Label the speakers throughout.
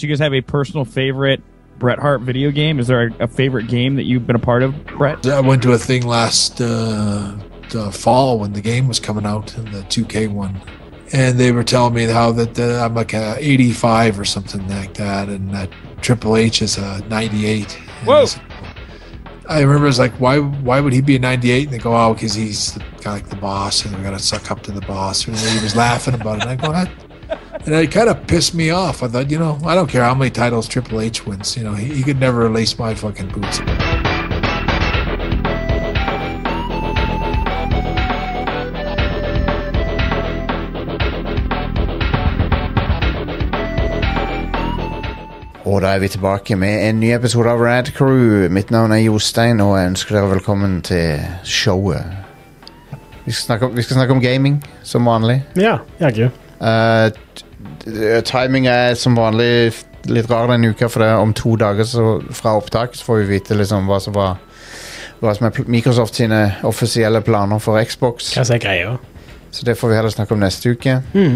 Speaker 1: Do you guys have a personal favorite Bret Hart video game? Is there a, a favorite game that you've been a part of, Bret?
Speaker 2: I went to a thing last uh, uh, fall when the game was coming out, and the 2K one, and they were telling me how that uh, I'm like a 85 or something like that, and that Triple H is a 98. And
Speaker 1: Whoa.
Speaker 2: I said- I remember it's like why why would he be a 98? And they go, oh, because he's the, kind of like the boss, and we got to suck up to the boss. And he was laughing about it. And I go, that, and it kind of pissed me off. I thought, you know, I don't care how many titles Triple H wins. You know, he, he could never lace my fucking boots.
Speaker 3: Og da er vi tilbake med en ny episode av Rad Crew. Mitt navn er Jostein, og jeg ønsker dere velkommen til showet. Vi skal snakke om, vi skal snakke om gaming, som vanlig.
Speaker 4: Ja, jaggu.
Speaker 3: Eh, t- t- timing er som vanlig f- litt rar denne uka, for det er om to dager så, fra opptak så får vi vite liksom hva som var hva som er pl- Microsoft sine offisielle planer for Xbox.
Speaker 4: Hva som er greia?
Speaker 3: Så det får vi heller snakke om neste uke.
Speaker 4: Mm.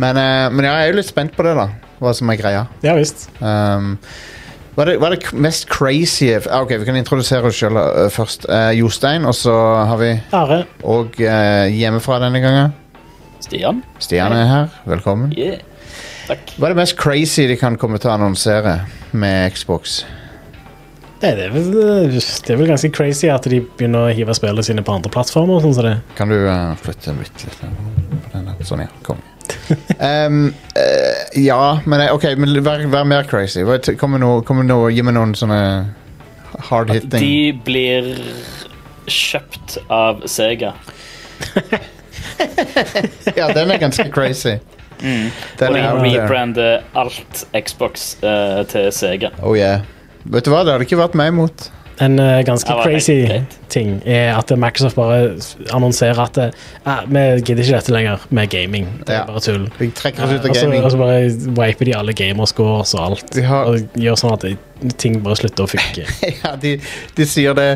Speaker 3: Men, eh, men ja, jeg er jo litt spent på det, da. Hva som er greia.
Speaker 4: Ja visst.
Speaker 3: Um, hva, er det, hva er det k- mest crazy ah, Ok, vi kan introdusere oss selv uh, først. Eh, Jostein, og så har vi
Speaker 4: Are.
Speaker 3: Og eh, hjemmefra denne gangen.
Speaker 5: Stian?
Speaker 3: Stian er her. Velkommen.
Speaker 5: Yeah. Takk.
Speaker 3: Hva er det mest crazy de kan komme til å annonsere med Xbox?
Speaker 4: Det, det, er vel, det er vel ganske crazy at de begynner å hive spillene sine på andre plattformer. og Sånn som det.
Speaker 3: Kan du eh, flytte den litt, litt nærmere på den der? Sånn, ja. Kom. Um, eh, ja, men eh, OK, men vær, vær mer crazy. Hva- t- Kom med noe, kom med noe, gi meg noen sånne hard hitting.
Speaker 5: De blir kjøpt av Sega.
Speaker 3: Ja, den er ganske crazy.
Speaker 5: Mm. Og
Speaker 3: Den
Speaker 5: de
Speaker 3: er out there.
Speaker 5: rebrander alt Xbox eh, til Sega.
Speaker 3: Oh yeah. Vet du hva, det hadde ikke vært meg imot.
Speaker 4: En eh, ganske
Speaker 5: Det var
Speaker 4: crazy
Speaker 5: helt greit.
Speaker 4: ting er at Microsoft bare s- annonserer at eh, ah, vi gidder ikke dette lenger med gaming. Det er
Speaker 3: Ja.
Speaker 4: bare tull.
Speaker 3: Vi trekker oss ut av
Speaker 4: Og så
Speaker 3: gaming.
Speaker 4: og så bare wiper de alle gamerscores og alt.
Speaker 3: Vi har-
Speaker 4: Og gjør sånn at det- ting bare slutter å funke.
Speaker 3: ja, de, de sier det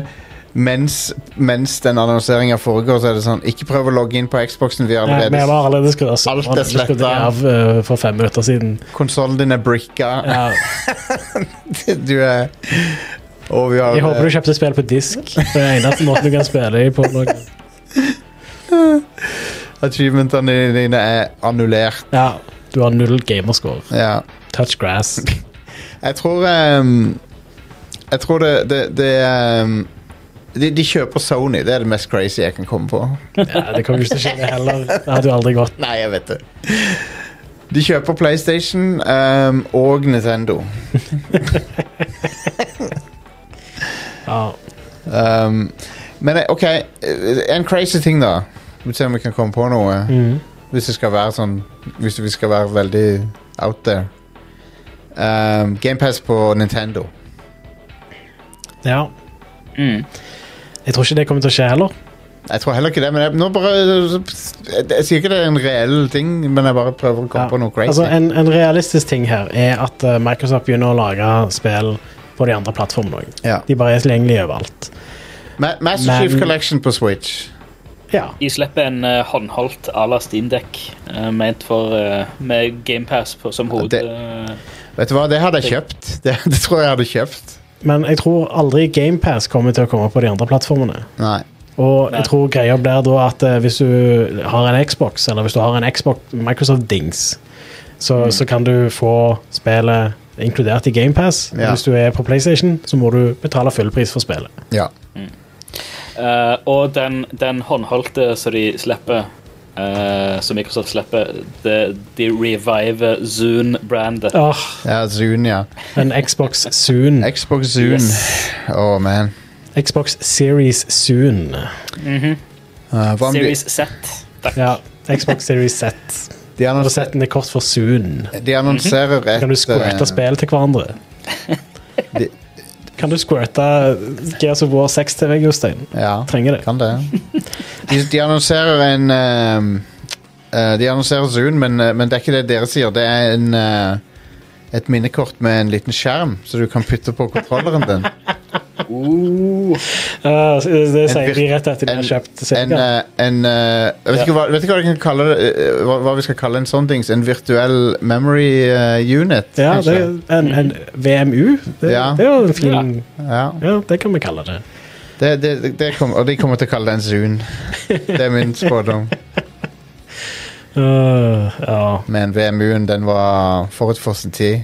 Speaker 3: mens, mens den annonseringa foregår, så er det sånn Ikke prøv å logge inn på Xboxen, vi har
Speaker 4: Ja, Vi
Speaker 3: allerede
Speaker 4: har allerede skrudd av
Speaker 3: Alt er
Speaker 4: serveren. Vi skrudde
Speaker 3: slettet.
Speaker 4: av eh, for fem minutter siden.
Speaker 3: Konsollen din er bricka.
Speaker 4: Ja.
Speaker 3: du er Og vi har
Speaker 4: Jeg håper du kjøpte spill på disk. Det er eneste måten du kan spille i på. nå.
Speaker 3: Achievementene dine er annullert.
Speaker 4: Ja, du har null gamerscore.
Speaker 3: Ja.
Speaker 4: Touch grass.
Speaker 3: Jeg tror ehm, Jeg tror det, det, det ehm, de, de kjøper Sony. Det er det mest crazy jeg kan komme på.
Speaker 4: Ja, det kommer ikke til å skje det heller. Det hadde jo aldri gått.
Speaker 3: Nei, jeg vet det. De kjøper PlayStation ehm, og Nintendo.
Speaker 4: Ja.
Speaker 3: Ehm, men eh, OK, eh, en crazy ting, da. Vi ser om vi kan komme på noe.
Speaker 4: Mhm.
Speaker 3: Hvis det skal være sånn Hvis vi skal være veldig out there. Ehm, Game GamePass på Nintendo.
Speaker 4: ja.
Speaker 5: Mm.
Speaker 4: Jeg tror ikke det kommer til å skje heller.
Speaker 3: Jeg tror heller ikke det, men jeg, nå bare jeg, jeg sier ikke det er en reell ting, men jeg bare prøver å komme
Speaker 4: Ja.
Speaker 3: på noe crazy.
Speaker 4: Altså, en, en realistisk ting her er at eh, Microsoft begynner å lage spill på de andre plattformene òg.
Speaker 3: ja.
Speaker 4: De bare er tilgjengelige overalt.
Speaker 3: Ma Master
Speaker 4: Men-
Speaker 3: Chief Collection på Switch.
Speaker 4: Ja.
Speaker 5: De slipper en eh, håndholdt à la Steam Deck eh, ment for eh, med GamePass som hoved...
Speaker 3: Det-
Speaker 5: eh,
Speaker 3: Vet du hva, det hadde jeg kjøpt. Det, det tror jeg jeg hadde kjøpt.
Speaker 4: Men jeg tror aldri GamePass kommer til å komme på de andre plattformene.
Speaker 3: Nei.
Speaker 4: Og
Speaker 5: Nei.
Speaker 4: jeg tror greia blir da at eh, hvis du har en Xbox, eller hvis du har en Xbox Microsoft-dings, så, så kan du få spillet inkludert i GamePass.
Speaker 3: Ja.
Speaker 4: Hvis du er på PlayStation, så må du betale fullpris for spillet.
Speaker 3: Ja.
Speaker 5: Eh, og den, den håndholdte som de slipper, eh, som Microsoft slipper, det- de reviver Zoon-brandet.
Speaker 4: Åh,
Speaker 3: ja Zoon, ja.
Speaker 4: en Xbox Soon.
Speaker 3: Xbox Zoon.
Speaker 5: Yes.
Speaker 3: Oh, man.
Speaker 4: Xbox Series Soon.
Speaker 3: Eh, hva om de,
Speaker 5: Series Z. Takk.
Speaker 4: Ja, Xbox Series Z.
Speaker 3: de,
Speaker 4: Og
Speaker 3: annonser,
Speaker 4: Z-en er kort for Soon.
Speaker 3: de annonserer et
Speaker 4: Mhm. Kan du squirte
Speaker 3: eh,
Speaker 4: spill til hverandre?
Speaker 3: De-
Speaker 4: Kan du squirte Gears of War 6 til deg, Jostein?
Speaker 3: Ja,
Speaker 4: Trenger det.
Speaker 3: kan det. De, de annonserer en ehm, eh, De annonserer Zoom, men, eh, men det er ikke det dere sier. Det er en eh, et minnekort med en liten skjerm, så du kan putte på kontrolleren din.
Speaker 4: Eh, så det det sier de
Speaker 3: vir-
Speaker 4: rett etter de har kjøpt
Speaker 3: en,
Speaker 4: serien.
Speaker 3: eh, en eh, jeg vet,
Speaker 5: Ja.
Speaker 3: ikke hva, vet ikke hva, de kan kalle det, eh, hva, hva vi skal kalle en sånn dings. En virtuell memory eh, unit.
Speaker 4: Ja, det
Speaker 3: kanskje?
Speaker 4: er en, en VMU. Det,
Speaker 3: Ja.
Speaker 4: det er jo en fin
Speaker 3: ja.
Speaker 4: Ja, det kan vi kalle det.
Speaker 3: Det, det, det, det kom, og de kommer til å kalle det en Zoon. Det er min spådom.
Speaker 4: Eh, ja.
Speaker 3: Men VMU-en den var forut for sin tid.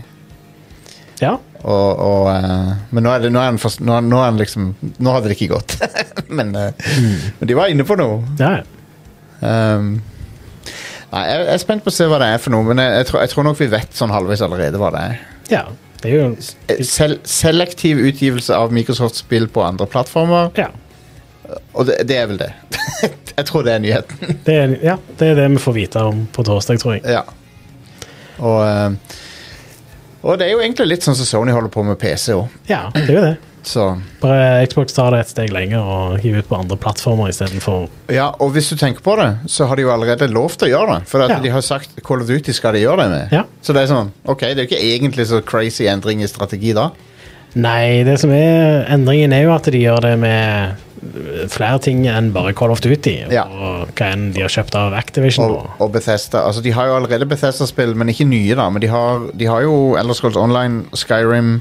Speaker 4: ja.
Speaker 3: Og, og, eh, men nå er, det, nå, er den for, nå, nå er den liksom Nå hadde det ikke gått. men, eh, men de var inne på noe.
Speaker 4: ja.
Speaker 3: Um, nei, jeg, jeg er spent på å se hva det er for noe, men jeg, jeg, tror, jeg tror nok vi vet sånn halvveis allerede hva det er.
Speaker 4: Ja. Det er jo
Speaker 3: Eh, Sel, selektiv utgivelse av Microsoft-spill på andre plattformer,
Speaker 4: Ja.
Speaker 3: og det, det er vel det. jeg tror det er nyheten.
Speaker 4: Det er, ja, det er det vi får vite om på torsdag, tror jeg.
Speaker 3: Ja. Og, eh, og det er jo egentlig litt sånn som Sony holder på med PC òg,
Speaker 4: Ja, det er jo det.
Speaker 3: så
Speaker 4: Bare Xbox tar det et steg lenger og hiver ut på andre plattformer istedenfor
Speaker 3: Ja, og hvis du tenker på det, så har de jo allerede lov til å gjøre det. For at
Speaker 4: Ja.
Speaker 3: de har sagt Call of Duty skal de gjøre det med.
Speaker 4: Ja.
Speaker 3: Så det er sånn, ok, det er jo ikke egentlig så crazy endring i strategi da.
Speaker 4: Nei, det som er endringen er jo at de gjør det med flere ting enn bare Call of Duty.
Speaker 3: Ja.
Speaker 4: Og hva enn de har kjøpt av Activision.
Speaker 3: Og,
Speaker 4: Og,
Speaker 3: og Bethesda. Altså, de har jo allerede Bethesda-spill, men ikke nye, da. Men de har, de har jo Elder Scrolls Online, Skyrim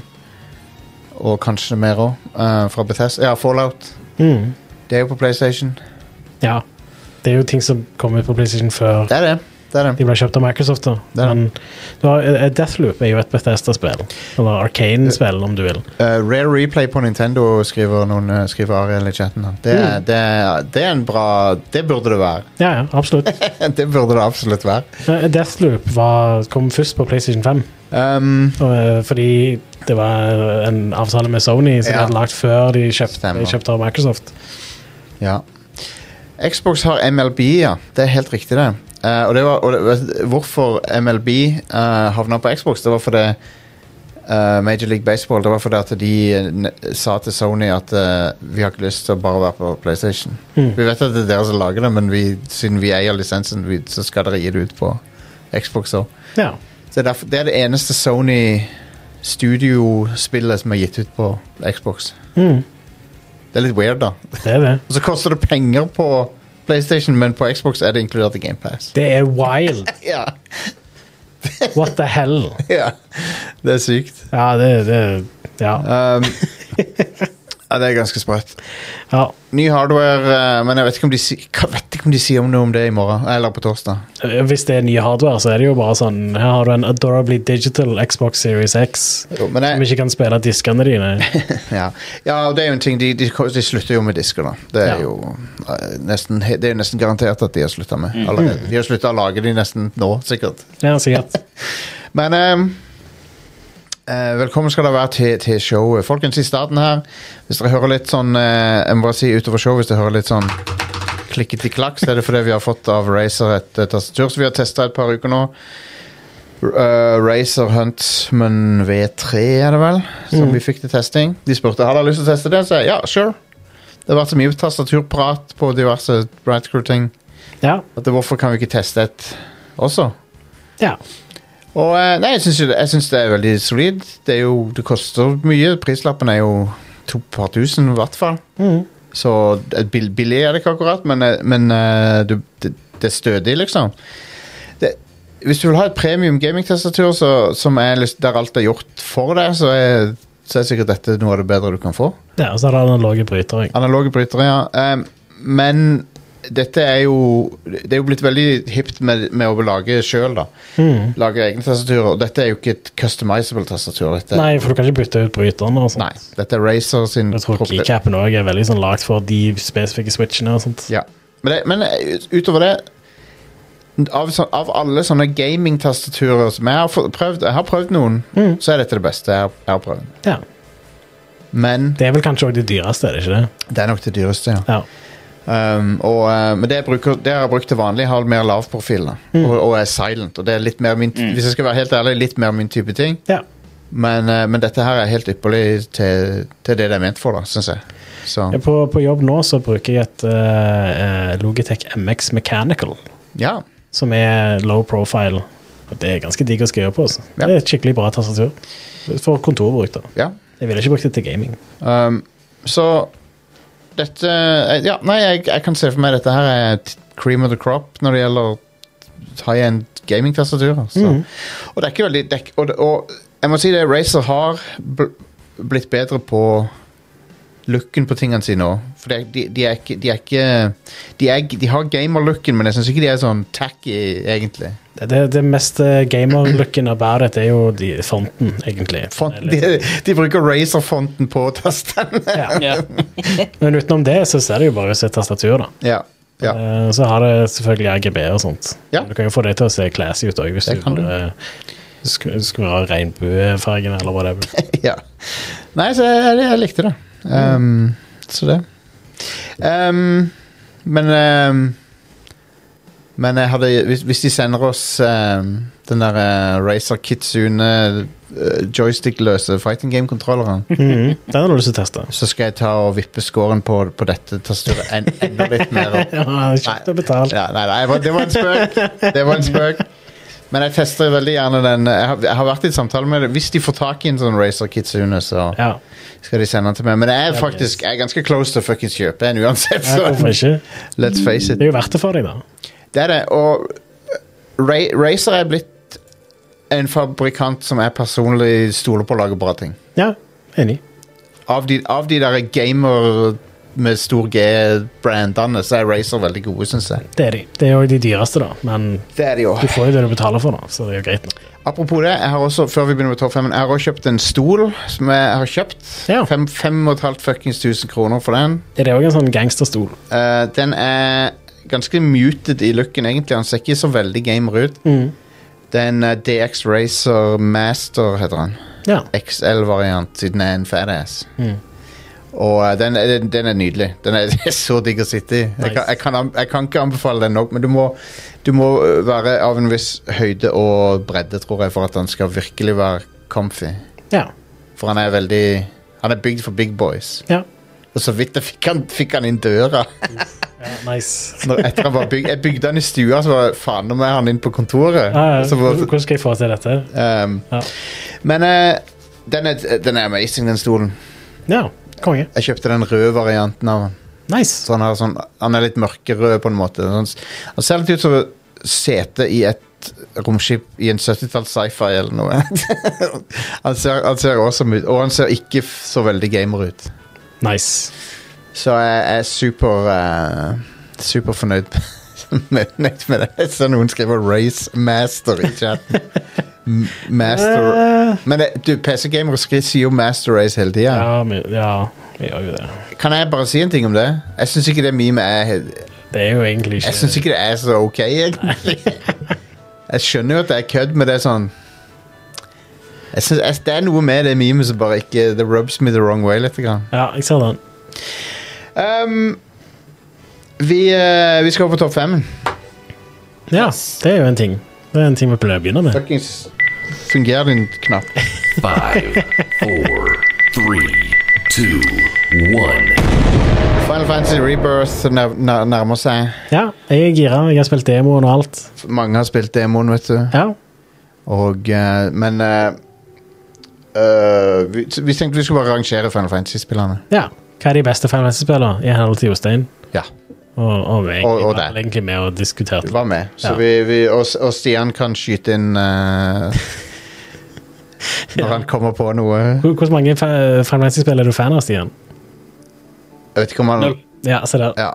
Speaker 3: og kanskje mer òg. fra Bethesda. Ja, Fallout.
Speaker 4: mm,
Speaker 3: Det er jo på PlayStation.
Speaker 4: ja. Det er jo ting som kom ut på PlayStation før
Speaker 3: Det er det. det, er det.
Speaker 4: de ble kjøpt av Microsoft. da.
Speaker 3: Det er det.
Speaker 4: Men du har, eh, Deathloop er jo et Bethesda-spill. Eller Arcane-spill, om du vil.
Speaker 3: Eh, Rare Replay på Nintendo skriver, noen, eh, skriver Ariel i chatten. her. Det, er- det, er- det er en bra Det burde det være.
Speaker 4: Ja, ja, absolutt.
Speaker 3: det burde det absolutt være.
Speaker 4: Eh, Deathloop var, kom først på PlayStation 5.
Speaker 3: Um,
Speaker 4: Eh, Fordi det var eh, en avtale med Sony som
Speaker 3: Ja.
Speaker 4: de hadde lagt før de kjøpte,
Speaker 3: Stemmer.
Speaker 4: kjøpte av Microsoft.
Speaker 3: ja. Xbox har MLB, ja. Det er helt riktig, det. Eh, og det var, og det, hvorfor MLB uh, havna på Xbox, det var fordi eh, Major League Baseball Det var fordi at de eh, n- sa til Sony at eh, vi har ikke lyst til å bare være på PlayStation.
Speaker 4: Mm.
Speaker 3: Vi vet at det er dere som lager det, men vi, siden vi eier lisensen, vi, så skal dere gi det ut på Xbox òg.
Speaker 4: Ja.
Speaker 3: Så det er derfor- det er det eneste Sony studiospillet som er gitt ut på Xbox.
Speaker 4: Mm,
Speaker 3: Det er litt weird, da.
Speaker 4: det er det.
Speaker 3: Og så koster det penger på PlayStation, men på Xbox er det inkludert i GamePass.
Speaker 4: Det er wild.
Speaker 3: Ja,
Speaker 4: What the hell?
Speaker 3: ja. Det er sykt.
Speaker 4: Ja, det, det ja.
Speaker 3: Um, ja, det er ganske sprøtt.
Speaker 4: ja.
Speaker 3: Ny hardware, eh, men jeg vet ikke om de, si, hva- vet ikke om de sier noe om det i morgen. Eller på torsdag.
Speaker 4: Hvis det er ny hardware, så er det jo bare sånn Her har du en adorably digital Xbox Series X
Speaker 3: Jo, men
Speaker 4: som
Speaker 3: jeg,
Speaker 4: ikke kan spille diskene dine.
Speaker 3: ja. ja, og det er jo en ting. De, de, de slutter jo med disker, da. Det er
Speaker 4: Ja.
Speaker 3: jo eh, nesten, he- det er jo nesten garantert at de har slutta med. Allerede. De har slutta å lage de nesten nå, sikkert.
Speaker 4: Ja, sikkert.
Speaker 3: Men ehm, eh, velkommen skal dere være til, til showet. Folkens, i starten her, hvis dere hører litt sånn eh, Jeg må bare si utover showet, hvis dere hører litt sånn klikket i klakk, så er det fordi vi har fått av Razer et eh, tastatur som vi har testa et par uker nå. Uh, Razer Huntsman V3, er det vel, som vi fikk til testing. De spurte har dere lyst til å teste det, så jeg ja, sure. Det har vært så mye tastaturprat på diverse Brightcrew-ting
Speaker 4: Ja.
Speaker 3: at hvorfor kan vi ikke teste et også?
Speaker 4: ja.
Speaker 3: Og eh, nei, jeg syns, jo det, jeg syns det er veldig solid. Det, er jo, det koster mye. Prislappen er jo to par tusen, i hvert fall.
Speaker 4: Mhm.
Speaker 3: Så eh, bill- billig er det ikke akkurat, men, eh, men eh, du, det, det er stødig, liksom. Det, hvis du vil ha et premium gamingtestatur så- som er lyst- der alt er gjort for deg, så er, så er sikkert dette noe av det bedre du kan få.
Speaker 4: ja og så har du analoge brytere. jeg.
Speaker 3: Analoge brytere, ja. Ehm, men dette er jo Det er jo blitt veldig hipt med, med å lage sjøl, da.
Speaker 4: Mhm.
Speaker 3: Lage egne tastaturer. Og dette er jo ikke et customizable tastatur. Dette,
Speaker 4: Nei, for du kan ikke bytte ut bryterne. og sånt.
Speaker 3: Nei, Dette er Razer sin
Speaker 4: Jeg tror
Speaker 3: propri-
Speaker 4: keycapen òg er veldig sånn lagd for de spesifikke switchene. og sånt.
Speaker 3: Ja. Men, det, men ut- utover det av, sånn- av alle sånne gamingtastaturer som jeg har få- prøvd Jeg har prøvd noen,
Speaker 4: Mm.
Speaker 3: så er dette det beste jeg har, jeg har prøvd.
Speaker 4: Ja.
Speaker 3: Men
Speaker 4: Det er vel kanskje òg det dyreste, er det ikke det?
Speaker 3: det er nok det dyreste, ja.
Speaker 4: Ja.
Speaker 3: Um, og, eh, men det jeg, bruker, det jeg har brukt til vanlig, har mer lavprofil. da. Og, og er silent. Og det er litt mer min, Hvis jeg skal være helt ærlig, litt mer min type ting.
Speaker 4: ja.
Speaker 3: Men, eh, men dette her er helt ypperlig til, til det det er ment for, da, syns jeg. Så
Speaker 4: Jeg er På, på jobb nå så bruker jeg et eh, eh, Logitech MX Mechanical,
Speaker 3: ja.
Speaker 4: som er low profile. Og Det er ganske digg å skrive på. Altså.
Speaker 3: Ja.
Speaker 4: Det er et skikkelig bra tastatur. For kontorbruk, da.
Speaker 3: ja.
Speaker 4: Jeg ville ikke brukt det til gaming.
Speaker 3: Um, så dette eh, Ja, nei, jeg, jeg kan se for meg dette her er t- cream of the crop når det gjelder high-end gaming-tastaturer. så. Og det er ikke veldig det er, ikke- og, det- og jeg må si det, Razer har bl- blitt bedre på looken på tingene sine òg. For det, de, de er ikke De, er ikke, de, er, de har gamer-looken, men jeg syns ikke de er sånn tacky, egentlig.
Speaker 4: Det, det, det mest eh, gamer-looken about it er jo de, fonten, egentlig.
Speaker 3: Font,
Speaker 4: Det er litt-
Speaker 3: de, de bruker Razer-fonten på tastene.
Speaker 4: ja.
Speaker 5: Ja.
Speaker 4: Men utenom det så ser det jo bare ut som et tastatur, da.
Speaker 3: ja. ja.
Speaker 4: Eh, Så har det selvfølgelig RGB og sånt.
Speaker 3: Ja.
Speaker 4: Du kan jo få det til å se classy ut òg, hvis
Speaker 3: Det
Speaker 4: du
Speaker 3: kan du.
Speaker 4: bare sk- skrur av regnbuefargen eller hva det er.
Speaker 3: ja. Nei, så jeg, jeg, jeg likte det. Um, Så det. Um, men um, Men jeg hadde Hvis, hvis de sender oss um, den der uh, Razer Kitsune uh, joystickløse fighting game-kontrolleren,
Speaker 4: Mhm. Den har du lyst til å teste.
Speaker 3: så skal jeg ta og vippe scoren på, på dette tastaturet en, enda litt mer opp.
Speaker 4: Ja, kjøpt og betalt.
Speaker 3: Ja, nei, nei, jeg var- det var en spøk. Det var en spøk. Men jeg tester veldig gjerne den. Jeg har, jeg har vært i en samtale med det. Hvis de får tak i en sånn Razer Kitsune, så
Speaker 4: Ja.
Speaker 3: skal de sende den til meg. Men jeg er faktisk jeg er ganske close til å fuckings kjøpe en uansett,
Speaker 4: Ja, hvorfor
Speaker 3: så
Speaker 4: ikke?
Speaker 3: let's face it.
Speaker 4: Det er jo verdt det for deg, da.
Speaker 3: Det er det. Og eh, Ra Razer er blitt en fabrikant som jeg personlig stoler på å lage bra ting.
Speaker 4: Ja, enig.
Speaker 3: Av de, av de der gamer med stor G-brandene, så er Razer veldig gode, syns jeg.
Speaker 4: Det er de. Det er jo de dyreste, da, men
Speaker 3: Det er de jo.
Speaker 4: du får jo det du betaler for, da, så det er jo greit. nå.
Speaker 3: Apropos det, jeg har også før vi begynner med topp 5, jeg har også kjøpt en stol som jeg har kjøpt.
Speaker 4: Ja.
Speaker 3: Fem, fem og et halvt fuckings tusen kroner for den.
Speaker 4: Er det òg en sånn gangsterstol?
Speaker 3: Eh, den er ganske muted i looken, egentlig. Han ser ikke så veldig gamer ut. Det er en eh, DX Racer Master, heter han.
Speaker 4: Ja.
Speaker 3: XL-variant, siden jeg er en fatass. Og eh, den, er- den, den er nydelig. Den er, det er så digg å sitte i. Jeg, kan, jeg, kan, an- jeg kan ikke anbefale den nok, men du må, du må eh, være av en viss høyde og bredde, tror jeg, for at den skal virkelig være comfy.
Speaker 4: ja.
Speaker 3: For han er veldig Han er bygd for big boys.
Speaker 4: Ja.
Speaker 3: Og så vidt jeg fikk han, fikk han inn døra.
Speaker 4: Nice.
Speaker 3: Når etter han var bygd Jeg bygde han i stua, så var faen nå må jeg ha han inn på kontoret.
Speaker 4: Ja, ja.
Speaker 3: Så var,
Speaker 4: Hvordan skal jeg få til dette?
Speaker 3: ehm,
Speaker 4: Ja.
Speaker 3: Men eh, den, er, den er amazing, den stolen.
Speaker 4: Ja, konge.
Speaker 3: Jeg kjøpte den røde varianten av den.
Speaker 4: Nice.
Speaker 3: Så han, har sånn, han er litt mørkerød, på en måte. Sånn, han ser litt ut som sete i et romskip i en 70-talls sci-fi eller noe. han, ser, han ser awesome ut, og han ser ikke f- så veldig gamer ut.
Speaker 4: Nice.
Speaker 3: Så jeg er super eh, Super fornøyd med, nøyd med det. Jeg ser noen skriver 'Race Master' i chatten. M- Master
Speaker 4: Eh,
Speaker 3: Men det- du, PC-gamere skri- sier jo 'Master Race' hele tida.
Speaker 4: Ja, vi, ja, vi gjør jo det.
Speaker 3: Kan jeg bare si en ting om det? Jeg syns ikke det memet er he-
Speaker 4: Det er jo egentlig ikke
Speaker 3: Jeg syns ikke det er så ok, egentlig. Jeg skjønner jo at det er kødd, men det er sånn jeg synes, jeg, Det er noe med det memet som bare ikke Det rubs me the wrong way litt. Grann.
Speaker 4: Ja, jeg ser den.
Speaker 3: Um, vi, eh, vi skal over på topp fem.
Speaker 4: Ja, det er jo en ting. Det er en ting vi pleier å begynne med.
Speaker 3: Fuckings fungerer din knapp.
Speaker 6: Five, four, three, two, one.
Speaker 3: Final Fantasy Rebirth nær, nær, nærmer seg.
Speaker 4: Ja, jeg er gira. Jeg har spilt demoen og alt.
Speaker 3: Mange har spilt demoen, vet du.
Speaker 4: Ja,
Speaker 3: Og, eh, men eh, eh, vi, så vi tenkte vi skulle bare rangere Final Fantasy-spillerne.
Speaker 4: ja. Hva er de beste Final Fantasy-spillene i henhold til Jostein?
Speaker 3: Ja,
Speaker 4: Og, og meg.
Speaker 3: Og- og
Speaker 4: Jeg var
Speaker 3: deg.
Speaker 4: egentlig med og
Speaker 3: du
Speaker 4: diskuterte.
Speaker 3: var med. Så
Speaker 4: Ja.
Speaker 3: vi, vi, og, og Stian kan skyte inn eh, når han kommer på noe.
Speaker 4: Hvor- Hvor mange fa- Final Fantasy-spill er du fan av, Stian?
Speaker 3: Jeg vet ikke om han
Speaker 5: Null.
Speaker 4: Ja, se der.
Speaker 3: Ja.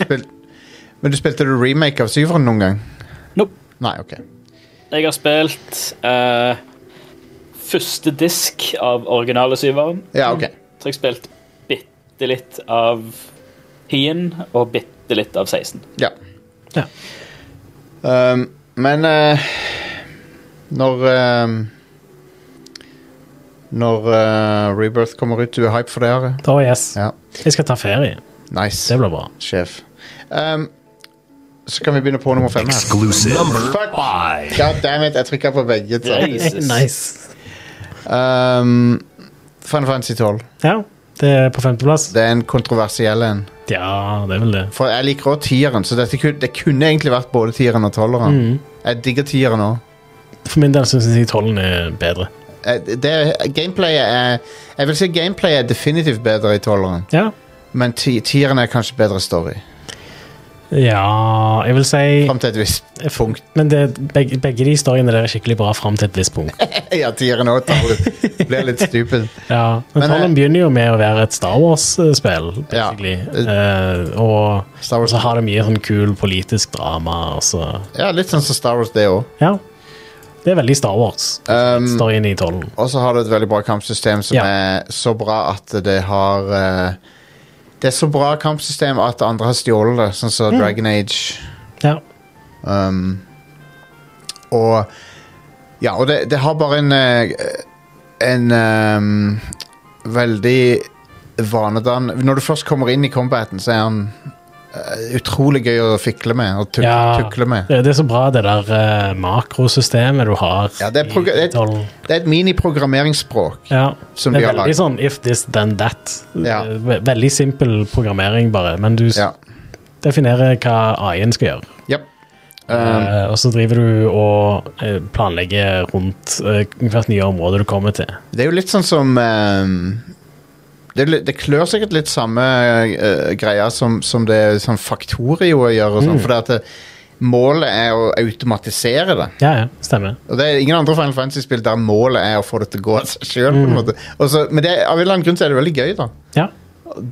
Speaker 3: Spil, men du spilte du remake av Syveren noen gang?
Speaker 5: Nope.
Speaker 3: Nei, ok.
Speaker 5: Jeg har spilt eh, første disk av originale syveren.
Speaker 3: Ja, ok.
Speaker 5: Så jeg har spilt bitte litt av hien og bitte litt av 16.
Speaker 3: Ja.
Speaker 4: Ja.
Speaker 3: Ehm, men eh, når ehm, Når eh, Rebirth kommer ut, du er hype for det? Are?
Speaker 4: Å, yes.
Speaker 3: Ja.
Speaker 4: Jeg skal ta ferie.
Speaker 3: Nice,
Speaker 4: Det blir bra.
Speaker 3: sjef. Ehm, så kan vi begynne på nummer fem her.
Speaker 6: Exclusive. Number
Speaker 3: Fuck.
Speaker 6: five.
Speaker 3: God damn it, jeg trykka på begge. så.
Speaker 5: Jesus.
Speaker 4: Nice.
Speaker 3: Ehm, Final Fantasy 12.
Speaker 4: Ja, det er på femteplass.
Speaker 3: Det er en kontroversiell en.
Speaker 4: Ja, det er vel det.
Speaker 3: For jeg liker òg tieren, så dette kunne, det kunne egentlig vært
Speaker 4: Mm.
Speaker 3: både tieren og tolveren. Jeg digger tieren òg.
Speaker 4: For min del syns jeg tollen er bedre.
Speaker 3: eh, det, Gameplayet er Jeg vil si gameplayet er definitivt bedre i tolveren,
Speaker 4: Ja.
Speaker 3: men ti- tieren er kanskje bedre story.
Speaker 4: ja, jeg vil si
Speaker 3: Fram til et visst punkt.
Speaker 4: Men det, begge, begge de historiene der er skikkelig bra fram til et visst punkt.
Speaker 3: Ja, tieren òg blir litt stupid.
Speaker 4: Ja, men
Speaker 3: Men,
Speaker 4: Tollen
Speaker 3: eh,
Speaker 4: begynner jo med å være et Star Wars-spill,
Speaker 3: Ja.
Speaker 4: basically. Eh, og
Speaker 3: Star Wars-
Speaker 4: så har det mye sånn kul politisk drama, og så
Speaker 3: Ja, litt sånn som Star Wars, det òg.
Speaker 4: Ja. Det er veldig Star Wars.
Speaker 3: Um,
Speaker 4: Storyen i Tollen.
Speaker 3: Og så har du et veldig bra kampsystem som
Speaker 4: Ja.
Speaker 3: er så bra at det har eh, Det er så bra kampsystem at andre har stjålet det, sånn
Speaker 4: Mm.
Speaker 3: som Dragon Age.
Speaker 4: Ja.
Speaker 3: Um, og Ja, og det, det har bare en eh, En ehm, veldig vanedan Når du først kommer inn i combaten, så er han eh, utrolig gøy å fikle med og tuk
Speaker 4: Ja.
Speaker 3: tukle med.
Speaker 4: Det, det er så bra, det der eh, makrosystemet du har
Speaker 3: Ja, det er
Speaker 4: i
Speaker 3: progr- det-
Speaker 4: Tollen.
Speaker 3: Det er et miniprogrammeringsspråk.
Speaker 4: Ja.
Speaker 3: Som
Speaker 4: det
Speaker 3: de
Speaker 4: er
Speaker 3: har
Speaker 4: veldig
Speaker 3: lagd.
Speaker 4: sånn if this, then that.
Speaker 3: Ja.
Speaker 4: Eh, ve- Veldig simpel programmering, bare. Men du s-
Speaker 3: Ja.
Speaker 4: definerer hva AI-en skal gjøre.
Speaker 3: Yep. Um,
Speaker 4: Eh, og så driver du og eh, planlegger rundt eh, hvert nye område du kommer til.
Speaker 3: Det er jo litt sånn som ehm, det, er litt- det klør sikkert litt samme eh, greia som, som det sånn Faktorio gjør. Og
Speaker 4: Mm.
Speaker 3: sånn, For det at det, målet er å automatisere det.
Speaker 4: Ja, ja, stemmer.
Speaker 3: Og det er ingen andre Final Fantasy-spill der målet er å få det til å gå av seg sjøl.
Speaker 4: Mm.
Speaker 3: Men det, av en eller annen grunn så er det veldig gøy, da.
Speaker 4: Ja,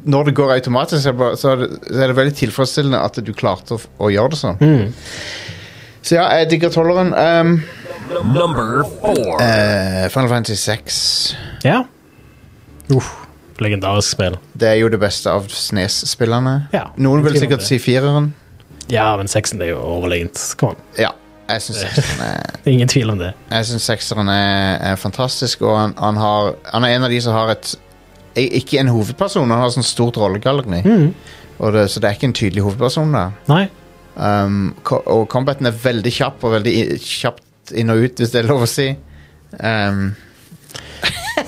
Speaker 3: Når det går automatisk, så er det, bare, så er det, så er det veldig tilfredsstillende at du klarte å, f- å gjøre det sånn.
Speaker 4: Mm.
Speaker 3: Så ja, jeg digger tolleren. Ehm,
Speaker 6: Number four.
Speaker 3: eh, Final Fantasy 6
Speaker 4: ja. Uff, legendarisk spill.
Speaker 3: Det er jo det beste av Snes-spillene.
Speaker 4: Ja.
Speaker 3: Noen vil
Speaker 4: Sier man
Speaker 3: sikkert
Speaker 4: det.
Speaker 3: si fireren.
Speaker 4: Ja, men sexen er jo overlegent. Kom an.
Speaker 3: Ja. Jeg syns
Speaker 4: Eh.
Speaker 3: sekseren er,
Speaker 4: Det er Ingen tvil om det.
Speaker 3: jeg synes sekseren er, er fantastisk, og han, han, har, han er en av de som har et i- Ikke en hovedperson, han har sånn stort rollegalleri. Og det, så det er ikke en tydelig hovedperson der.
Speaker 4: Nei.
Speaker 3: Um, ko- og combaten er veldig kjapp, og veldig i, kjapt inn og ut, hvis det er lov å si. Um,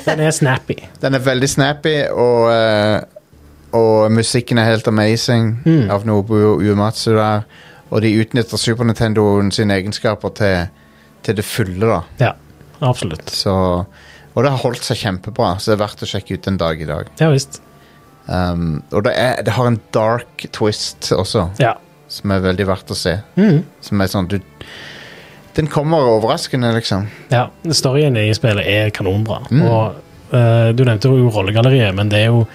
Speaker 4: Den er snappy.
Speaker 3: den er veldig snappy, og, eh, og musikken er helt amazing av Nobu Uematsu der. Og de utnytter Super Nintendoen sine egenskaper til, til det fulle, da.
Speaker 4: Ja, absolutt.
Speaker 3: Så, og det har holdt seg kjempebra, så det er verdt å sjekke ut en dag i dag.
Speaker 4: Ja visst.
Speaker 3: Um, og det, er, det har en dark twist også,
Speaker 4: Ja.
Speaker 3: som er veldig verdt å se. Som er sånn du, Den kommer overraskende, liksom.
Speaker 4: ja. Storyen i spillet er kanonbra.
Speaker 3: Mm.
Speaker 4: Og eh, du nevnte jo rollegalleriet, men det er jo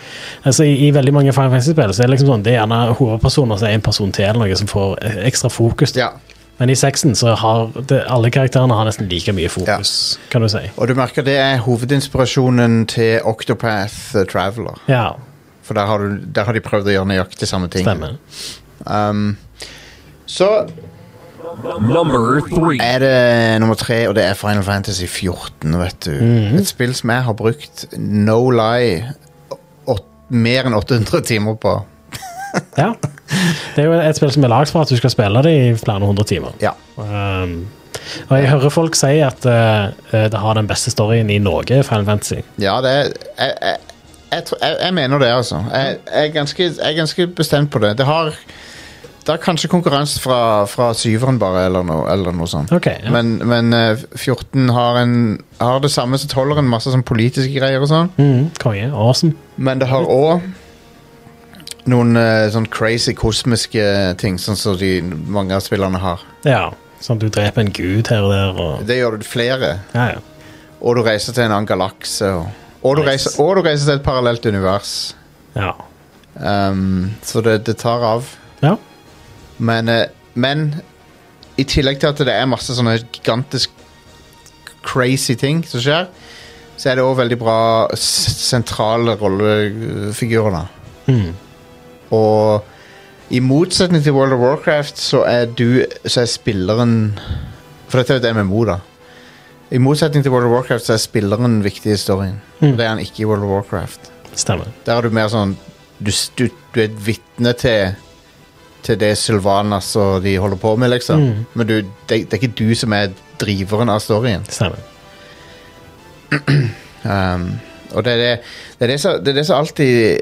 Speaker 4: altså, i, I veldig mange Final Fantasy-spill så er det liksom sånn, det er gjerne hovedpersoner som er en person til, eller noe som får eh, ekstra fokus.
Speaker 3: Ja.
Speaker 4: Men i sexen så har det, alle karakterene har nesten like mye fokus, kan du si.
Speaker 3: Og du merker det er hovedinspirasjonen til Octopath Traveler.
Speaker 4: Ja,
Speaker 3: For der har, du, der har de prøvd å gjøre nøyaktig samme ting.
Speaker 4: stemmer.
Speaker 3: Så
Speaker 6: Number three.
Speaker 3: er det nummer tre, og det er Final Fantasy 14, vet du. Et spill som jeg har brukt no lie åt, mer enn 800 timer på.
Speaker 4: Ja. Det er jo et spill som er lagd for at du skal spille det i flere hundre timer.
Speaker 3: Ja.
Speaker 4: Um, og jeg hører folk si at eh, det har den beste storyen i Norge, Final Fantasy.
Speaker 3: ja, det er jeg, jeg, jeg, tror- jeg, jeg mener det, altså. Jeg, jeg, er ganske, jeg er ganske bestemt på det. Det har det er kanskje konkurranse fra, fra syveren, bare, eller noe, eller noe sånt.
Speaker 4: Ok, ja.
Speaker 3: Men, men eh, 14 har, en, har det samme som 12-eren, masse sånn politiske greier og sånn.
Speaker 4: Mm, konge. Awesome.
Speaker 3: Men det har òg noen eh, sånn crazy kosmiske ting, sånn som de, mange av spillerne har.
Speaker 4: Ja. Sånn at du dreper en gud her og der og
Speaker 3: Det gjør du flere.
Speaker 4: Ja, ja.
Speaker 3: Og du reiser til en annen galakse. Og, og, du
Speaker 4: Nice.
Speaker 3: reiser- og du reiser til et parallelt univers.
Speaker 4: ja.
Speaker 3: Um, så det, det tar av.
Speaker 4: ja.
Speaker 3: Men, eh, men i tillegg til at det er masse sånne gigantisk crazy ting som skjer, så er det òg veldig bra s- sentrale rollefigurer, da.
Speaker 4: Mm.
Speaker 3: Og i motsetning til World of Warcraft, så er du Så er spilleren For dette er jo et MMO, da. I motsetning til World of Warcraft, så er spilleren viktig i storyen. Og Det er han ikke i World of Warcraft.
Speaker 4: Stemmer.
Speaker 3: Der er du mer sånn Du, s- du, du er et vitne til Til det Sylvanas og de holder på med, liksom. Men du, det, det er ikke du som er driveren av storyen.
Speaker 4: Stemmer.
Speaker 3: Um, og det er det, det, er det, som, det er det som alltid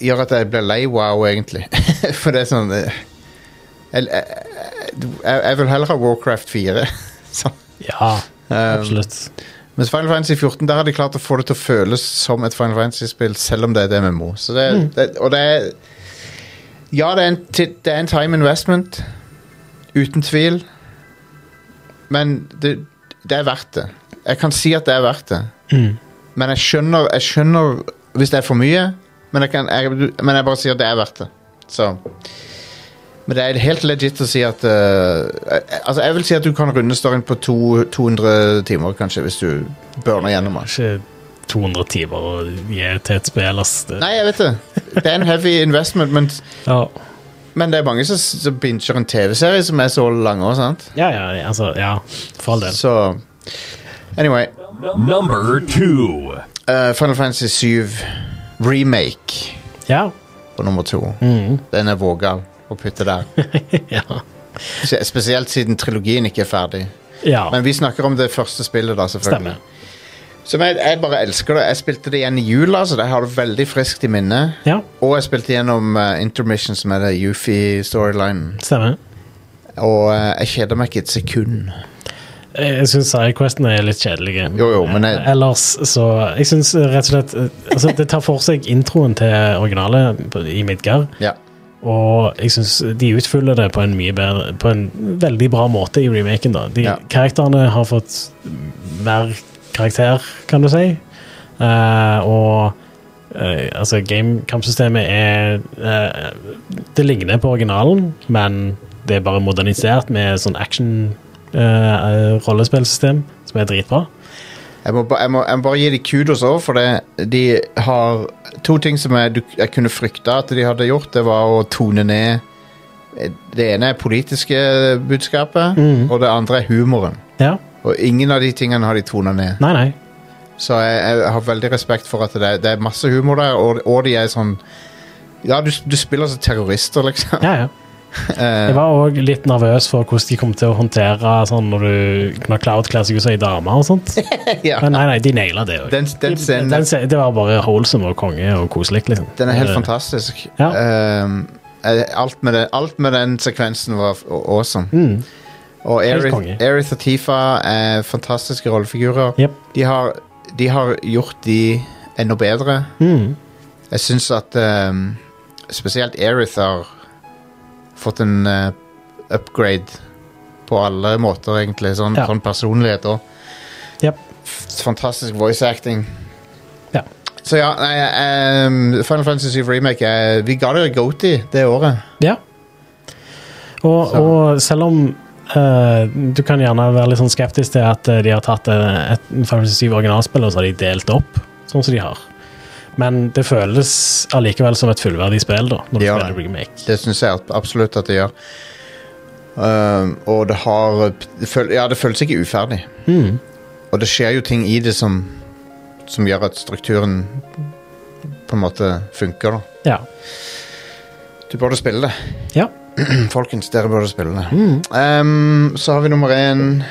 Speaker 3: gjør at jeg blir lei wow, egentlig. For det er sånn eh, Jeg, jeg, jeg- jeg vil heller ha Warcraft 4. så,
Speaker 4: Ja, absolutt.
Speaker 3: Mens Final Fantasy 14 der har de klart å få det til å føles som et Final Fantasy-spill, selv om det er et MMO. Så det, det, og det er Ja, det er, en, ti- det er en time investment, uten tvil, men det, det er verdt det. Jeg kan si at det er verdt det. Men jeg skjønner, jeg skjønner hvis det er for mye, men jeg, kan, jeg, men jeg bare sier at det er verdt det. Så men det er helt legit å si at eh, eh, Altså, jeg vil si at du kan runde storyen på to, 200 timer, kanskje, hvis du burner gjennom den.
Speaker 4: Ikke 200 timer å gi til et spill, ass. Det,
Speaker 3: Nei, jeg vet det. Det er en heavy investment, men,
Speaker 4: Ja.
Speaker 3: men det er mange som, som binger en TV-serie som er så lang òg, sant?
Speaker 4: ja, ja, altså, ja. For all del.
Speaker 3: Så Anyway.
Speaker 6: Number two.
Speaker 3: eh, Final Fantasy 7 remake
Speaker 4: Ja.
Speaker 3: på nummer to.
Speaker 4: Mhm.
Speaker 3: Den er vågal å putte der.
Speaker 4: ja.
Speaker 3: Se- Spesielt siden trilogien ikke er ferdig.
Speaker 4: ja.
Speaker 3: Men vi snakker om det første spillet, da, selvfølgelig.
Speaker 4: Stemmer.
Speaker 3: Som jeg, jeg bare elsker det. Jeg spilte det igjen i jula, så det har det veldig friskt i minnet.
Speaker 4: Ja,
Speaker 3: Og jeg spilte gjennom eh, Intermission, som er det Yufi-storylinen.
Speaker 4: stemmer.
Speaker 3: Og eh, jeg kjeder meg ikke et sekund.
Speaker 4: Jeg jeg syns sidequestene er litt kjedelige.
Speaker 3: Jo, jo, men jeg-
Speaker 4: Ellers så Jeg syns rett og slett eh, altså, Det tar for seg introen til originalet på- i Midgard,
Speaker 3: Ja.
Speaker 4: og jeg syns de utfyller det på en mye bedre På en veldig bra måte i remaken. da de,
Speaker 3: Ja.
Speaker 4: Karakterene har fått mer karakter, kan du si. Eh, og eh, altså, gamekampsystemet er eh, Det ligner på originalen, men det er bare modernisert med sånn action-rollespillsystem, som er dritbra.
Speaker 3: Jeg må, ba- jeg, må, jeg må bare gi dem kudos òg, for det, de har To ting som jeg, du- jeg kunne frykta at de hadde gjort, det var å tone ned eh, Det ene er politiske budskapet, og det andre er humoren.
Speaker 4: Ja.
Speaker 3: Og ingen av de tingene har de tona ned.
Speaker 4: Nei, nei.
Speaker 3: Så jeg, jeg har veldig respekt for at det er, det er masse humor der, og, og de er sånn Ja, du, du spiller som terrorister, liksom.
Speaker 4: Ja, ja.
Speaker 3: Eh.
Speaker 4: Jeg var òg litt nervøs for hvordan de kom til å håndtere sånn når du når Cloud kler seg ut som ei dame og sånt.
Speaker 3: Ja.
Speaker 4: Men nei, nei, de naila det òg.
Speaker 3: Den, den scenen
Speaker 4: Den se- Det var bare holsom og konge og koselig, liksom.
Speaker 3: den er helt
Speaker 4: Eh,
Speaker 3: fantastisk.
Speaker 4: Ja.
Speaker 3: Ehm, eh, alt, med den, alt med den sekvensen var f- awesome.
Speaker 4: mm,
Speaker 3: Og
Speaker 4: Helt
Speaker 3: Aerith
Speaker 4: konge.
Speaker 3: Aerith og Tifa er fantastiske rollefigurer.
Speaker 4: Jep.
Speaker 3: De, har, de har gjort de enda bedre.
Speaker 4: Mm.
Speaker 3: Jeg syns at ehm, spesielt Aerith har fått en eh, upgrade på alle måter, egentlig. Sånn,
Speaker 4: Ja.
Speaker 3: sånn personlighet og
Speaker 4: Jep.
Speaker 3: f- fantastisk voice acting.
Speaker 4: Ja.
Speaker 3: Så ja, nei, ehm, Final Fantasy 7 Remake eh, Vi ga det Goaty det året.
Speaker 4: Ja. Og,
Speaker 3: Så-
Speaker 4: og selv om eh, du kan gjerne være litt sånn skeptisk til at eh, de har tatt eh, et 57 originalspill og så har de delt opp, sånn som de har. Men det føles allikevel som et fullverdig spill, da, når du
Speaker 3: Ja,
Speaker 4: spiller
Speaker 3: det.
Speaker 4: remake.
Speaker 3: Det syns jeg ab- absolutt at det gjør. Ehm, og det har eh, p- det føl, Ja, det føles ikke uferdig.
Speaker 4: Mm.
Speaker 3: Og det skjer jo ting i det som, som gjør at strukturen på en måte funker, da.
Speaker 4: Ja.
Speaker 3: Du burde spille det.
Speaker 4: Ja.
Speaker 3: Mm, Folkens, dere burde spille det. Ehm, så har vi nummer én.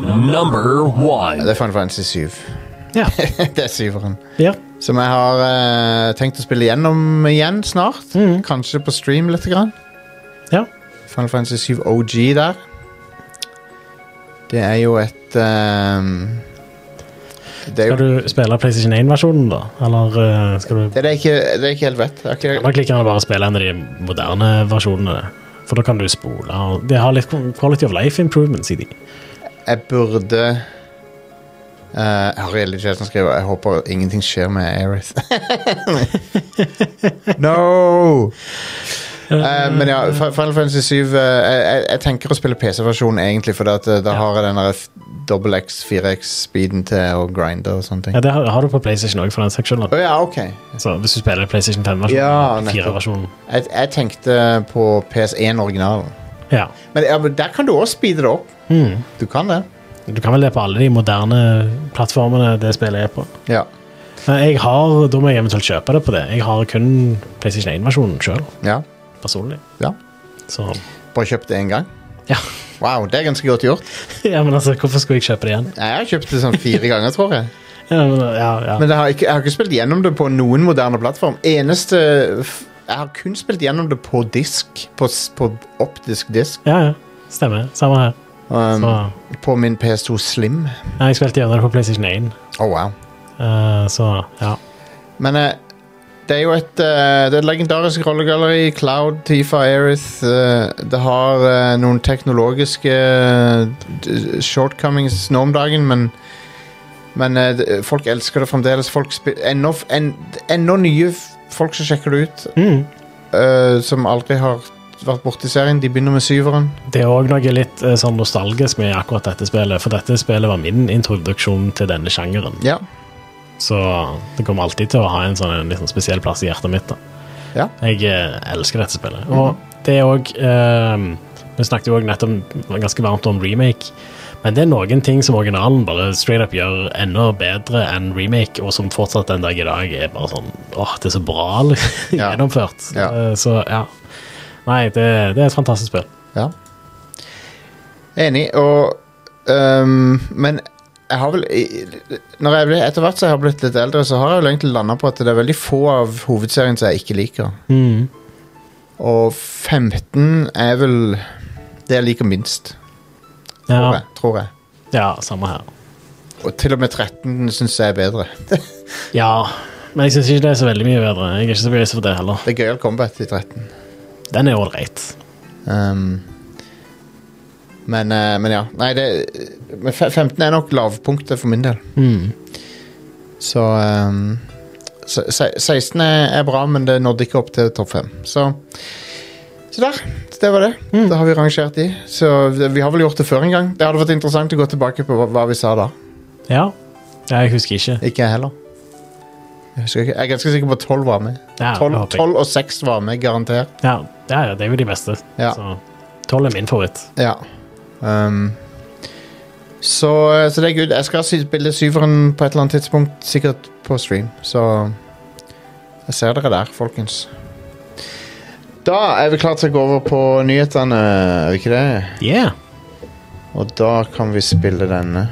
Speaker 6: Number one.
Speaker 3: Det er Final Fantasy 7.
Speaker 4: Ja.
Speaker 3: det er syveren.
Speaker 4: ja.
Speaker 3: Som jeg har eh, tenkt å spille gjennom igjen snart. Kanskje på stream litt. Grann.
Speaker 4: Ja.
Speaker 3: Final Fantasy 7 OG der. Det er jo et ehm, det, er jo,
Speaker 4: Skal du spille PlayStation 1-versjonen, da? Eller eh, skal du
Speaker 3: det er det jeg ikke, det er jeg ikke helt vet. Jeg har ikke,
Speaker 4: Eller klikker han bare spille en av de moderne versjonene? For da kan du spole. og Det har litt quality of life improvements i de.
Speaker 3: jeg burde eh, Ariel i Jason skriver Jeg håper ingenting skjer med Aerith. no! Eh, men ja, Fi- Final Fantasy 7 eh, jeg, jeg, jeg tenker å spille PC-versjonen egentlig, for at, eh, da
Speaker 4: Ja.
Speaker 3: har jeg den der dobbel X, 4X-speeden til å grinde og sånne ting.
Speaker 4: Ja, det har, har du på PlayStation òg, for den saks skyld. da.
Speaker 3: Å ja, ok.
Speaker 4: Så hvis du spiller PlayStation 5-versjonen,
Speaker 3: Ja,
Speaker 4: ja,
Speaker 3: nettopp.
Speaker 4: 4-versjonen
Speaker 3: Jeg, jeg tenkte på PS1-originalen.
Speaker 4: Ja.
Speaker 3: Men, ja, men der kan du også speede det opp. Du kan det.
Speaker 4: Du kan vel det på alle de moderne plattformene det spillet er på.
Speaker 3: Ja.
Speaker 4: Men jeg har, da må jeg eventuelt kjøpe det på det. Jeg har kun PlayStation 1-versjonen sjøl,
Speaker 3: ja.
Speaker 4: personlig.
Speaker 3: Ja.
Speaker 4: Så
Speaker 3: Bare kjøpt det én gang.
Speaker 4: ja.
Speaker 3: Wow, det er ganske godt gjort.
Speaker 4: ja, men altså, hvorfor skulle jeg kjøpe det igjen?
Speaker 3: Jeg har kjøpt det sånn fire ganger, tror jeg.
Speaker 4: Ja, men, ja, ja.
Speaker 3: Men jeg har, ikke, jeg har ikke spilt gjennom det på noen moderne plattform. Eneste f- Jeg har kun spilt gjennom det på disk. På, s- på optisk disk.
Speaker 4: ja, ja. Stemmer. Samme her.
Speaker 3: Um,
Speaker 4: Så,
Speaker 3: på min PS2 Slim.
Speaker 4: Nei, jeg spilte gjennom det på PlayStation 1,
Speaker 3: Oh, wow.
Speaker 4: eh, så ja.
Speaker 3: Men eh, det er jo et eh, Det er et legendarisk rollegalleri. Cloud, Tifa, Aerith. eh, det har eh, noen teknologiske eh, d- shortcomings nå om dagen, men men eh, det- folk elsker det fremdeles. Folk spi- Ennå f- en, ennå nye f- folk som sjekker det ut,
Speaker 4: Mm.
Speaker 3: eh, som aldri har vært borti serien. De begynner med syveren.
Speaker 4: Det er òg noe litt eh, sånn nostalgisk med akkurat dette spillet, for dette spillet var min introduksjon til denne sjangeren.
Speaker 3: Ja.
Speaker 4: Så det kommer alltid til å ha en sånn en litt sånn spesiell plass i hjertet mitt. da.
Speaker 3: Ja. Mhm.
Speaker 4: Jeg eh, elsker dette spillet. Og det er òg Vi snakket jo også nettopp ganske varmt om remake, men det er noen ting som originalen bare straight up gjør enda bedre enn remake, og som fortsatt den dag i dag er bare sånn åh, det er så bra liksom,
Speaker 3: Ja.
Speaker 4: gjennomført.
Speaker 3: Ja.
Speaker 4: Eh, Så ja. Nei, det, det er et fantastisk spill.
Speaker 3: Ja. Enig, og øhm, Men jeg har vel i- Når jeg blir, etter hvert som jeg har blitt litt eldre, så har jeg vel egentlig landa på at det er veldig få av hovedserien som jeg ikke liker.
Speaker 4: Mm.
Speaker 3: Mhm. Og 15 er vel det jeg liker minst,
Speaker 4: Ja.
Speaker 3: tror jeg. Tror jeg.
Speaker 4: Ja, samme her.
Speaker 3: Og til og med 13 syns jeg er bedre.
Speaker 4: Ja, men jeg syns ikke det er så veldig mye bedre. Jeg er ikke så begeistret for det heller.
Speaker 3: Det er gøyal combat i 13.
Speaker 4: Den er ålreit.
Speaker 3: Ehm, men, eh, men ja. Nei, det men fe- 15 er nok lavpunktet for min del. Mhm.
Speaker 4: Mm.
Speaker 3: Så ehm, se- se- 16 er, er bra, men det nådde ikke opp til topp 5. Så, så der. Det var det.
Speaker 4: Mm.
Speaker 3: Da har vi rangert de. Så vi har vel gjort det før en gang. Det hadde vært interessant å gå tilbake på hva, hva vi sa da.
Speaker 4: Ja. ja, jeg husker ikke.
Speaker 3: Ikke jeg heller. Jeg, husker ikke. jeg er ganske sikker på at 12 var med.
Speaker 4: Ja,
Speaker 3: 12,
Speaker 4: det håper jeg.
Speaker 3: 12 og 6 var med, garantert.
Speaker 4: Ja, ja, ja, det er jo de beste.
Speaker 3: Ja.
Speaker 4: Så tolv er min favoritt.
Speaker 3: Ja. Ehm, så, så det er good. Jeg skal sy- spille syveren på et eller annet tidspunkt, sikkert på stream. Så jeg ser dere der, folkens. Da er vi klare til å gå over på nyhetene, er vi ikke det?
Speaker 4: Yeah.
Speaker 3: Og da kan vi spille denne.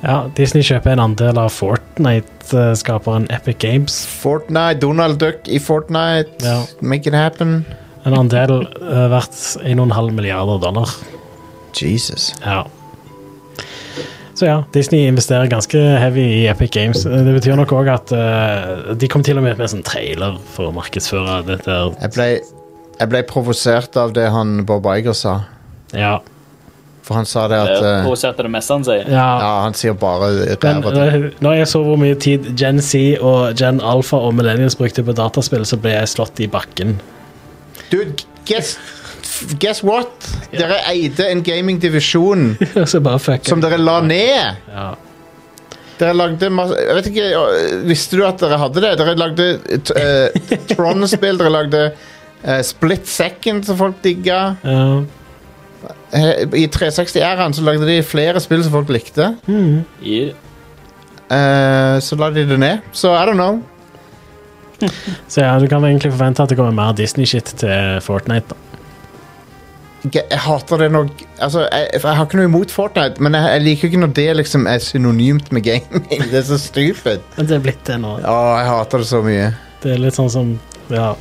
Speaker 4: Ja, Disney kjøper en andel av Fortnite-skaperen Epic Games.
Speaker 3: Fortnite, Donald Duck i Fortnite.
Speaker 4: Ja.
Speaker 3: Make it happen.
Speaker 4: En andel eh, verdt 1,5 milliarder dollar.
Speaker 3: Jesus.
Speaker 4: Ja. Så ja, Disney investerer ganske heavy i Epic Games. Det betyr nok òg at eh, de kom til og med med en sånn trailer for å markedsføre dette. her.
Speaker 3: Jeg ble, jeg ble provosert av det han Bob Iger sa.
Speaker 4: Ja.
Speaker 3: For han sa det
Speaker 5: Det
Speaker 3: at eh,
Speaker 5: provoserte det meste han sier.
Speaker 4: ja.
Speaker 3: Ja, han sier bare
Speaker 4: Men
Speaker 3: ræva.
Speaker 4: eh, når jeg så hvor mye tid Gen Z og Gen Alpha og Millennials brukte på dataspill, så ble jeg slått i bakken.
Speaker 3: Dude, guess, guess what? Dere eide en gamingdivisjon
Speaker 4: så bare fuck
Speaker 3: som
Speaker 4: it.
Speaker 3: dere la ned.
Speaker 4: Ja.
Speaker 3: Dere lagde masse Jeg vet ikke, øh, Visste du at dere hadde det? Dere lagde t- eh, Tron-spill, dere lagde eh, Split Second, som folk digga.
Speaker 4: Ja.
Speaker 3: Eh, I 360-æraen så lagde de flere spill som folk likte.
Speaker 5: I-
Speaker 3: Eh, så la de det ned. Så I don't know.
Speaker 4: Så ja, du kan egentlig forvente at det kommer mer Disney-shit til Fortnite. da.
Speaker 3: Jeg jeg hater det når altså, jeg, jeg har ikke noe imot Fortnite, men jeg, jeg liker ikke når det liksom er synonymt med gaming. Det er så stupid.
Speaker 4: Men det er blitt det nå.
Speaker 3: Å, jeg hater det så mye.
Speaker 4: Det er litt sånn som Ja.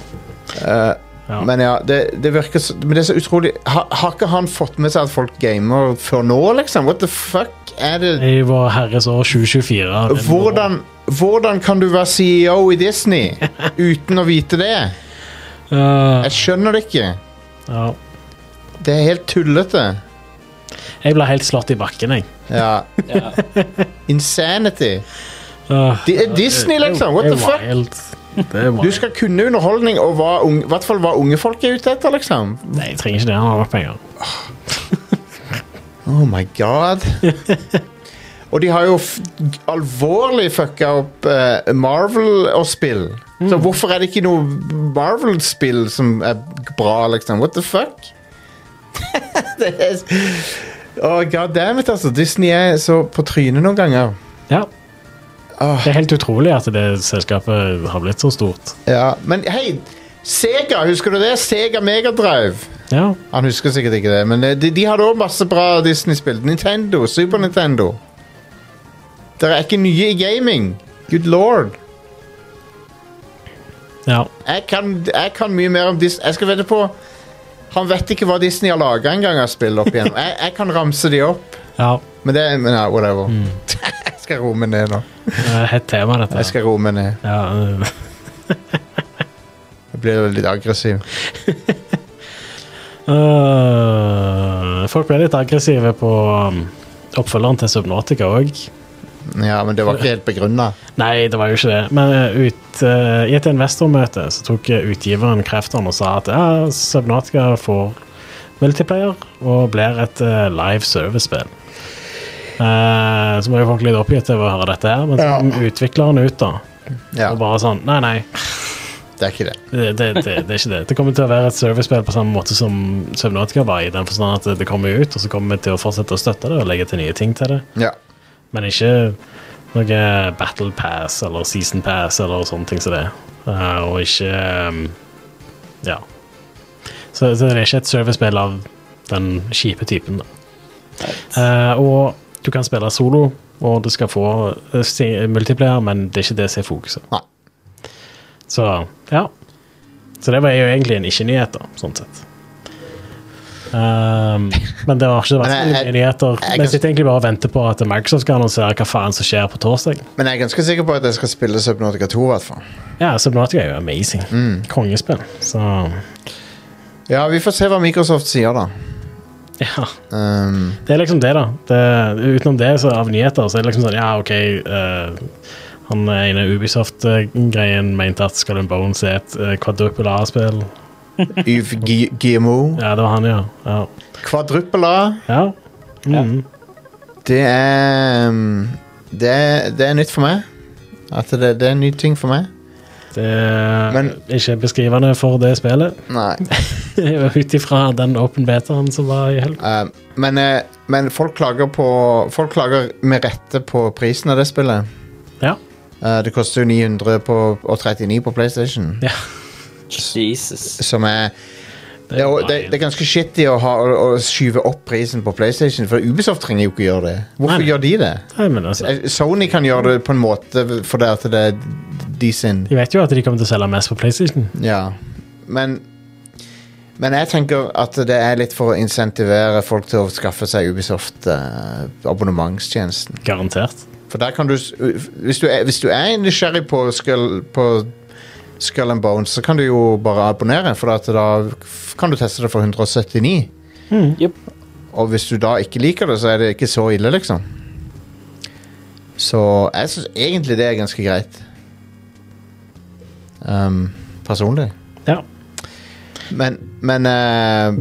Speaker 3: Eh,
Speaker 4: Ja.
Speaker 3: Men ja, det, det virker så, Men det er så utrolig ha, Har ikke han fått med seg at folk gamer før nå, liksom? What the fuck er det
Speaker 4: I Vår Herres år 2024. det er nå.
Speaker 3: Hvordan, hvordan kan du være CEO i Disney uten å vite det?
Speaker 4: Ja,
Speaker 3: Jeg skjønner det ikke.
Speaker 4: ja.
Speaker 3: Det er helt tullete.
Speaker 4: Jeg ble helt slått i bakken, jeg.
Speaker 3: Ja.
Speaker 5: Ja.
Speaker 3: Insanity.
Speaker 4: Åh,
Speaker 3: Di- Disney, liksom. What
Speaker 4: det er
Speaker 3: the fuck?
Speaker 4: wild. Det er wild.
Speaker 3: Du skal kunne underholdning og hva unge, hvert fall hva unge folk er ute etter, liksom.
Speaker 4: Nei, jeg trenger ikke det. Han har nok penger.
Speaker 3: Oh my god. og de har jo f alvorlig fucka opp eh, Marvel og spill. Så hvorfor er det ikke noe Marvel-spill som er bra, liksom? What the fuck? det er s- Åh, god damn it, altså. Disney er så på trynet noen ganger.
Speaker 4: Ja.
Speaker 3: Åh.
Speaker 4: Det er helt utrolig at det selskapet har blitt så stort.
Speaker 3: Ja, Men hei, Sega, husker du det? Sega Megadrive.
Speaker 4: Ja.
Speaker 3: Han husker sikkert ikke det, men eh, de, de hadde òg masse bra Disney-spill. Nintendo, Super Nintendo. Dere er ikke nye i gaming. Good lord.
Speaker 4: Ja.
Speaker 3: Jeg kan, jeg kan mye mer om Disney. Jeg skal vente på Han vet ikke hva Disney har laga engang av spill opp igjennom. Jeg, jeg kan ramse de opp,
Speaker 4: ja.
Speaker 3: men det men ja, whatever. jeg skal roe meg ned nå.
Speaker 4: Det er et Hett tema, dette.
Speaker 3: Jeg skal roe meg ned.
Speaker 4: Ja, øh,
Speaker 3: Jeg blir litt aggressiv.
Speaker 4: øh, folk ble litt aggressive på um, oppfølgeren til Subnotica òg.
Speaker 3: Ja, men det var ikke helt begrunna.
Speaker 4: Nei, det var jo ikke det. Men eh, ut, eh, i et investormøte så tok eh, utgiveren kreftene og sa at ja, Subnatica får multiplayer og blir et eh, live service-spill. Eh, så var jo folk litt oppgitt over å høre dette her, men så kom utvikleren ut da.
Speaker 3: Ja,
Speaker 4: Og bare sånn Nei, nei,
Speaker 3: det er ikke det.
Speaker 4: det, det, det, det er ikke det. Det kommer til å være et servicespill på samme måte som Subnatica var, i den forstand at det kommer ut, og så kommer vi til å fortsette å støtte det og legge til nye ting til det.
Speaker 3: Ja.
Speaker 4: Men ikke noe battle pass eller season pass eller sånne ting som det. Eh, og ikke ehm, Ja. Så, så det er ikke et servicespill av den kjipe typen, da. Eh, og du kan spille solo, og du skal få eh, si- multiplayer, men det er ikke det som er fokuset.
Speaker 3: Nei.
Speaker 4: Så ja. Så det var jo egentlig en ikke-nyhet, da, sånn sett. Ehm, men det har ikke vært så
Speaker 3: Men jeg-
Speaker 4: mye nyheter.
Speaker 3: jeg-
Speaker 4: Vi sitter egentlig bare og venter på at Microsoft skal annonsere hva faen som skjer på torsdag.
Speaker 3: Men jeg er ganske sikker på at jeg skal spille Subnautica 2, i hvert fall.
Speaker 4: Ja, Subnatica er jo amazing.
Speaker 3: Mm.
Speaker 4: Kongespill. Så
Speaker 3: Ja, vi får se hva Microsoft sier, da.
Speaker 4: ja.
Speaker 3: Um,
Speaker 4: Det er liksom det, da. Det, utenom det, så av nyheter, så er det liksom sånn Ja, OK. eh, han ene Ubisoft-greien mente at Skull and Bones er et uh, quadruple A-spill.
Speaker 3: Yves Gu- Guillemot.
Speaker 4: Ja, det var han, ja. Ja.
Speaker 3: Kvadruppel A.
Speaker 4: ja. Mm.
Speaker 3: Det er um, det, er- det er nytt for meg. At det, det er en ny ting for meg.
Speaker 4: Det er
Speaker 3: Men-
Speaker 4: ikke beskrivende for det spillet.
Speaker 3: Nei.
Speaker 4: Ut ifra den open betaen som var i helga.
Speaker 3: Um, men, eh, men folk klager på Folk klager med rette på prisen av det spillet.
Speaker 4: Ja.
Speaker 3: Eh, det koster jo 900 på, og 39 på PlayStation.
Speaker 4: Ja.
Speaker 5: Jesus.
Speaker 3: Som er det, er jo- det, det er ganske shitty å, ha, å, å skyve opp prisen på PlayStation, for Ubisoft trenger jo ikke gjøre det. Hvorfor
Speaker 4: Nei, nei.
Speaker 3: gjør de det?
Speaker 4: Nei, men altså,
Speaker 3: Eh, Sony kan gjøre det på en måte fordi at det er de sin
Speaker 4: de vet jo at de kommer til å selge mest på PlayStation.
Speaker 3: Ja. Men men jeg tenker at det er litt for å insentivere folk til å skaffe seg Ubisoft-abonnementstjenesten.
Speaker 4: Garantert.
Speaker 3: For der kan du s- Hvis du er, hvis du er nysgjerrig på Skull, på skull and Bones, så kan du jo bare abonnere, for at da f- kan du teste det for 179.
Speaker 5: Jep.
Speaker 3: Og hvis du da ikke liker det, så er det ikke så ille, liksom. Så jeg syns egentlig det er ganske greit. Um, personlig.
Speaker 4: Ja.
Speaker 3: Men, men eh,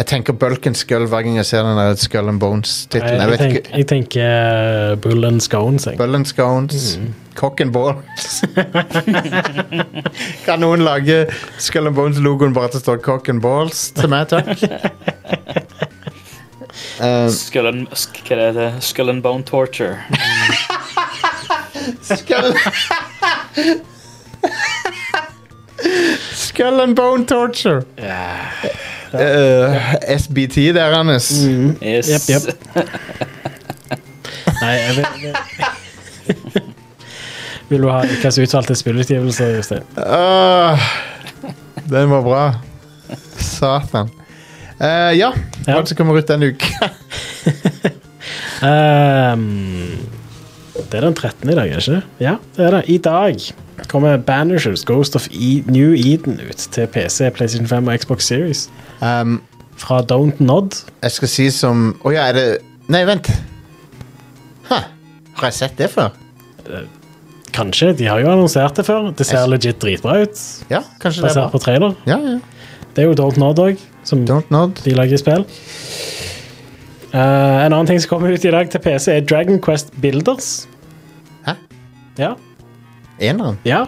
Speaker 3: Jeg tenker Bulken Skull hver gang jeg ser den der Skull and Bones-tittelen. Jeg
Speaker 4: Jeg,
Speaker 3: vet ikke
Speaker 4: tenk, jeg tenker uh, Bull and Scones. Jeg.
Speaker 3: Bull and scones. Cock and balls. kan noen lage Skull and Bones-logoen bare at det står cock and balls til meg, takk? Eh,
Speaker 5: Skull and, sk hva er det? Skull and bone torture.
Speaker 3: skull Skull and bone torture. Eh, SBT der, Anders.
Speaker 5: Yes.
Speaker 4: Jep, jep. Nei, jeg vet, Vil du ha ukas utvalgte spillutgivelse, Jostein?
Speaker 3: Åh, Ah, den var bra. Satan. Eh, ja,
Speaker 4: Ja.
Speaker 3: hva er det som kommer ut denne uka?
Speaker 4: Ehm, det er den 13. i dag, er det ikke? Ja, det er det. I dag kommer Banishers Ghost of e New Eden ut til PC, PlayStation 5 og Xbox Series.
Speaker 3: Um,
Speaker 4: Fra Don't Nod.
Speaker 3: Jeg skal si som Å ja, er det Nei, vent. Hæ? Har jeg sett det før?
Speaker 4: Kanskje, de har jo annonsert det før. Det ser
Speaker 3: Jeg-
Speaker 4: legit dritbra ut,
Speaker 3: Ja, kanskje det er
Speaker 4: basert
Speaker 3: bra.
Speaker 4: på trailer.
Speaker 3: Ja, ja.
Speaker 4: Det er jo Don't Nod òg, som
Speaker 3: Don't Nod.
Speaker 4: de lager spill. Eh, en annen ting som kommer ut i dag til PC, er Dragon Quest Builders.
Speaker 3: Hæ?
Speaker 4: Ja.
Speaker 3: Eneren.
Speaker 4: ja.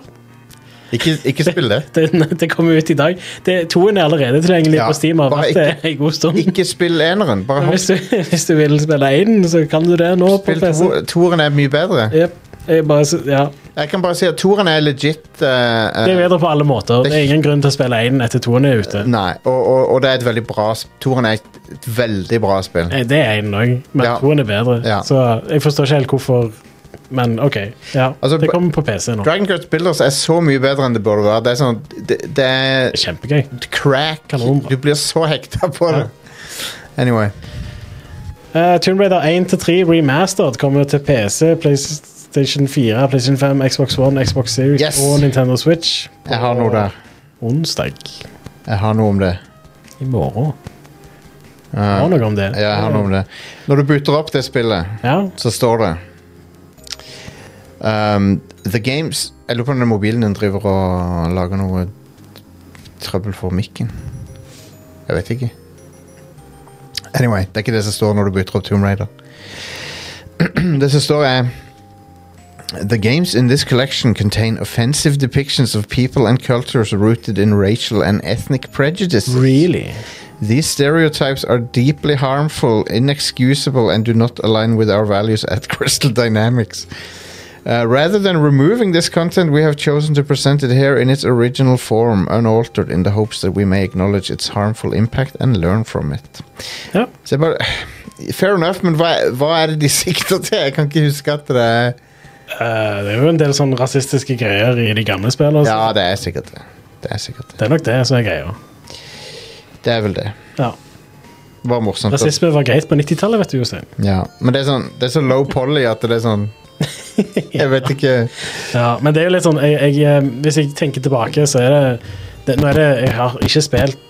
Speaker 3: Ikke, ikke spill det.
Speaker 4: Det, det kommer ut i dag. Det, toen er allerede tilgjengelig
Speaker 3: Ja,
Speaker 4: på Steam. Har
Speaker 3: bare
Speaker 4: vært det en god stund.
Speaker 3: Ikke spill eneren. Bare
Speaker 4: Men
Speaker 3: hopp.
Speaker 4: Hvis du, hvis du vil spille Aiden, så kan du det nå på
Speaker 3: Spill
Speaker 4: PC.
Speaker 3: to, toeren er mye bedre.
Speaker 4: Jep. Jeg bare, sy- ja.
Speaker 3: Jeg kan bare si at toeren er legit. eh, eh,
Speaker 4: Det er bedre på alle måter. Det er ingen grunn til å spille Aiden etter toen er ute.
Speaker 3: Nei, og, og, og det er et veldig bra sp- Toeren er et, et veldig bra spill.
Speaker 4: Eh, Det er Aiden òg, men
Speaker 3: Ja.
Speaker 4: toen er bedre.
Speaker 3: Ja.
Speaker 4: Så jeg forstår ikke helt hvorfor Men OK. Ja,
Speaker 3: Altså,
Speaker 4: det
Speaker 3: ba-
Speaker 4: kommer på PC nå.
Speaker 3: Dragon Quest Builders er så mye bedre enn det burde være. Det er sånn Det, det er
Speaker 4: Kjempegøy.
Speaker 3: crack.
Speaker 4: Kanonbra.
Speaker 3: Du blir så hekta på
Speaker 4: Ja.
Speaker 3: det. Anyway.
Speaker 4: Eh, Tomb Raider 1-3 Remastered kommer til PC, PlayStation 4, PlayStation 5, Xbox One, Xbox Series
Speaker 3: Yes.
Speaker 4: og Nintendo Switch. på
Speaker 3: Jeg har noe der.
Speaker 4: Onsdag.
Speaker 3: Jeg har noe om det.
Speaker 4: I morgen. Jeg har noe om det.
Speaker 3: Eh, Ja, jeg har noe om det. Når du booter opp det spillet,
Speaker 4: Ja.
Speaker 3: så står det um, The Games Jeg lurer på om den mobilen din driver og lager noe trøbbel for mikken. Jeg vet ikke. Anyway, det er ikke det som står når du bytter opp Tomb Raider. det som står er The games in this collection contain offensive depictions of people and cultures rooted in racial and ethnic prejudice.
Speaker 4: Really?
Speaker 3: These stereotypes are deeply harmful, inexcusable, and do not align with our values at Crystal Dynamics. Uh, rather than removing this content, we have chosen to present it here in its original form, unaltered, in the hopes that we may acknowledge its harmful impact and learn from it.
Speaker 4: Ja.
Speaker 3: Så jeg bare, fair enough, men hva, hva er det de sikter til? Jeg kan ikke huske at det er
Speaker 4: Eh, det er jo en del sånn rasistiske greier i de gamle spillene. så
Speaker 3: Ja, det er sikkert det. Det er sikkert det.
Speaker 4: Det er nok det som er greia.
Speaker 3: Det er vel det.
Speaker 4: Ja.
Speaker 3: Det var morsomt. at-
Speaker 4: Rasisme var greit på 90-tallet, vet du, Jostein.
Speaker 3: Ja. Men det er, sånn, det er så low poly at det er sånn Jeg vet ikke
Speaker 4: Ja, men det er jo litt sånn jeg, jeg, eh, Hvis jeg tenker tilbake, så er det, det Nå er det Jeg har ikke spilt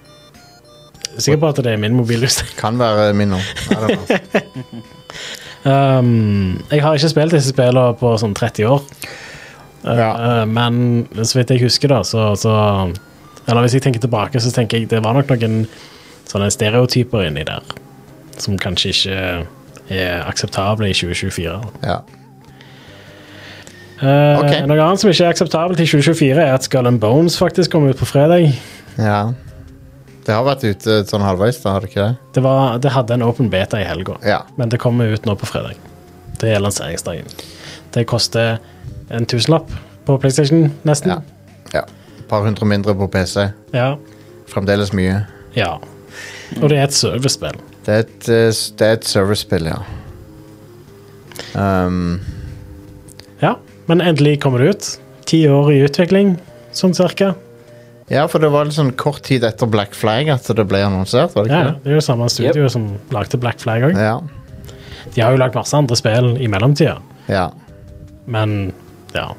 Speaker 4: Sikker på at det er min mobil. Jostein.
Speaker 3: Kan være min nå. I don't know.
Speaker 4: Um, jeg har ikke spilt disse spillene på sånn 30 år. Uh,
Speaker 3: Ja.
Speaker 4: uh, men så vidt jeg husker, da, så, så Eller hvis jeg tenker tilbake, så tenker jeg det var nok noen sånne stereotyper inni der som kanskje ikke er akseptable i 2024.
Speaker 3: Ja.
Speaker 4: Uh,
Speaker 3: Ok.
Speaker 4: Noe annet som ikke er akseptabelt i 2024, er at Skull and Bones faktisk kom ut på fredag.
Speaker 3: ja. Det har vært ute sånn halvveis, da, har det ikke det?
Speaker 4: Det, var, det hadde en open beta i helga,
Speaker 3: Ja.
Speaker 4: men det kommer ut nå på fredag. Det er lanseringsdagen. Det koster en tusenlapp på PlayStation,
Speaker 3: Ja.
Speaker 4: nesten.
Speaker 3: ja. Par hundre mindre på PC.
Speaker 4: Ja.
Speaker 3: Fremdeles mye.
Speaker 4: ja. Og det er et servicespill.
Speaker 3: Det er et, eh, s- det er et servicespill, ja. Um,
Speaker 4: Ja, men endelig kommer det ut. Ti år i utvikling, sånn cirka.
Speaker 3: ja, for det var litt sånn kort tid etter Black Flag at det ble annonsert, var det
Speaker 4: Ja,
Speaker 3: ikke
Speaker 4: ja. det er jo samme studio som lagde Black Flag òg.
Speaker 3: det? Ja.
Speaker 4: De har jo lagd masse andre spill i mellomtida,
Speaker 3: ja.
Speaker 4: men ja.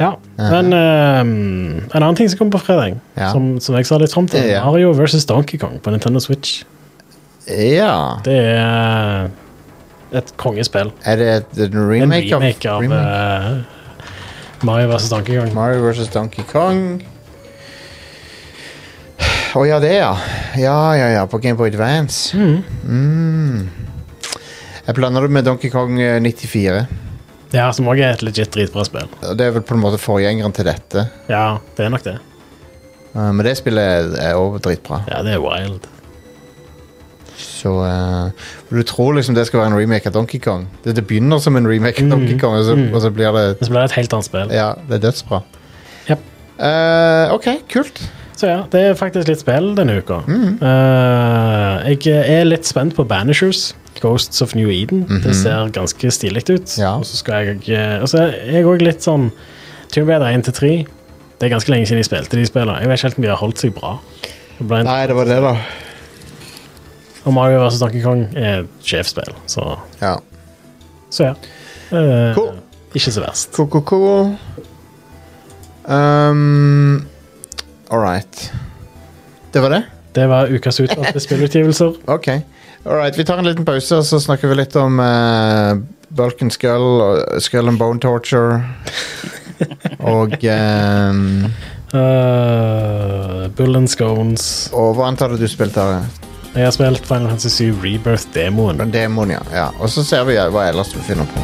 Speaker 4: Ja, men ehm, En annen ting som kommer på fredag,
Speaker 3: Ja.
Speaker 4: som, som jeg sa litt fram til,
Speaker 3: Ja.
Speaker 4: Mario versus Donkey Kong på Nintendo Switch.
Speaker 3: Ja.
Speaker 4: Det er et kongespill.
Speaker 3: Er det et- en
Speaker 4: En
Speaker 3: remake,
Speaker 4: remake av
Speaker 3: remake?
Speaker 4: eh, Mario vs. Donkey Kong.
Speaker 3: Mario vs. Donkey Kong. Å ja, det, ja. Ja, ja, ja. På Gameboy Advance. Mm. Jeg blander det med Donkey Kong eh, 94.
Speaker 4: Ja, Som òg er et legit dritbra spill.
Speaker 3: Og Det er vel på en måte forgjengeren til dette.
Speaker 4: Ja, det er nok det.
Speaker 3: Eh, Men det spillet er òg dritbra.
Speaker 4: Ja, det er wild.
Speaker 3: Så eh, Du tror liksom det skal være en remake av Donkey Kong. Det, det begynner som en remake av Donkey Kong, og så, og så blir det
Speaker 4: Men så blir det et helt annet spill.
Speaker 3: Ja, det er dødsbra.
Speaker 4: Japp.
Speaker 3: Eh, OK, kult.
Speaker 4: Så ja, det er faktisk litt spill denne uka. Eh, jeg er litt spent på Banishers. Ghosts of New Eden. Det ser ganske stilig ut.
Speaker 3: Ja.
Speaker 4: Og så skal jeg eh, Og så er jeg òg litt sånn Tomb Raider 1 til 3. Det er ganske lenge siden jeg spilte de spillene. Jeg vet ikke helt om de har holdt seg bra. Det ble en-
Speaker 3: Nei, det var det, da.
Speaker 4: Og Mario vs. Donkey Kong er sjefspill, så
Speaker 3: Ja.
Speaker 4: Så ja. Eh,
Speaker 3: Cool.
Speaker 4: Ikke så verst.
Speaker 3: Cool, cool, cool. Um, all right. Det var det?
Speaker 4: Det var ukas utvalgte spillutgivelser.
Speaker 3: Ok. All right, vi tar en liten pause, og så snakker vi litt om eh, Bulk and Skull og Skull and Bone Torture. og um,
Speaker 4: Eh, Bull and Scones.
Speaker 3: Og hva antar du du spilte av? eh,
Speaker 4: Jeg har spilt Final Fantasy 7 Rebirth-demoen.
Speaker 3: Demon, ja. ja. Og så ser vi hva ellers vi finner på.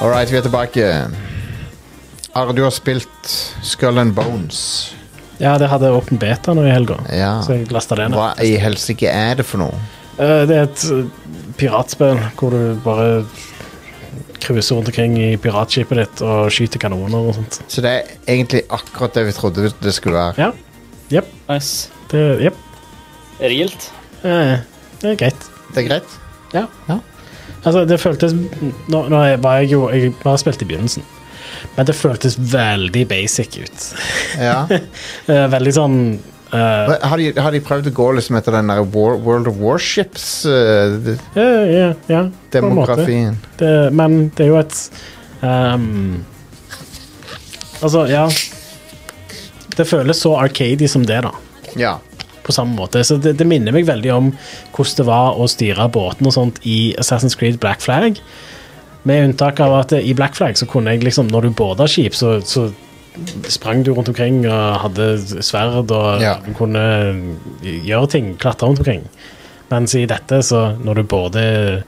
Speaker 3: All right, vi er tilbake. Are, du har spilt Skull and Bones.
Speaker 4: Ja, det hadde åpen beta nå i helga,
Speaker 3: Ja.
Speaker 4: så jeg lasta det ned.
Speaker 3: Hva i helsike er det for noe?
Speaker 4: Eh, Det er et eh, piratspill hvor du bare cruiser rundt omkring i piratskipet ditt og skyter kanoner og sånt.
Speaker 3: Så det er egentlig akkurat det vi trodde det skulle være.
Speaker 4: Ja. Jepp.
Speaker 5: Nice.
Speaker 4: Det, jepp.
Speaker 5: Er det gildt?
Speaker 4: Eh, det er greit.
Speaker 3: Det er greit?
Speaker 4: Ja.
Speaker 3: Ja.
Speaker 4: Altså, det føltes Nå, nå er- var jeg jo Jeg bare spilte i begynnelsen, men det føltes veldig basic ut.
Speaker 3: Ja.
Speaker 4: Eh, Veldig sånn eh,
Speaker 3: Har de, har de prøvd å gå liksom etter den der War, World of eh, Warships-demografien?
Speaker 4: Ja, ja, ja. på en måte. Det, men det er jo et ehm, Altså, ja Det føles så arcady som det, da.
Speaker 3: ja.
Speaker 4: På samme måte. Så det, det minner meg veldig om hvordan det var å styre båten og sånt i Assassin's Creed Black Flag. Med unntak av at eh, i Black Flag så kunne jeg liksom, når du båda skip, så, så sprang du rundt omkring og hadde sverd og
Speaker 3: Ja.
Speaker 4: kunne gjøre ting, klatre rundt omkring. Mens i dette, så når du båder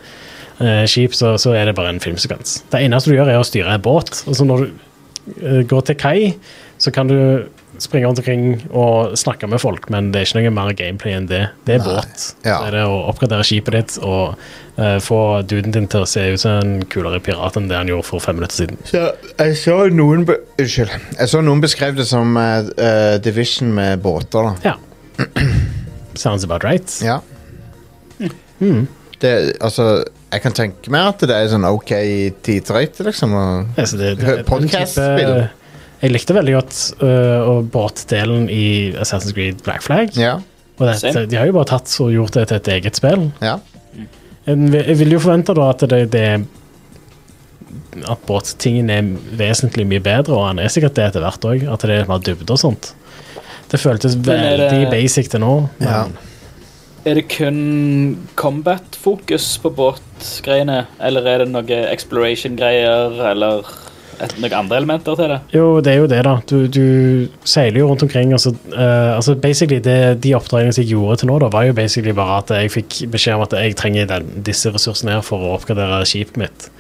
Speaker 4: eh, skip, så, så er det bare en filmsekvens. Det eneste du gjør, er å styre en båt. Og så når du eh, går til kai, så kan du springe rundt omkring og snakke med folk, men det er ikke noe mer gameplay enn det. Det er
Speaker 3: Nei.
Speaker 4: båt.
Speaker 3: Ja.
Speaker 4: Så er det å oppgradere skipet ditt og eh, få duden din til å se ut som en kulere pirat enn det han gjorde for fem minutter siden.
Speaker 3: Så jeg så noen be Unnskyld. Jeg så noen beskrev det som eh, eh, Division med båter, da.
Speaker 4: Ja. Sounds about right.
Speaker 3: Ja. Hmm. Det, altså, jeg kan tenke meg at det er sånn OK tidrøyte, liksom. Og,
Speaker 4: Altså, det, det, den
Speaker 3: Podcast-spill.
Speaker 4: type- Jeg likte veldig godt øh, og båtdelen i Assassin's Creed Black Flag.
Speaker 3: ja.
Speaker 4: Og dette,
Speaker 5: Same.
Speaker 4: de har jo bare tatt og gjort det til et eget spill.
Speaker 3: ja.
Speaker 4: En vil- Jeg vil jo forvente da at det, det At båttingen er vesentlig mye bedre, og han er sikkert det etter hvert òg. At det er mer dybde og sånt. Det føltes
Speaker 5: Men er det-
Speaker 4: veldig basic til nå. Men,
Speaker 3: Ja.
Speaker 5: Er det kun combat-fokus på båtgreiene, eller er det noe exploration-greier, eller et, noen andre elementer til det?
Speaker 4: Jo, det er jo det, da. Du, du seiler jo rundt omkring. Og så, eh, altså basically det, De oppdragene som jeg gjorde til nå, da, var jo basically bare at jeg fikk beskjed om at jeg trenger den, disse ressursene her for å oppgradere skipet mitt.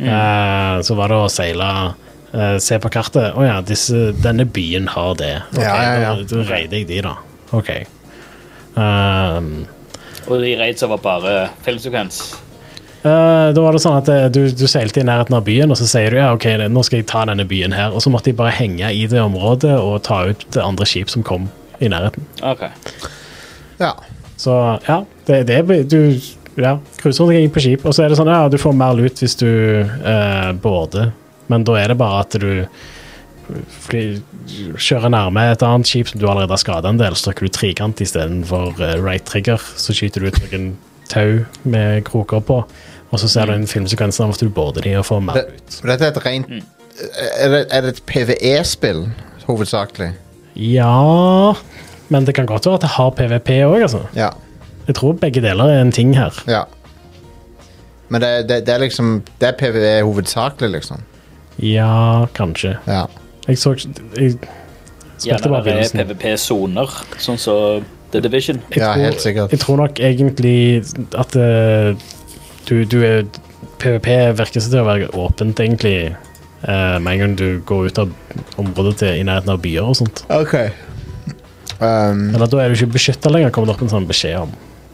Speaker 3: Mm.
Speaker 4: Eh, så var det å seile eh, Se på kartet. Å ja, disse, denne byen har det.
Speaker 3: Ja,
Speaker 4: Ok,
Speaker 3: ja, ja.
Speaker 4: Da, da reider jeg de, da. OK. Ehm,
Speaker 5: Og de raids var bare filmsekvens.
Speaker 4: Eh, da var det sånn at eh, du, du seilte i nærheten av byen, og så sier du ja, ok, nå skal jeg ta denne byen her. Og så måtte de bare henge i det området og ta ut det andre skip som kom i nærheten.
Speaker 5: Ok.
Speaker 3: ja.
Speaker 4: Så ja, det, det er du ja, cruiser rundt omkring på skip, og så er det sånn ja, du får mer lut hvis du eh, border, men da er det bare at du fly, kjører nærme et annet skip som du allerede har skada en del, så trykker du trekant istedenfor uh, right trigger, så skyter du ut noen tau med kroker på, og så ser du en filmsekvens av at du border de og får mer
Speaker 3: Det,
Speaker 4: lut.
Speaker 3: dette er et rent er, det, er det et PVE-spill, hovedsakelig?
Speaker 4: Ja men det kan godt være at det har PVP òg, altså.
Speaker 3: Ja.
Speaker 4: Jeg tror begge deler er en ting her.
Speaker 3: ja. Men det, det, det er liksom Det er PVE hovedsakelig, liksom.
Speaker 4: Ja, kanskje.
Speaker 3: Ja.
Speaker 4: Jeg så ikke Jeg spilte
Speaker 5: Gjerne
Speaker 4: bare
Speaker 5: med
Speaker 4: begynnelsen.
Speaker 5: PVP-soner, sånn som The Division.
Speaker 4: Jeg
Speaker 3: Ja,
Speaker 4: tror-
Speaker 3: helt sikkert.
Speaker 4: Jeg tror nok egentlig at eh, du, du er PVP virker som til å være åpent, egentlig. eh, med en gang du går ut av området til i nærheten av byer og sånt.
Speaker 3: OK. Um,
Speaker 4: Eller da er du ikke beskytta lenger, kommer det opp en sånn beskjed om.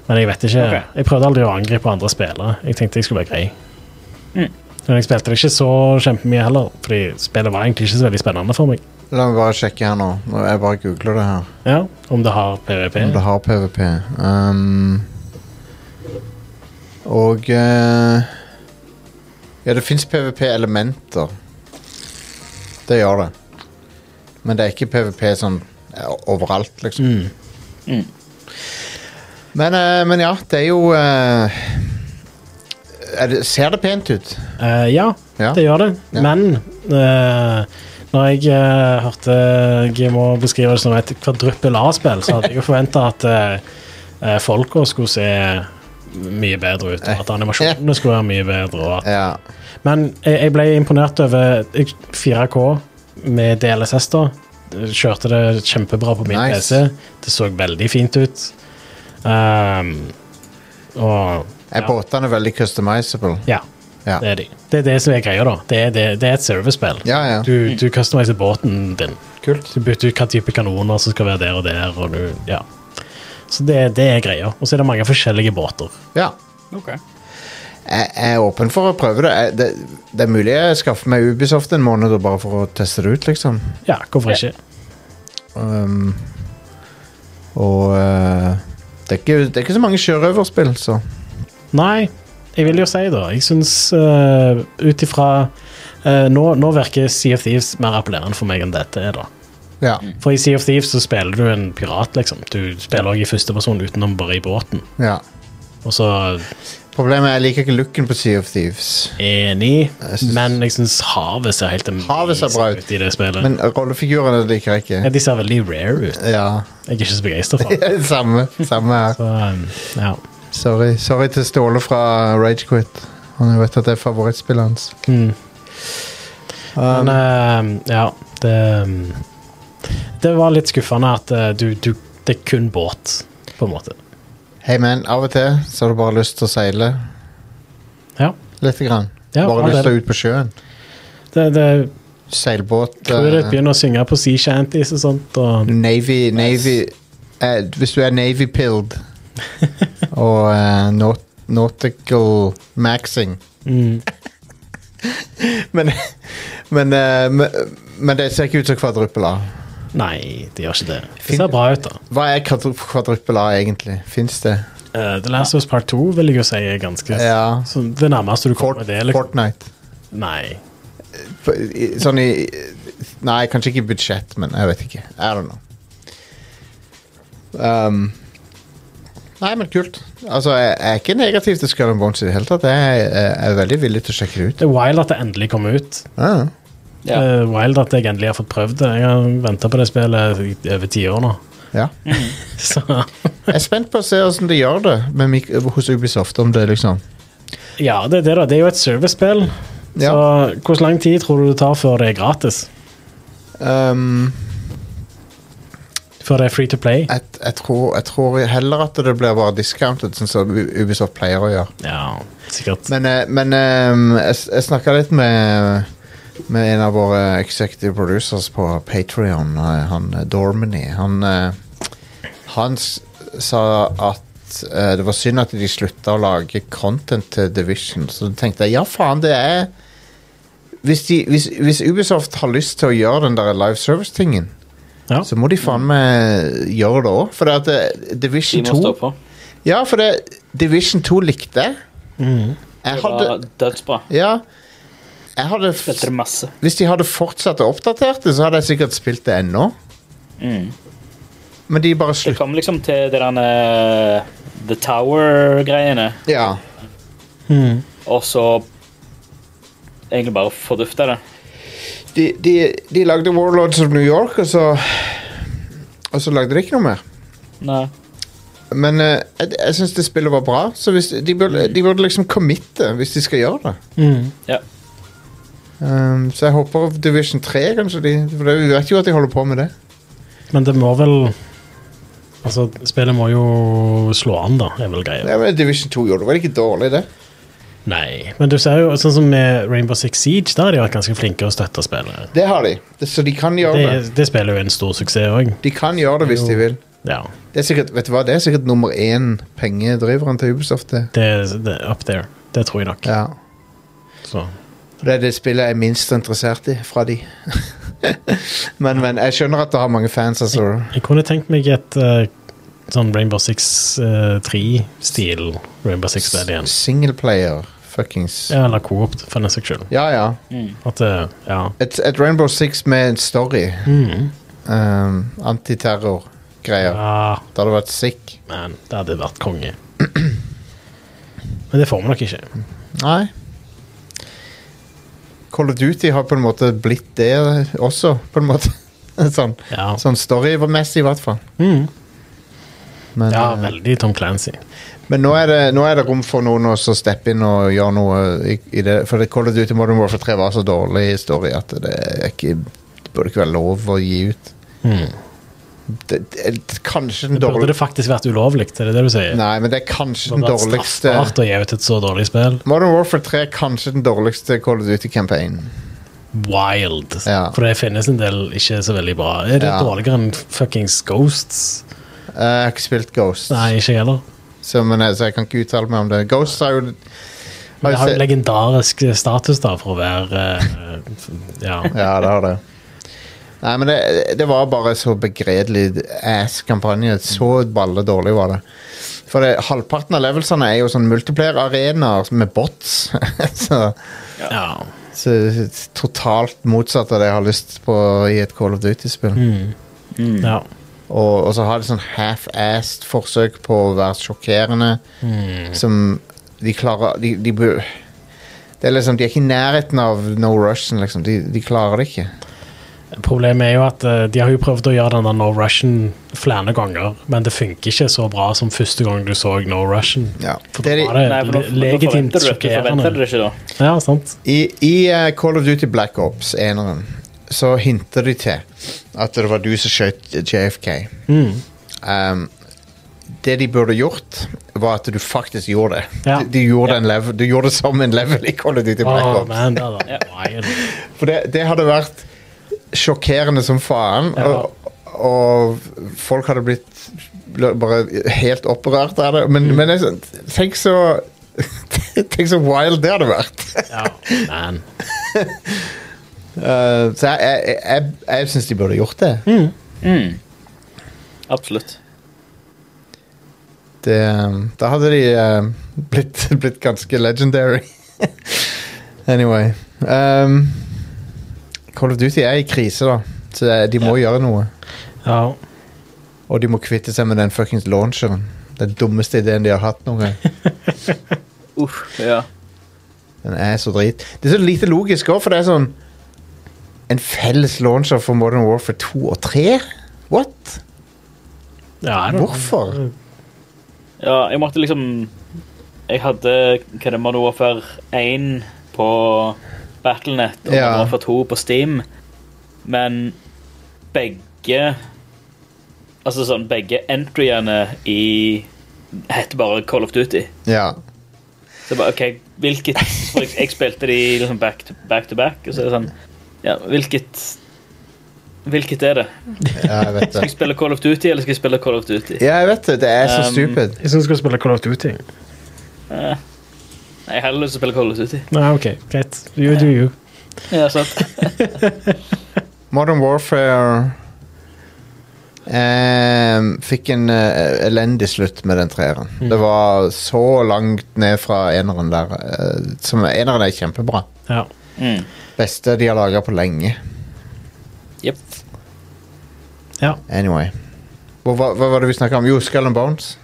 Speaker 4: Men jeg vet ikke.
Speaker 5: Ok.
Speaker 4: Jeg prøvde aldri å angripe andre spillere. Jeg tenkte jeg skulle være grei. Men jeg spilte det ikke så kjempemye heller, fordi spillet var egentlig ikke så veldig spennende for meg.
Speaker 3: La meg bare sjekke her nå. Nå- Jeg bare googler det her.
Speaker 4: Ja, Om det har PVP.
Speaker 3: Om det har PVP. Um, og eh, Ja, det fins PVP-elementer. Det gjør det. Men det er ikke PVP sånn eh, overalt, liksom.
Speaker 4: Mm.
Speaker 3: Men, eh, men ja, det er jo eh, er det, Ser det pent ut?
Speaker 4: Eh, ja,
Speaker 3: Ja.
Speaker 4: det gjør det.
Speaker 3: Ja.
Speaker 4: Men eh, når jeg eh, hørte GMO beskrive det som et kvadruppel A-spill, så hadde jeg jo forventa at uh, folka skulle se mye bedre ut, og at animasjonene skulle være mye bedre. Og at,
Speaker 3: Ja.
Speaker 4: men jeg, jeg ble imponert over jeg- 4K med DLSS, da. Kjørte det kjempebra på min
Speaker 3: Nice.
Speaker 4: PC. Det så veldig fint ut. Um, og
Speaker 3: Er båtene veldig customizable?
Speaker 4: ja.
Speaker 3: Ja.
Speaker 4: Det er de. Det er det som er greia, da. Det er, det, det er et servicespill.
Speaker 3: Ja, ja.
Speaker 4: Du, du customiser båten din.
Speaker 3: Kult.
Speaker 4: Du bytter ut hva type kanoner som skal være der og der. Og du, ja. Så det, det er greia. Og så er det mange forskjellige båter.
Speaker 3: Ja.
Speaker 1: Ok.
Speaker 3: Jeg jeg er åpen for å prøve det. Jeg, det. Det er mulig jeg skaffer meg Ubisoft en måned og bare for å teste det ut, liksom.
Speaker 4: Ja, hvorfor ikke?
Speaker 3: Um, og eh, det, er ikke, det er ikke så mange sjørøverspill, så
Speaker 4: Nei, jeg vil jo si da Jeg syns ut ifra eh, nå, nå virker Sea of Thieves mer appellerende for meg enn dette er, da.
Speaker 3: ja.
Speaker 4: For i Sea of Thieves så spiller du en pirat, liksom. Du spiller òg i førsteperson utenom bare i båten.
Speaker 3: ja.
Speaker 4: Og så
Speaker 3: Problemet er jeg liker ikke looken på Sea of Thieves.
Speaker 4: enig,
Speaker 3: synes-
Speaker 4: men jeg syns havet ser helt
Speaker 3: Havet ser bra ut.
Speaker 4: amazing ut i det spillet.
Speaker 3: Men rollefigurene liker jeg
Speaker 4: ja,
Speaker 3: ikke.
Speaker 4: de ser veldig rare ut.
Speaker 3: Ja,
Speaker 4: Jeg er ikke så begeistra for det.
Speaker 3: samme, samme her.
Speaker 4: Så, um, ja.
Speaker 3: Sorry. Sorry til Ståle fra Ragequit. Han vet at det er favorittspillet hans.
Speaker 4: Mm.
Speaker 3: Um,
Speaker 4: Men eh, ja, det um, Det var litt skuffende at eh, du, du Det er kun båt, på en måte.
Speaker 3: Hei, men av og til så har du bare lyst til å seile
Speaker 4: Ja.
Speaker 3: lite grann.
Speaker 4: Ja,
Speaker 3: bare
Speaker 4: ja,
Speaker 3: lyst
Speaker 4: det-
Speaker 3: til å ut på sjøen.
Speaker 4: Det, det,
Speaker 3: Seilbåt.
Speaker 4: Crewet
Speaker 3: eh,
Speaker 4: begynner å synge på sea shanties og sånt.
Speaker 3: Mm.
Speaker 4: Og,
Speaker 3: Navy, Navy eh, Hvis du er Navy pilled og eh, naut nautical maxing
Speaker 4: mm,
Speaker 3: Men, men, eh, men- men det ser ikke ut som kvadruppel A.
Speaker 4: nei, det gjør ikke det.
Speaker 3: Fin-
Speaker 4: Det ser bra ut, da.
Speaker 3: Hva er kvadru- kvadruppel A egentlig? Fins det?
Speaker 4: Eh, The Last of Us Part 2 vil jeg jo si er ganske
Speaker 3: Ja.
Speaker 4: så Det nærmeste du
Speaker 3: Fort,
Speaker 4: kommer det. Liksom.
Speaker 3: Fortnite.
Speaker 4: Nei.
Speaker 3: F- i- Sånn i Nei, kanskje ikke budsjett, men jeg vet ikke. I don't know. Um, nei, men kult. Altså, jeg, jeg er ikke negativ til Skull and Bones i det hele tatt. Jeg, jeg er veldig villig til å sjekke det ut.
Speaker 4: Det er wild at det endelig kommer ut.
Speaker 3: Ah.
Speaker 5: Ja.
Speaker 4: Eh, wild at jeg endelig har fått prøvd det. Jeg har venta på det spillet i over ti år nå.
Speaker 3: Ja.
Speaker 4: Så
Speaker 3: Jeg er spent på å se hvordan de gjør det med mik hos Ubisoft. Om det liksom
Speaker 4: ja, det er det, da. Det er jo et servicespill.
Speaker 3: Ja.
Speaker 4: Så hvor lang tid tror du det tar før det er gratis?
Speaker 3: um,
Speaker 4: Før det er free to play?
Speaker 3: jeg, jeg, tror, jeg tror heller at det blir bare discounted, sånn som U- Ubisoft pleier å gjøre.
Speaker 4: Ja, sikkert.
Speaker 3: Men, eh, men ehm, jeg, s- jeg snakka litt med, med en av våre executive producers på Patrion, han eh, Dormany. Han, eh, han s- sa at eh, det var synd at de slutta å lage content til Division. Så tenkte jeg ja, faen, det er hvis, de, hvis, hvis Ubisoft har lyst til å gjøre den der live service-tingen,
Speaker 4: Ja.
Speaker 3: så må de faen meg gjøre det òg. For det at eh,
Speaker 5: De
Speaker 3: Division
Speaker 5: må stå
Speaker 3: 2
Speaker 5: på.
Speaker 3: Ja, for det, Division 2 likte jeg. Jeg
Speaker 5: Mm. Det
Speaker 3: hadde
Speaker 5: var dødsbra.
Speaker 3: ja. Jeg hadde, f-
Speaker 5: Spilte det masse.
Speaker 3: hvis de hadde fortsatt å oppdatere det, så hadde jeg sikkert spilt det ennå. Men de bare
Speaker 5: Det
Speaker 3: slutt...
Speaker 5: kom liksom til det der eh, The Tower-greiene,
Speaker 3: Ja.
Speaker 4: Mm.
Speaker 5: og så egentlig bare fordufta det.
Speaker 3: De, de, de lagde Warlords of New York, og så Og så lagde de ikke noe mer.
Speaker 5: Nei.
Speaker 3: Men eh, jeg, jeg syns det spillet var bra, så hvis, de, burde, de burde liksom committe hvis de skal gjøre det.
Speaker 4: Mm.
Speaker 5: Ja.
Speaker 3: Um, så jeg håper Division 3, kanskje de For det- vi vet jo at de holder på med det.
Speaker 4: Men det må vel Altså, spillet må jo slå an, da, er vel greia.
Speaker 3: Ja, men Division 2 gjorde det vel ikke dårlig, det?
Speaker 4: Nei. Men du ser jo, sånn som med Rainbow Six Siege, der har de vært ganske flinke å støtte spillet.
Speaker 3: Det har de. Det, så de kan gjøre
Speaker 4: Det,
Speaker 3: det.
Speaker 4: det spiller jo en stor suksess òg.
Speaker 3: De kan gjøre det hvis de vil.
Speaker 4: Ja.
Speaker 3: Det er sikkert, vet du hva, det er sikkert nummer én pengedriveren til Ubisoft. Det.
Speaker 4: Det, det er up there. Det tror jeg nok.
Speaker 3: Ja.
Speaker 4: Så.
Speaker 3: Det er det spillet jeg er minst interessert i fra de. men, men jeg skjønner at det har mange fans. Altså.
Speaker 4: Jeg kunne tenkt meg et eh, sånn Rainbow Six 3-stil Rainbow Six-spill igjen.
Speaker 3: Singleplayer, fuckings.
Speaker 4: Ja, eller Coop, for den saks skyld.
Speaker 3: Ja, ja.
Speaker 4: At det Ja.
Speaker 3: Et, et Rainbow Six med en story. Um, Antiterror-greier.
Speaker 4: ja.
Speaker 3: Det hadde vært sick.
Speaker 4: Men Ah, det hadde vært konge. Men det får vi nok ikke.
Speaker 3: Nei. Call of Duty har på en måte blitt det også, på en måte. sånn
Speaker 4: Ja,
Speaker 3: sånn storymessig, i hvert fall. Men,
Speaker 4: ja
Speaker 3: eh,
Speaker 4: veldig Tom Clancy.
Speaker 3: Men nå er, det, nå er det rom for noen å så steppe inn og gjøre noe i, i det. For det Call of Duty Modern Warfare 3 var så dårlig story at det, er ikke, det burde ikke være lov å gi ut. det, det, Kanskje den
Speaker 4: Burde
Speaker 3: dårligste
Speaker 4: det faktisk vært ulovlig? Er det det du sier?
Speaker 3: Nei, men det er kanskje den
Speaker 4: Burde det vært
Speaker 3: dårligste
Speaker 4: straffbart å gi ut et så dårlig spill?
Speaker 3: Modern Warfare 3 er kanskje den dårligste Call of Duty-campaignen.
Speaker 4: Wild.
Speaker 3: Ja.
Speaker 4: For det finnes en del ikke så veldig bra. Er det
Speaker 3: Ja.
Speaker 4: dårligere enn fuckings Ghosts?
Speaker 3: Eh, Jeg har ikke spilt Ghost,
Speaker 4: Nei, ikke jeg heller.
Speaker 3: så, men, jeg- så jeg kan ikke uttale meg om det. Ghost er jo
Speaker 4: Men det har jo
Speaker 3: se-
Speaker 4: legendarisk eh, status da, for å være eh, f- Ja.
Speaker 3: Ja, det har det. Nei, men det, det var bare så begredelig ass-kampanje. Så balledårlig var det. For det, halvparten av levelsene er jo sånn multiplayer-arenaer med bots. så,
Speaker 4: ja.
Speaker 3: så totalt motsatt av det jeg har lyst på i et Call of Duty-spill.
Speaker 4: Mm. ja.
Speaker 3: Og, og så har de sånn half-assed forsøk på å være sjokkerende.
Speaker 4: Mm.
Speaker 3: Som de klarer de, de, bør- det er liksom, de er ikke i nærheten av No Russian, liksom. De, de klarer det ikke.
Speaker 4: Problemet er jo at eh, de har jo prøvd å gjøre den der No Russian flere ganger, men det funker ikke så bra som første gang du så No Russian. For
Speaker 3: Det er
Speaker 4: da
Speaker 3: de,
Speaker 4: var det
Speaker 5: Nei, for nå- nå
Speaker 4: Eh, legitimt
Speaker 5: forventer du det, du forventer
Speaker 4: sjokkerende.
Speaker 5: det ikke, da.
Speaker 4: Ja, sant.
Speaker 3: I, i eh, Call of Duty Black Ops, eneren, så hinter de til at det var du som skjøt JFK.
Speaker 4: Mm.
Speaker 3: Um, det de burde gjort, var at du faktisk gjorde det.
Speaker 4: Ja.
Speaker 3: Du, du, gjorde
Speaker 4: Ja.
Speaker 3: en level, du gjorde det som en level i Call of Duty Black
Speaker 4: Åh,
Speaker 3: Ops.
Speaker 4: man, det hadde vært wild.
Speaker 3: For det, det hadde vært sjokkerende som faen. Og, og folk hadde blitt ble bare helt opprørt av det. Men,
Speaker 4: Mm.
Speaker 3: men jeg, tenk så Tenk så wild det hadde vært.
Speaker 4: Ja, man.
Speaker 3: Eh, så jeg, jeg, jeg, jeg syns de burde gjort det.
Speaker 5: Absolutt.
Speaker 3: det um, da hadde de eh, blitt, blitt ganske legendary. anyway um, Call of Duty er i krise, da. Så det- de må gjøre noe.
Speaker 4: Ja.
Speaker 3: Og de må kvitte seg med den fuckings launcheren. Den dummeste ideen de har hatt noen gang.
Speaker 5: Uff, ja.
Speaker 3: Den er så drit. Det er så lite logisk òg, for det er sånn En felles launcher for Modern Warfare 2 og 3? What?
Speaker 4: ja I don't know.
Speaker 3: Hvorfor?
Speaker 5: Ja, jeg måtte liksom Jeg hadde hva er det Modern Warfare 1 på Battlenet og
Speaker 3: Ja.
Speaker 5: Modern Warfare 2 på Steam, men begge Altså sånn, begge entryene i heter bare Call of Duty.
Speaker 3: Ja.
Speaker 5: Så jeg bare, ok, hvilket for jeg, jeg spilte de liksom back to, back to back, og så er det sånn Ja, hvilket Hvilket er det?
Speaker 3: ja, jeg vet
Speaker 5: Skal
Speaker 3: det.
Speaker 5: jeg spille Call of Duty, eller skal jeg spille Call of Duty?
Speaker 3: Ja, jeg vet det. Det er så
Speaker 5: Um,
Speaker 3: stupid.
Speaker 4: Jeg syns du skal spille Call of Duty.
Speaker 5: Nei, Jeg har heller lyst til å spille Call of Duty.
Speaker 4: Nei, ok, greit. You do you.
Speaker 5: Ja, sant.
Speaker 3: Modern Warfare ehm, fikk en eh, elendig slutt med den treeren. Det var så langt ned fra eneren der. eh, som eneren er kjempebra.
Speaker 4: Ja.
Speaker 5: Mm.
Speaker 3: Beste de har laga på lenge.
Speaker 5: Jepp.
Speaker 4: ja.
Speaker 3: Anyway. Hva, hva, hva var det vi snakka om? Jo, Skull and Bones.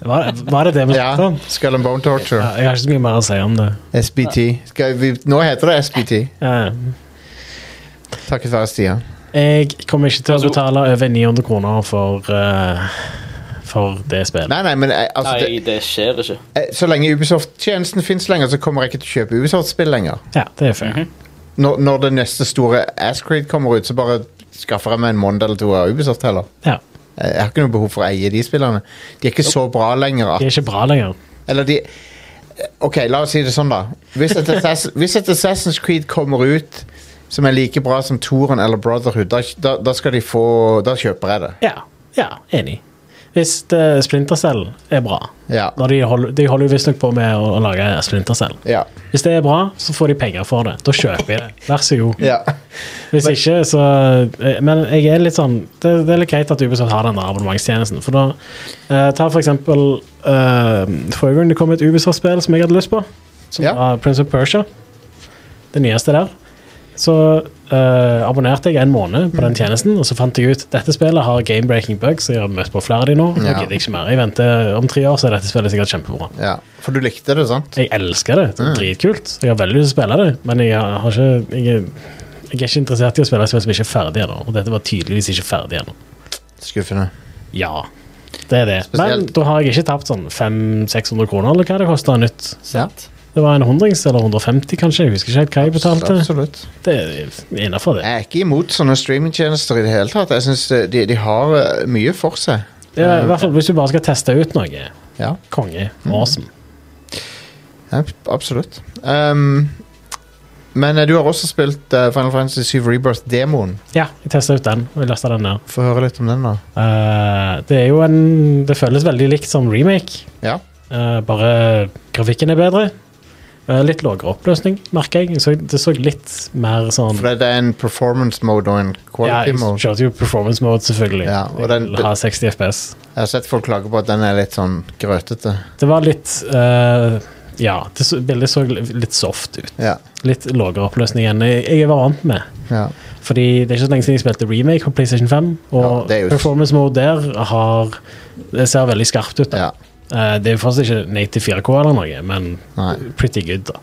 Speaker 4: Var, var det det vi snakket
Speaker 3: Ja,
Speaker 4: om?
Speaker 3: Skull and Bone
Speaker 4: Ja,
Speaker 3: Torture.
Speaker 4: jeg har ikke så mye mer å si om det.
Speaker 3: SBT. Skal vi, nå heter det SBT,
Speaker 4: Ja.
Speaker 3: takket være Stian.
Speaker 4: Jeg kommer ikke til å
Speaker 5: Altså-
Speaker 4: betale over 900 kroner for, eh, for det spillet.
Speaker 3: Nei, nei, men eh, altså,
Speaker 5: Nei,
Speaker 3: det,
Speaker 5: det skjer ikke.
Speaker 3: eh, så lenge Ubisoft-tjenesten fins lenger, så kommer jeg ikke til å kjøpe Ubisoft-spill lenger.
Speaker 4: Ja, det er fair.
Speaker 3: når, når det neste store Ascreed kommer ut, så bare skaffer jeg meg en måned eller to av Ubisoft heller.
Speaker 4: Ja,
Speaker 3: Jeg jeg har ikke noe behov for å eie de spillerne. De er ikke så bra lenger.
Speaker 4: Det
Speaker 3: At,
Speaker 4: er ikke bra lenger.
Speaker 3: eller de Ok, la oss si det sånn, da. Hvis et, Assass- hvis et Assassin's Creed kommer ut som er like bra som Toren eller Brotherhood, da, da, da skal de få Da kjøper jeg det.
Speaker 4: Ja, ja enig. Hvis det Splintercell er bra
Speaker 3: Ja.
Speaker 4: når De holder, de holder jo visstnok på med å, å lage Splintercell.
Speaker 3: Ja.
Speaker 4: Hvis det er bra, så får de penger for det. Da kjøper jeg det. Vær så god.
Speaker 3: ja.
Speaker 4: Hvis ikke, så eh, Men jeg er litt sånn Det, det er litt greit at Ubisoft har den der abonnementstjenesten. For da eh, Ta for eksempel eh, Forrige gang det kom et Ubisoft-spill som jeg hadde lyst på, som
Speaker 3: Ja.
Speaker 4: var Prince of Persia. Det nyeste der. Så eh, abonnerte jeg en måned
Speaker 3: Mm.
Speaker 4: på den tjenesten, og så fant jeg ut dette spillet har game-breaking bugs. Jeg har møtt på flere av de nå. Nå
Speaker 3: Ja.
Speaker 4: gidder jeg ikke mer. Jeg venter om tre år, så er dette spillet sikkert kjempebra.
Speaker 3: ja. For du likte det, sant?
Speaker 4: Jeg elsker
Speaker 3: Mm.
Speaker 4: det. Det er dritkult. Jeg har veldig lyst til å spille det, men jeg har har ikke jeg, er- jeg er ikke interessert i å spille et spill som ikke er ferdig ennå. Og dette var tydeligvis ikke ferdig ennå.
Speaker 3: Skuffende.
Speaker 4: Ja, det er det. Men
Speaker 3: Spesielt-
Speaker 4: da har jeg ikke tapt sånn 500-600 kroner, eller hva det koster nytt.
Speaker 3: Ja.
Speaker 4: Det var en hundrings eller 150, kanskje. Jeg husker ikke helt hva jeg betalte.
Speaker 3: Absolutt.
Speaker 4: Det er innafor, det.
Speaker 3: Jeg er ikke imot sånne streamingtjenester i det hele tatt. Jeg synes de, de har eh, mye for seg.
Speaker 4: Ja, I hvert fall hvis du bare skal teste ut noe.
Speaker 3: Ja, Mm.
Speaker 4: Konge. Awesome.
Speaker 3: ja absolutt. Ehm, men eh, du har også spilt eh, Final Fantasy 7 Rebirth-demoen.
Speaker 4: Ja, jeg testa ut den. og Jeg lasta den ned.
Speaker 3: Få høre litt om den, da.
Speaker 4: Eh, det er jo en Det føles veldig likt som remake.
Speaker 3: Ja.
Speaker 4: Eh, bare grafikken er bedre. Eh, litt lavere oppløsning, merker jeg. jeg så, det så litt mer sånn
Speaker 3: For det er en performance mode og en
Speaker 4: Ja,
Speaker 3: quality
Speaker 4: jeg
Speaker 3: mode.
Speaker 4: kjørte jo performance mode, selvfølgelig.
Speaker 3: Ja, og den-
Speaker 4: jeg vil ha 60 FPS.
Speaker 3: Jeg har sett folk klage på at den er litt sånn grøtete.
Speaker 4: Det var litt eh, Ja, det så, bildet så litt soft ut.
Speaker 3: Ja.
Speaker 4: Litt lavere oppløsning enn jeg, jeg var vant med.
Speaker 3: ja.
Speaker 4: Fordi det er ikke så lenge siden jeg spilte remake på PlayStation 5,
Speaker 3: Ja,
Speaker 4: og
Speaker 3: det er jo-
Speaker 4: performance mode der har Det ser veldig skarpt ut. da.
Speaker 3: ja.
Speaker 4: Eh, det er jo fortsatt ikke native 4K eller noe, men
Speaker 3: Nei.
Speaker 4: pretty good, da.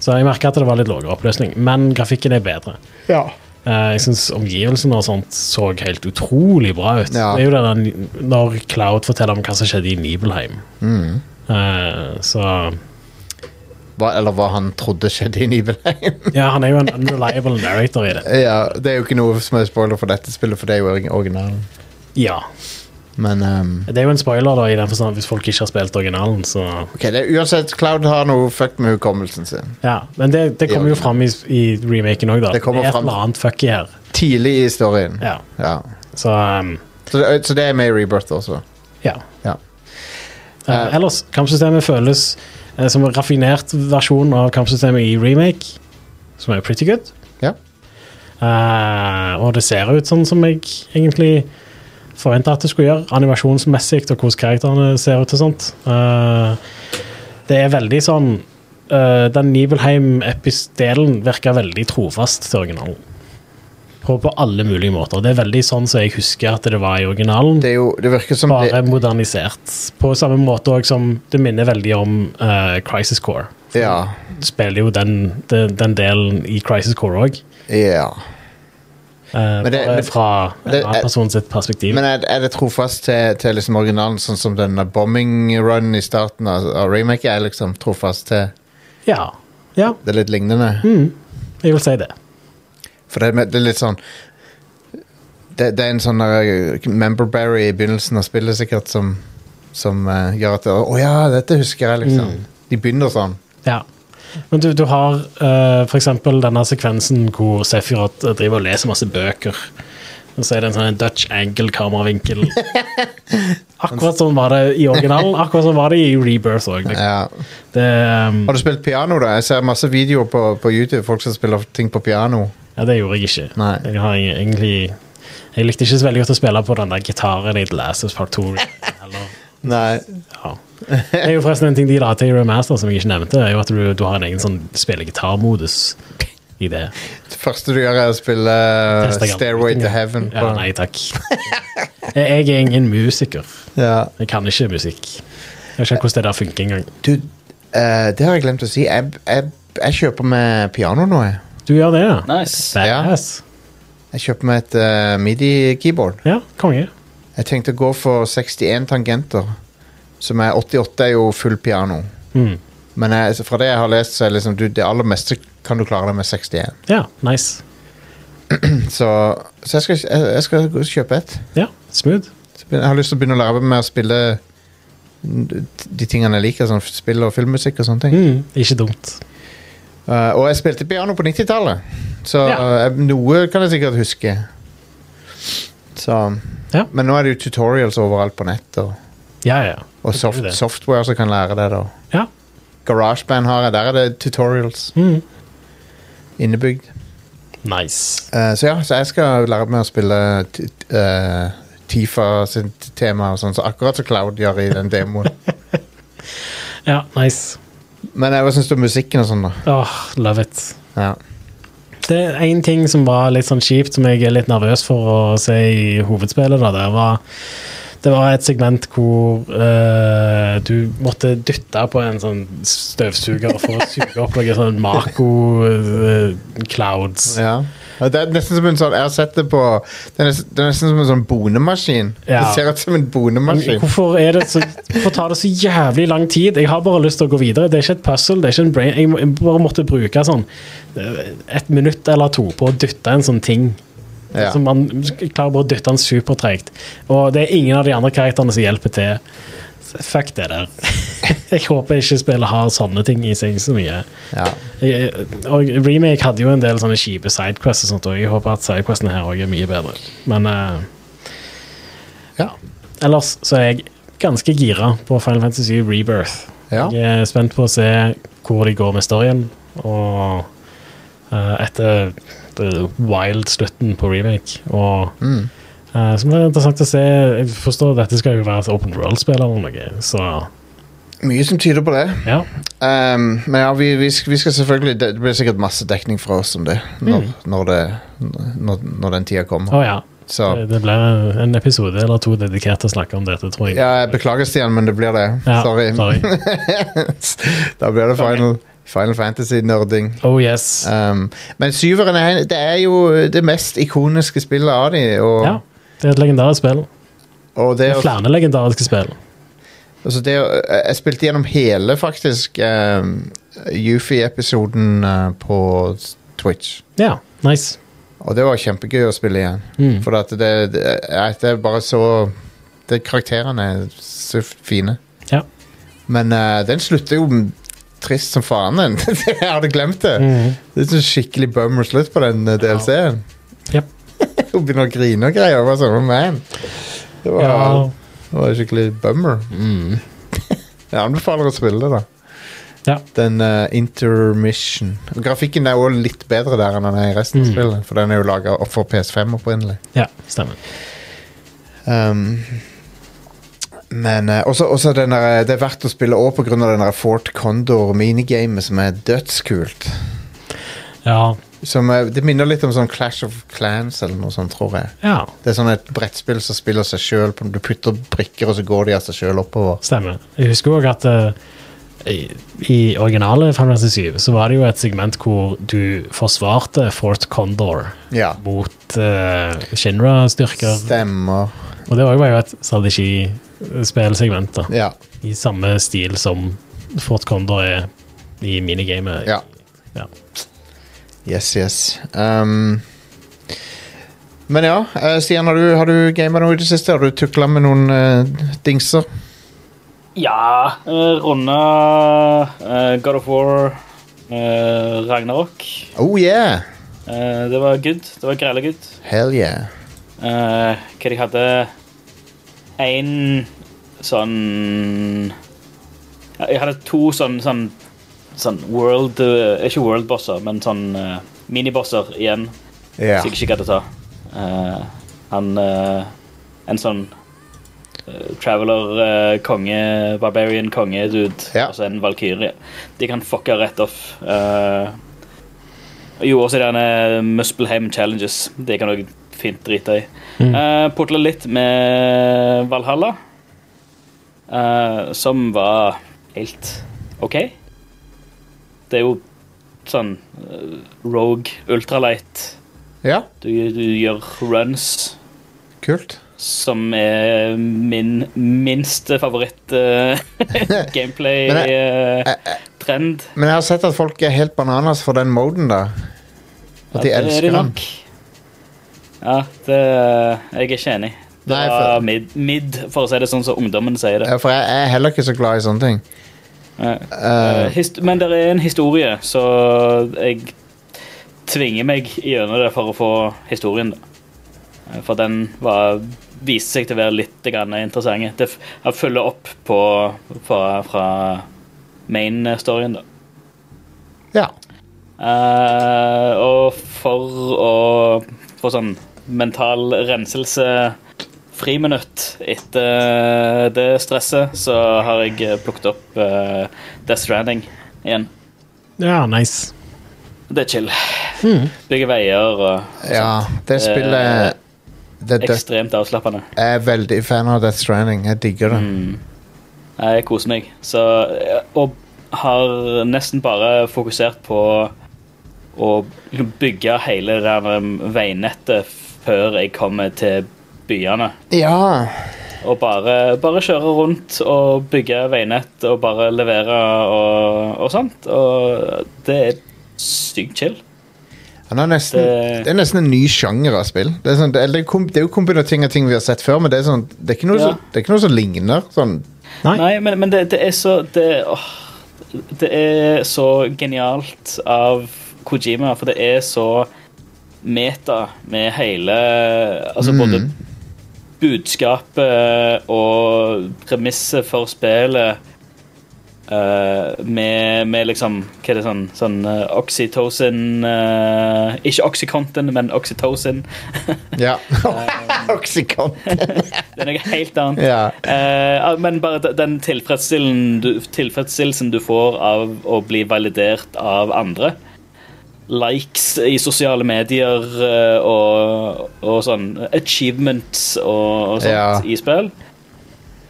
Speaker 4: Så jeg merka at det var litt lavere oppløsning, men grafikken er bedre. Eh, jeg syns omgivelsene og sånt så helt utrolig bra ut.
Speaker 3: Ja.
Speaker 4: Det er jo det der, når Cloud forteller om hva som skjedde i Nibelheim.
Speaker 3: Mm.
Speaker 4: Eh, så
Speaker 3: Hva, eller hva han trodde skjedde i Nibelheim.
Speaker 4: Ja, han er jo en unreliable narrator i det.
Speaker 3: ja, det er jo ikke noe som er spoiler for dette spillet, for det er jo ori- originalen.
Speaker 4: Ja.
Speaker 3: Men ehm,
Speaker 4: Det er jo en spoiler, da, i den forstand at hvis folk ikke har spilt originalen, så
Speaker 3: ok, det er, uansett, Cloud har noe fucked med hukommelsen sin.
Speaker 4: Ja, men det, det kommer jo fram i, i remaken òg, da.
Speaker 3: Det kommer
Speaker 4: er et
Speaker 3: fram.
Speaker 4: eller annet fucky her.
Speaker 3: Tidlig i historien.
Speaker 4: Ja.
Speaker 3: Ja.
Speaker 4: Så um,
Speaker 3: Så, det, så det er med i Rebirth også.
Speaker 4: ja.
Speaker 3: Ja.
Speaker 4: Eh, ellers, kampsystemet føles eh, som en raffinert versjon av kampsystemet i remake, som er pretty good.
Speaker 3: Ja.
Speaker 4: Eh, og det ser ut sånn som jeg egentlig forventa at det skulle gjøre, animasjonsmessig og hvordan karakterene ser ut og sånt. Eh, det er veldig sånn eh, Den Nibelheim-episdelen virker veldig trofast til originalen. På, på alle mulige måter. Det er veldig sånn som jeg husker at det var i originalen.
Speaker 3: Det, er jo, det virker som
Speaker 4: Bare
Speaker 3: det,
Speaker 4: modernisert. På samme måte også som det minner veldig om eh, Crisis Core.
Speaker 3: Ja.
Speaker 4: Du spiller jo den, den, den delen i Crisis Core òg.
Speaker 3: ja. Men det-
Speaker 4: Eh, bare
Speaker 3: men-
Speaker 4: fra en
Speaker 3: det-
Speaker 4: annen person sitt perspektiv.
Speaker 3: Men er, er det trofast til, til liksom originalen, sånn som denne bombing run i starten av, av remake er liksom trofast til
Speaker 4: ja. ja,
Speaker 3: det er litt lignende?
Speaker 4: jeg vil si det.
Speaker 3: For det, er med- det er litt sånn det, det er en sånn der, uh, member berry i begynnelsen av spillet sikkert som, som eh, gjør at det- Å ja, dette husker jeg, liksom. De begynner sånn.
Speaker 4: Ja. Men du, du har eh, for eksempel denne sekvensen hvor Sefirot driver og leser masse bøker. Og så er det en sånn Dutch angle-kameravinkel. Akkurat sånn var det i originalen. Akkurat sånn var det i Rebirth òg.
Speaker 3: Ja.
Speaker 4: Det, um,
Speaker 3: Har du spilt piano, da? Jeg ser masse videoer på, på YouTube. Folk som spiller ting på piano.
Speaker 4: Ja, det gjorde jeg ikke.
Speaker 3: Nei.
Speaker 4: Jeg har eg- egentlig Jeg likte ikke så veldig godt å spille på den der gitaren i The Last of Us Part 2. Eller,
Speaker 3: Nei.
Speaker 4: ja. Det er jo forresten en ting de la til i Remaster som jeg ikke nevnte, er jo at du, du har en egen sånn spillegitarmodus i det.
Speaker 3: Det første du gjør, er å spille eh,
Speaker 4: Tester gamle
Speaker 3: Stairway
Speaker 4: ting,
Speaker 3: to
Speaker 4: ja.
Speaker 3: Heaven.
Speaker 4: Ja,
Speaker 3: på-
Speaker 4: nei takk. Jeg er ingen musiker.
Speaker 3: Ja.
Speaker 4: Jeg kan ikke musikk. Jeg vet ikke hvordan det der funker engang.
Speaker 3: Du, eh, det har jeg glemt å si. Jeg, jeg, jeg kjøper meg piano nå, jeg.
Speaker 4: Du gjør det, ja?
Speaker 5: Nice.
Speaker 4: Badass.
Speaker 3: Jeg kjøper meg et eh, midi-keyboard.
Speaker 4: Ja, konge.
Speaker 3: Jeg tenkte å gå for 61 tangenter. Som er 88 er jo full piano.
Speaker 4: Mm.
Speaker 3: Men jeg, fra det jeg har lest, så er liksom, du, det aller meste kan du klare deg med 61.
Speaker 4: Ja, nice.
Speaker 3: Så, så jeg, skal, jeg, jeg skal gå og kjøpe et.
Speaker 4: Ja, smooth.
Speaker 3: Så begyn- Jeg har lyst til å begynne å lære meg å spille de tingene jeg liker, sånn spill og filmmusikk og sånne ting.
Speaker 4: Mm, ikke dumt.
Speaker 3: Eh, og jeg spilte piano på 90-tallet, så
Speaker 4: Ja.
Speaker 3: eh, noe kan jeg sikkert huske. Så,
Speaker 4: Ja.
Speaker 3: Men nå er det jo tutorials overalt på nett, og,
Speaker 4: Ja, ja.
Speaker 3: og
Speaker 4: Det er
Speaker 3: soft,
Speaker 4: det.
Speaker 3: software som kan lære det. da.
Speaker 4: Ja.
Speaker 3: GarageBand har jeg, der er det tutorials
Speaker 4: Mm.
Speaker 3: innebygd.
Speaker 4: Nice.
Speaker 3: Eh, så ja, så jeg skal lære meg å spille t- t- eh, Tifa sitt tema og sånn, så akkurat som Cloud gjør i den demoen.
Speaker 4: Ja, nice.
Speaker 3: Men eh, hva syns du om musikken og sånn, da?
Speaker 4: Åh, love it.
Speaker 3: Ja.
Speaker 4: Det er én ting som var litt sånn kjipt, som jeg er litt nervøs for å se i hovedspillet. Da. Det, var, det var et segment hvor eh, du måtte dytte på en sånn støvsuger for å suge opp noen sånn Mako eh, clouds.
Speaker 3: ja. Ja, Det er nesten som en sånn Jeg har sett det på Det er nesten, det er nesten som en sånn bonemaskin.
Speaker 4: Ja.
Speaker 3: Det ser ut som en bonemaskin.
Speaker 4: Hvorfor, er det så, hvorfor tar det så jævlig lang tid? Jeg har bare lyst til å gå videre. Det er ikke et puzzle. det er ikke en brain. Jeg må- Jeg bare måtte bruke sånn eh, et minutt eller to på å dytte en sånn ting.
Speaker 3: Ja.
Speaker 4: Så man klarer bare å dytte den supertregt. Og det er ingen av de andre karakterene som hjelper til. Så Fuck det der. Jeg håper ikke spillet har sånne ting i seg så mye.
Speaker 3: Ja.
Speaker 4: Jeg- Og Remake hadde jo en del sånne kjipe sidequests og sånt, og jeg håper at sidequestene her òg er mye bedre. Men eh,
Speaker 3: Ja.
Speaker 4: ellers så er jeg ganske gira på Final Fantasy Rebirth.
Speaker 3: Ja.
Speaker 4: Jeg er spent på å se hvor de går med storyen, og eh, etter det wild-slutten på remake. Og
Speaker 3: Mm.
Speaker 4: eh, så blir det interessant å se Jeg forstår at dette skal jo være et open world-spill eller noe, så
Speaker 3: Mye som tyder på det.
Speaker 4: ja.
Speaker 3: Ehm, men ja, vi, vi, sk- vi skal selvfølgelig Det blir sikkert masse dekning fra oss om det når, når, det, når, når den tida kommer.
Speaker 4: Å Mm. ja. Det,
Speaker 3: Så
Speaker 4: det blir en episode eller to dedikert til å snakke om dette, tror jeg.
Speaker 3: ja, jeg beklager, Stian, men det blir det.
Speaker 4: Ja,
Speaker 3: sorry.
Speaker 4: sorry.
Speaker 3: da blir det Final, Final Fantasy-nerding.
Speaker 4: Oh yes.
Speaker 3: Ehm, men syveren er, det er jo det mest ikoniske spillet av de og,
Speaker 4: Ja. Det er et legendarisk spill.
Speaker 3: og det,
Speaker 4: Det er
Speaker 3: å-
Speaker 4: flere legendariske spill.
Speaker 3: altså det å- Jeg spilte gjennom hele, faktisk, um, Yufi-episoden eh, på Twitch.
Speaker 4: Ja, nice.
Speaker 3: Og det var kjempegøy å spille igjen.
Speaker 4: Mm.
Speaker 3: For at det, det, jeg- det er bare så det, Karakterene er så fine.
Speaker 4: Ja.
Speaker 3: Men eh, den slutter jo trist som faen. Den. jeg hadde glemt det.
Speaker 4: Mm.
Speaker 3: Det er sånn skikkelig bummer slutt på den eh, DLC-en.
Speaker 4: Jep.
Speaker 3: Hun begynner å grine og greier. Jeg var sånn, man. Det var,
Speaker 4: Ja.
Speaker 3: det var skikkelig bummer. jeg anbefaler å spille det, da.
Speaker 4: Ja.
Speaker 3: Mm. Den eh, intermission. Og grafikken er også litt bedre der enn den er i resten av
Speaker 4: Mm.
Speaker 3: spillet. For den er jo laga for PS5 opprinnelig.
Speaker 4: ja, stemmer.
Speaker 3: Um, men eh, også, også den der, det er verdt å spille òg pga. den der Fort Condor minigamet som er dødskult.
Speaker 4: Ja.
Speaker 3: Som er, det minner litt om sånn Clash of Clans eller noe sånt, tror jeg.
Speaker 4: ja.
Speaker 3: Det er sånn et brettspill som spiller seg sjøl. Du putter brikker, og så går de av seg sjøl oppover.
Speaker 4: Stemmer. Jeg husker òg at eh, i, i originale Final Fantasy 7 så var det jo et segment hvor du forsvarte Fort Condor
Speaker 3: Ja.
Speaker 4: mot eh, Shinra-styrker.
Speaker 3: Stemmer.
Speaker 4: Og det var jo bare et strategi-spillsegment, da.
Speaker 3: Ja.
Speaker 4: I samme stil som Fort Condor er i minigamet.
Speaker 3: ja.
Speaker 4: Ja.
Speaker 3: Yes, yes. Um, men ja, eh, Stian, har du, har du gama noe i det siste? Har du tukla med noen eh, dingser?
Speaker 5: Ja, uh, runde eh, God of War, eh, Ragnarok.
Speaker 3: Oh yeah!
Speaker 5: Eh, det var good. Det var grelle good.
Speaker 3: Hell yeah.
Speaker 5: Eh, hva de hadde En sånn ja, Jeg hadde to sånn, sånn, sånn world eh, Ikke world-bosser, men sånn eh, minibosser igjen.
Speaker 3: Ja.
Speaker 5: Som jeg ikke gadd å ta. Eh, han eh, En sånn eh, traveler, eh, konge, barbarian konge dude.
Speaker 3: Ja.
Speaker 5: Altså en valkyrie. De kan fucke rett off. Eh, jo, også denne Muspelheim Challenges. Det kan du fint drite i. Mm. Putla litt med Valhalla, eh, som var helt OK. Det er jo sånn eh, Rogue Ultralight.
Speaker 3: Ja,
Speaker 5: Du, du gjør runs,
Speaker 3: kult.
Speaker 5: som er min minste eh, favoritt-gameplay-trend.
Speaker 3: Men
Speaker 5: eh,
Speaker 3: Men jeg har sett at folk er helt bananas for den moden, da. At de elsker den.
Speaker 5: Ja, det, jeg er ikke enig. Det
Speaker 3: Nei, for-
Speaker 5: var mid, mid, for å si det sånn som ungdommen sier det.
Speaker 3: Ja, For jeg er heller ikke så glad i sånne ting.
Speaker 5: Ja.
Speaker 3: Eh,
Speaker 5: Eh, hist- Men det er en historie, så jeg tvinger meg gjennom det for å få historien. da. Eh, For den var, viste seg til å være litt grann interessant. Det f- jeg følger opp på, fra, fra main-storyen, da.
Speaker 3: ja.
Speaker 5: Eh, og for å få sånn mental renselse friminutt etter eh, det stresset, så har jeg plukket opp eh, Death Stranding igjen.
Speaker 4: Ja, nice.
Speaker 5: Det er chill. Bygge veier og
Speaker 3: ja. Det
Speaker 5: Eh,
Speaker 3: spillet det er dødt.
Speaker 5: ekstremt avslappende.
Speaker 3: Jeg er veldig fan av Death Stranding. Jeg digger det.
Speaker 5: Mm. Jeg koser eh, meg. Så, og har nesten bare fokusert på og liksom bygge hele det der um, veinettet før jeg kommer til byene.
Speaker 3: Ja.
Speaker 5: Og bare, bare kjøre rundt og bygge veinett og bare levere og, og sånt. Og det er sykt chill.
Speaker 3: Han er nesten, det...
Speaker 5: Det-
Speaker 3: er nesten en ny sjanger av spill. Det er, sånn, det, eller det, kom, det er jo kombinert ting av ting vi har sett før, men det er, sånn, det er, ikke, noe
Speaker 5: Ja.
Speaker 3: som, det er ikke noe som ligner. Sånn,
Speaker 4: Nei.
Speaker 5: Nei, men, men det, det er så det, åh, det er så genialt av Kojima, for det er så meta med hele Altså både budskapet og premisset for spillet. eh, med, med liksom Hva er det sånn sånn eh, Oxytocin eh, Ikke Oxycontin, men Oxytocin.
Speaker 3: ja. Oxycontin.
Speaker 5: Det er noe helt annet.
Speaker 3: Ja.
Speaker 5: Eh, ja, men bare de- den tilfredsstillelsen du, tilfredsstillelsen du får av å bli validert av andre. Likes i sosiale medier eh, og, og sånn achievements og, og sånt
Speaker 3: Ja.
Speaker 5: i spill.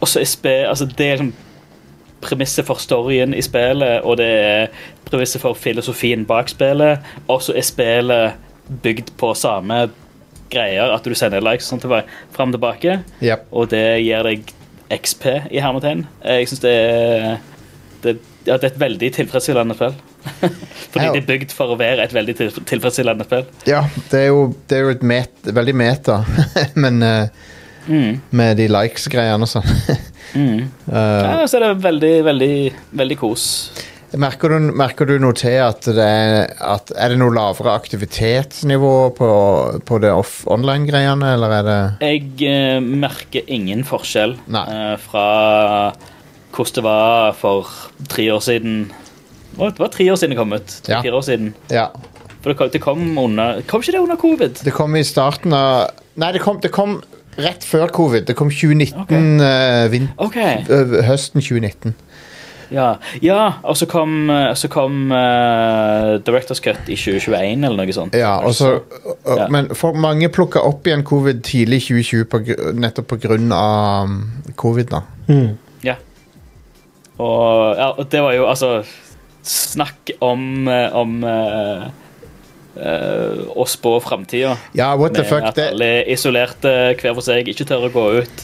Speaker 5: Og så er spill altså Det er liksom premisset for storyen i spillet, og det er premisset for filosofien bak spillet, og så er spillet bygd på samme greier, at du sender likes og sånt tilbake, fram og tilbake
Speaker 3: Yep.
Speaker 5: og det gir deg XP i hermetegn. Jeg syns det er det, ja, det er et veldig tilfredsstillende spill. Fordi
Speaker 3: Ja.
Speaker 5: det er bygd for å være et veldig tilf- tilfredsstillende spill.
Speaker 3: Ja, det er jo, det er jo et met, veldig meta, men eh, med de likes-greiene og sånn.
Speaker 5: Ja, så er det veldig, veldig, veldig kos.
Speaker 3: Merker du, merker du noe til at det er at Er det noe lavere aktivitetsnivå på, på det off online-greiene, eller er det
Speaker 5: Jeg eh, merker ingen forskjell
Speaker 3: Nei.
Speaker 5: eh, fra hvordan det var for tre år siden. Å, Det var tre år siden det kom ut.
Speaker 3: Ja.
Speaker 5: Tre-fire år siden.
Speaker 3: Ja.
Speaker 5: For det kom, det kom under Kom ikke det under covid?
Speaker 3: Det kom i starten av Nei, det kom, det kom rett før covid. Det kom 2019 eh, vin,
Speaker 5: OK.
Speaker 3: ø, Høsten 2019.
Speaker 5: Ja, ja og så kom, så kom eh, Directors Cut i 2021 eller noe sånt.
Speaker 3: Ja, og så og-
Speaker 5: Ja.
Speaker 3: Men for mange plukka opp igjen covid tidlig i 2020 på, gr- nettopp på grunn av um, covid, da.
Speaker 5: Ja. Og, ja, og det var jo altså Snakk om, eh, om eh, eh, å spå framtida.
Speaker 3: Ja, what the
Speaker 5: Med
Speaker 3: fuck,
Speaker 5: at
Speaker 3: det
Speaker 5: alle er isolerte hver for seg, ikke tør å gå ut.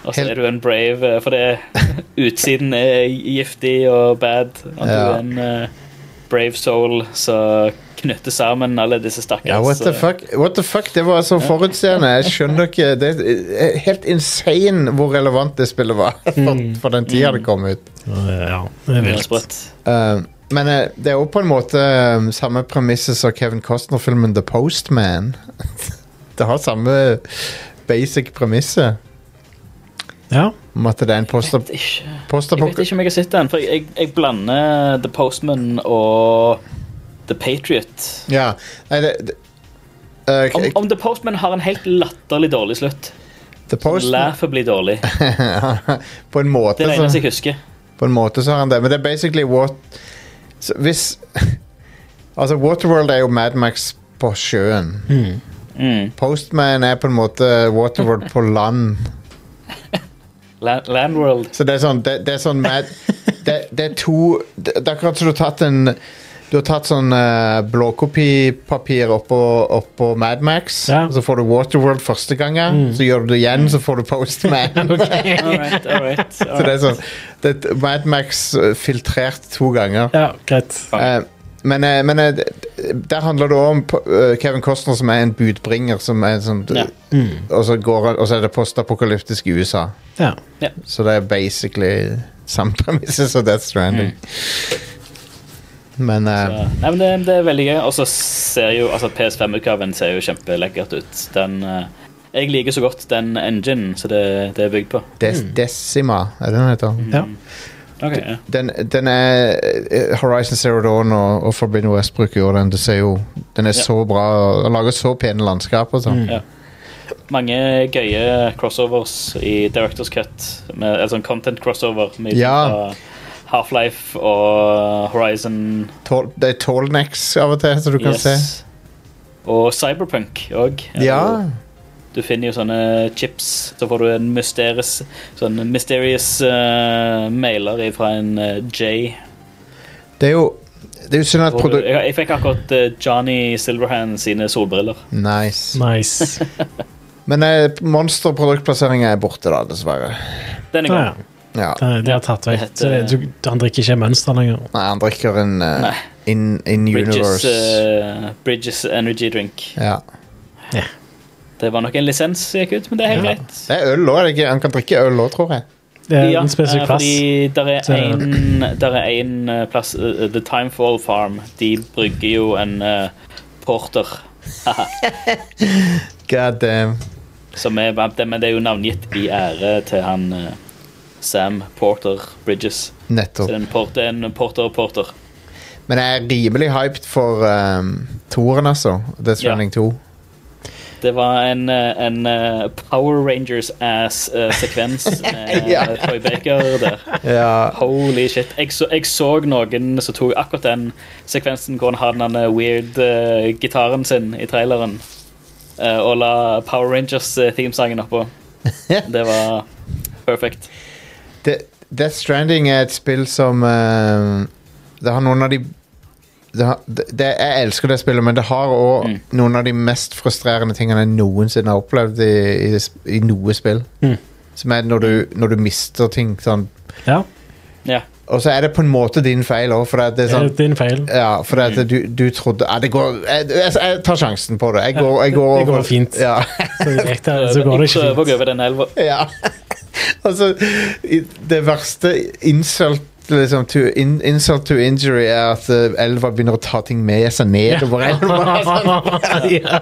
Speaker 5: Og så
Speaker 3: Helt-
Speaker 5: er du en brave, eh, for det, utsiden er giftig og bad. Og du
Speaker 3: Ja.
Speaker 5: er en eh, brave soul som knytter sammen alle disse stakkars
Speaker 3: ja, what the
Speaker 5: eh,
Speaker 3: fuck, what the fuck, det var så forutseende. Jeg skjønner ikke Det er helt insane hvor relevant det spillet var
Speaker 5: Hmm.
Speaker 3: for, for den tida det kom ut.
Speaker 4: Eh, Ja, det er
Speaker 5: Helt
Speaker 4: vilt.
Speaker 5: sprøtt.
Speaker 3: Eh, men eh, det er jo på en måte eh, samme premisset som Kevin Costner-filmen The Postman. det har samme basic premisset
Speaker 4: Ja.
Speaker 3: om at det er en poster...
Speaker 5: Det er ikke- Jeg vet
Speaker 3: posterpok-
Speaker 5: ikke om jeg har sett den, for jeg, jeg blander The Postman og The Patriot.
Speaker 3: Ja. Nei, det, det eh,
Speaker 5: Om,
Speaker 3: k-
Speaker 5: om The Postman har en helt latterlig dårlig slutt.
Speaker 3: The Postman Altså-
Speaker 5: Laughably dårlig.
Speaker 3: På en måte
Speaker 5: Det er det
Speaker 3: så-
Speaker 5: eneste jeg husker.
Speaker 3: På en måte så har han det, men det er basically what så Hvis Altså, Waterworld er jo Mad Max på sjøen.
Speaker 5: Mm.
Speaker 3: Postman er på en måte Waterworld på land.
Speaker 5: La- Landworld.
Speaker 3: Så det er sånn Det, det er sånn mad, det, det er to Det det er akkurat som du har tatt en du har tatt sånn eh, blåkopipapir oppå, oppå Mad Max,
Speaker 4: Ja.
Speaker 3: og
Speaker 4: Mm.
Speaker 3: så får du Waterworld første gangen, så gjør du det igjen, så får du Postman.
Speaker 5: All right, all right.
Speaker 3: så det er sånn det er Mad Max eh, filtrert to ganger.
Speaker 4: ja, greit.
Speaker 3: Eh, men, eh, men eh, d- der handler det om p- eh, Kevin Costner som er en budbringer som er sånn,
Speaker 5: Ja.
Speaker 3: og, så går, han- og så er det postapokalyptisk i USA.
Speaker 4: Ja.
Speaker 3: Så det er basically samme premisse som Death Stranding.
Speaker 5: Mm.
Speaker 3: Men eh,
Speaker 5: Ja. Nei, men det, det er veldig gøy. Og så ser jo altså PS5-utgaven ser jo kjempelekkert ut. Den eh, Jeg liker så godt den enginen som det, det er bygd på.
Speaker 3: Des Decima, er det den heter?
Speaker 5: Mm.
Speaker 4: ja.
Speaker 5: Okay, ja.
Speaker 3: Den, den er eh, Horizon Zero Dawn og, og Forbidden West bruker jo den. Det ser jo, den er så bra og lager så pene landskap og sånn.
Speaker 5: Ja. Mange gøye crossovers i Directors Cut. Med, altså en content crossover med
Speaker 3: Ja.
Speaker 5: fra Half-Life og Horizon.
Speaker 3: Tall- Det er tallnecks av og til, så du kan se.
Speaker 5: Yes. Og Cyberpunk òg.
Speaker 3: Ja.
Speaker 5: Du finner jo sånne chips. Så får du en mysterious, sånn mysterious eh, mailer fra en eh, J.
Speaker 3: Det er jo Det er jo synd at
Speaker 5: Hvor du-
Speaker 3: produ...
Speaker 5: Jeg, jeg fikk akkurat eh, Johnny Silverhand sine solbriller.
Speaker 3: Nice.
Speaker 4: Nice.
Speaker 3: Men eh, monsterproduktplasseringa er borte, da, dessverre.
Speaker 4: Ja,
Speaker 5: Denne
Speaker 4: Ah, ja.
Speaker 5: gangen.
Speaker 3: Ja.
Speaker 4: Det det har tatt vekk.
Speaker 5: Det
Speaker 4: Så
Speaker 5: heter-
Speaker 4: Du, han drikker ikke mønster lenger.
Speaker 3: Nei, han drikker en eh,
Speaker 5: Nei.
Speaker 3: in, in
Speaker 5: Bridges,
Speaker 3: universe.
Speaker 5: eh, Bridges Energy Drink.
Speaker 3: Ja.
Speaker 5: Det var nok en lisens som gikk ut, men det er helt greit.
Speaker 3: Det er øl òg, er det ikke? Han kan drikke øl òg, tror jeg.
Speaker 4: Det er
Speaker 5: Ja,
Speaker 4: en spesifikk
Speaker 5: eh,
Speaker 4: plass.
Speaker 5: Fordi der
Speaker 4: Så-
Speaker 5: er en, der er en eh, plass eh, The Timefall Farm. De brygger jo en eh, porter.
Speaker 3: God damn.
Speaker 5: Som er, men det er jo navngitt i ære til han eh, Sam Porter Bridges. Så det
Speaker 3: Nettopp.
Speaker 5: er en porter, en porter, porter.
Speaker 3: Men jeg er rimelig hyped for um, toeren, altså. Death Stranding 2.
Speaker 5: Det var en, eh, en eh, Power Rangers-ass-sekvens med
Speaker 3: Ja.
Speaker 5: eh, Troy Baker der.
Speaker 3: Ja.
Speaker 5: Holy shit. Jeg så, jeg så noen som tok akkurat den sekvensen hvor han har den eh, weird eh, gitaren sin i traileren, eh, og la Power Rangers-themesangen oppå. Det var perfekt.
Speaker 3: De- Death Stranding er et spill som eh, Det har noen av de det har, det, det- Jeg elsker det spillet, men det har òg
Speaker 4: Mm.
Speaker 3: noen av de mest frustrerende tingene jeg noensinne har opplevd i, i, s- i noe spill.
Speaker 4: Mm.
Speaker 3: Som er når du, når du mister ting sånn.
Speaker 4: Ja,
Speaker 5: Ja.
Speaker 3: Og så er det på en måte din feil òg, for det, det
Speaker 4: det
Speaker 3: er
Speaker 4: er
Speaker 3: sånn
Speaker 4: din feil.
Speaker 3: ja, for
Speaker 4: Mm.
Speaker 3: at du, du trodde ja, det går, jeg, jeg, jeg tar sjansen på det. Jeg går, jeg
Speaker 4: det-
Speaker 3: går
Speaker 4: det går
Speaker 3: over-
Speaker 4: fint.
Speaker 3: Ja.
Speaker 4: Så, gikk det, så
Speaker 5: Jeg
Speaker 4: går det ikke
Speaker 5: prøver å gå
Speaker 4: fint.
Speaker 5: over den elva.
Speaker 3: Ja. altså, i- det verste insult Liksom, to in, insult to injury er at eh, elva begynner å ta ting med seg nedover elva.
Speaker 4: Ja.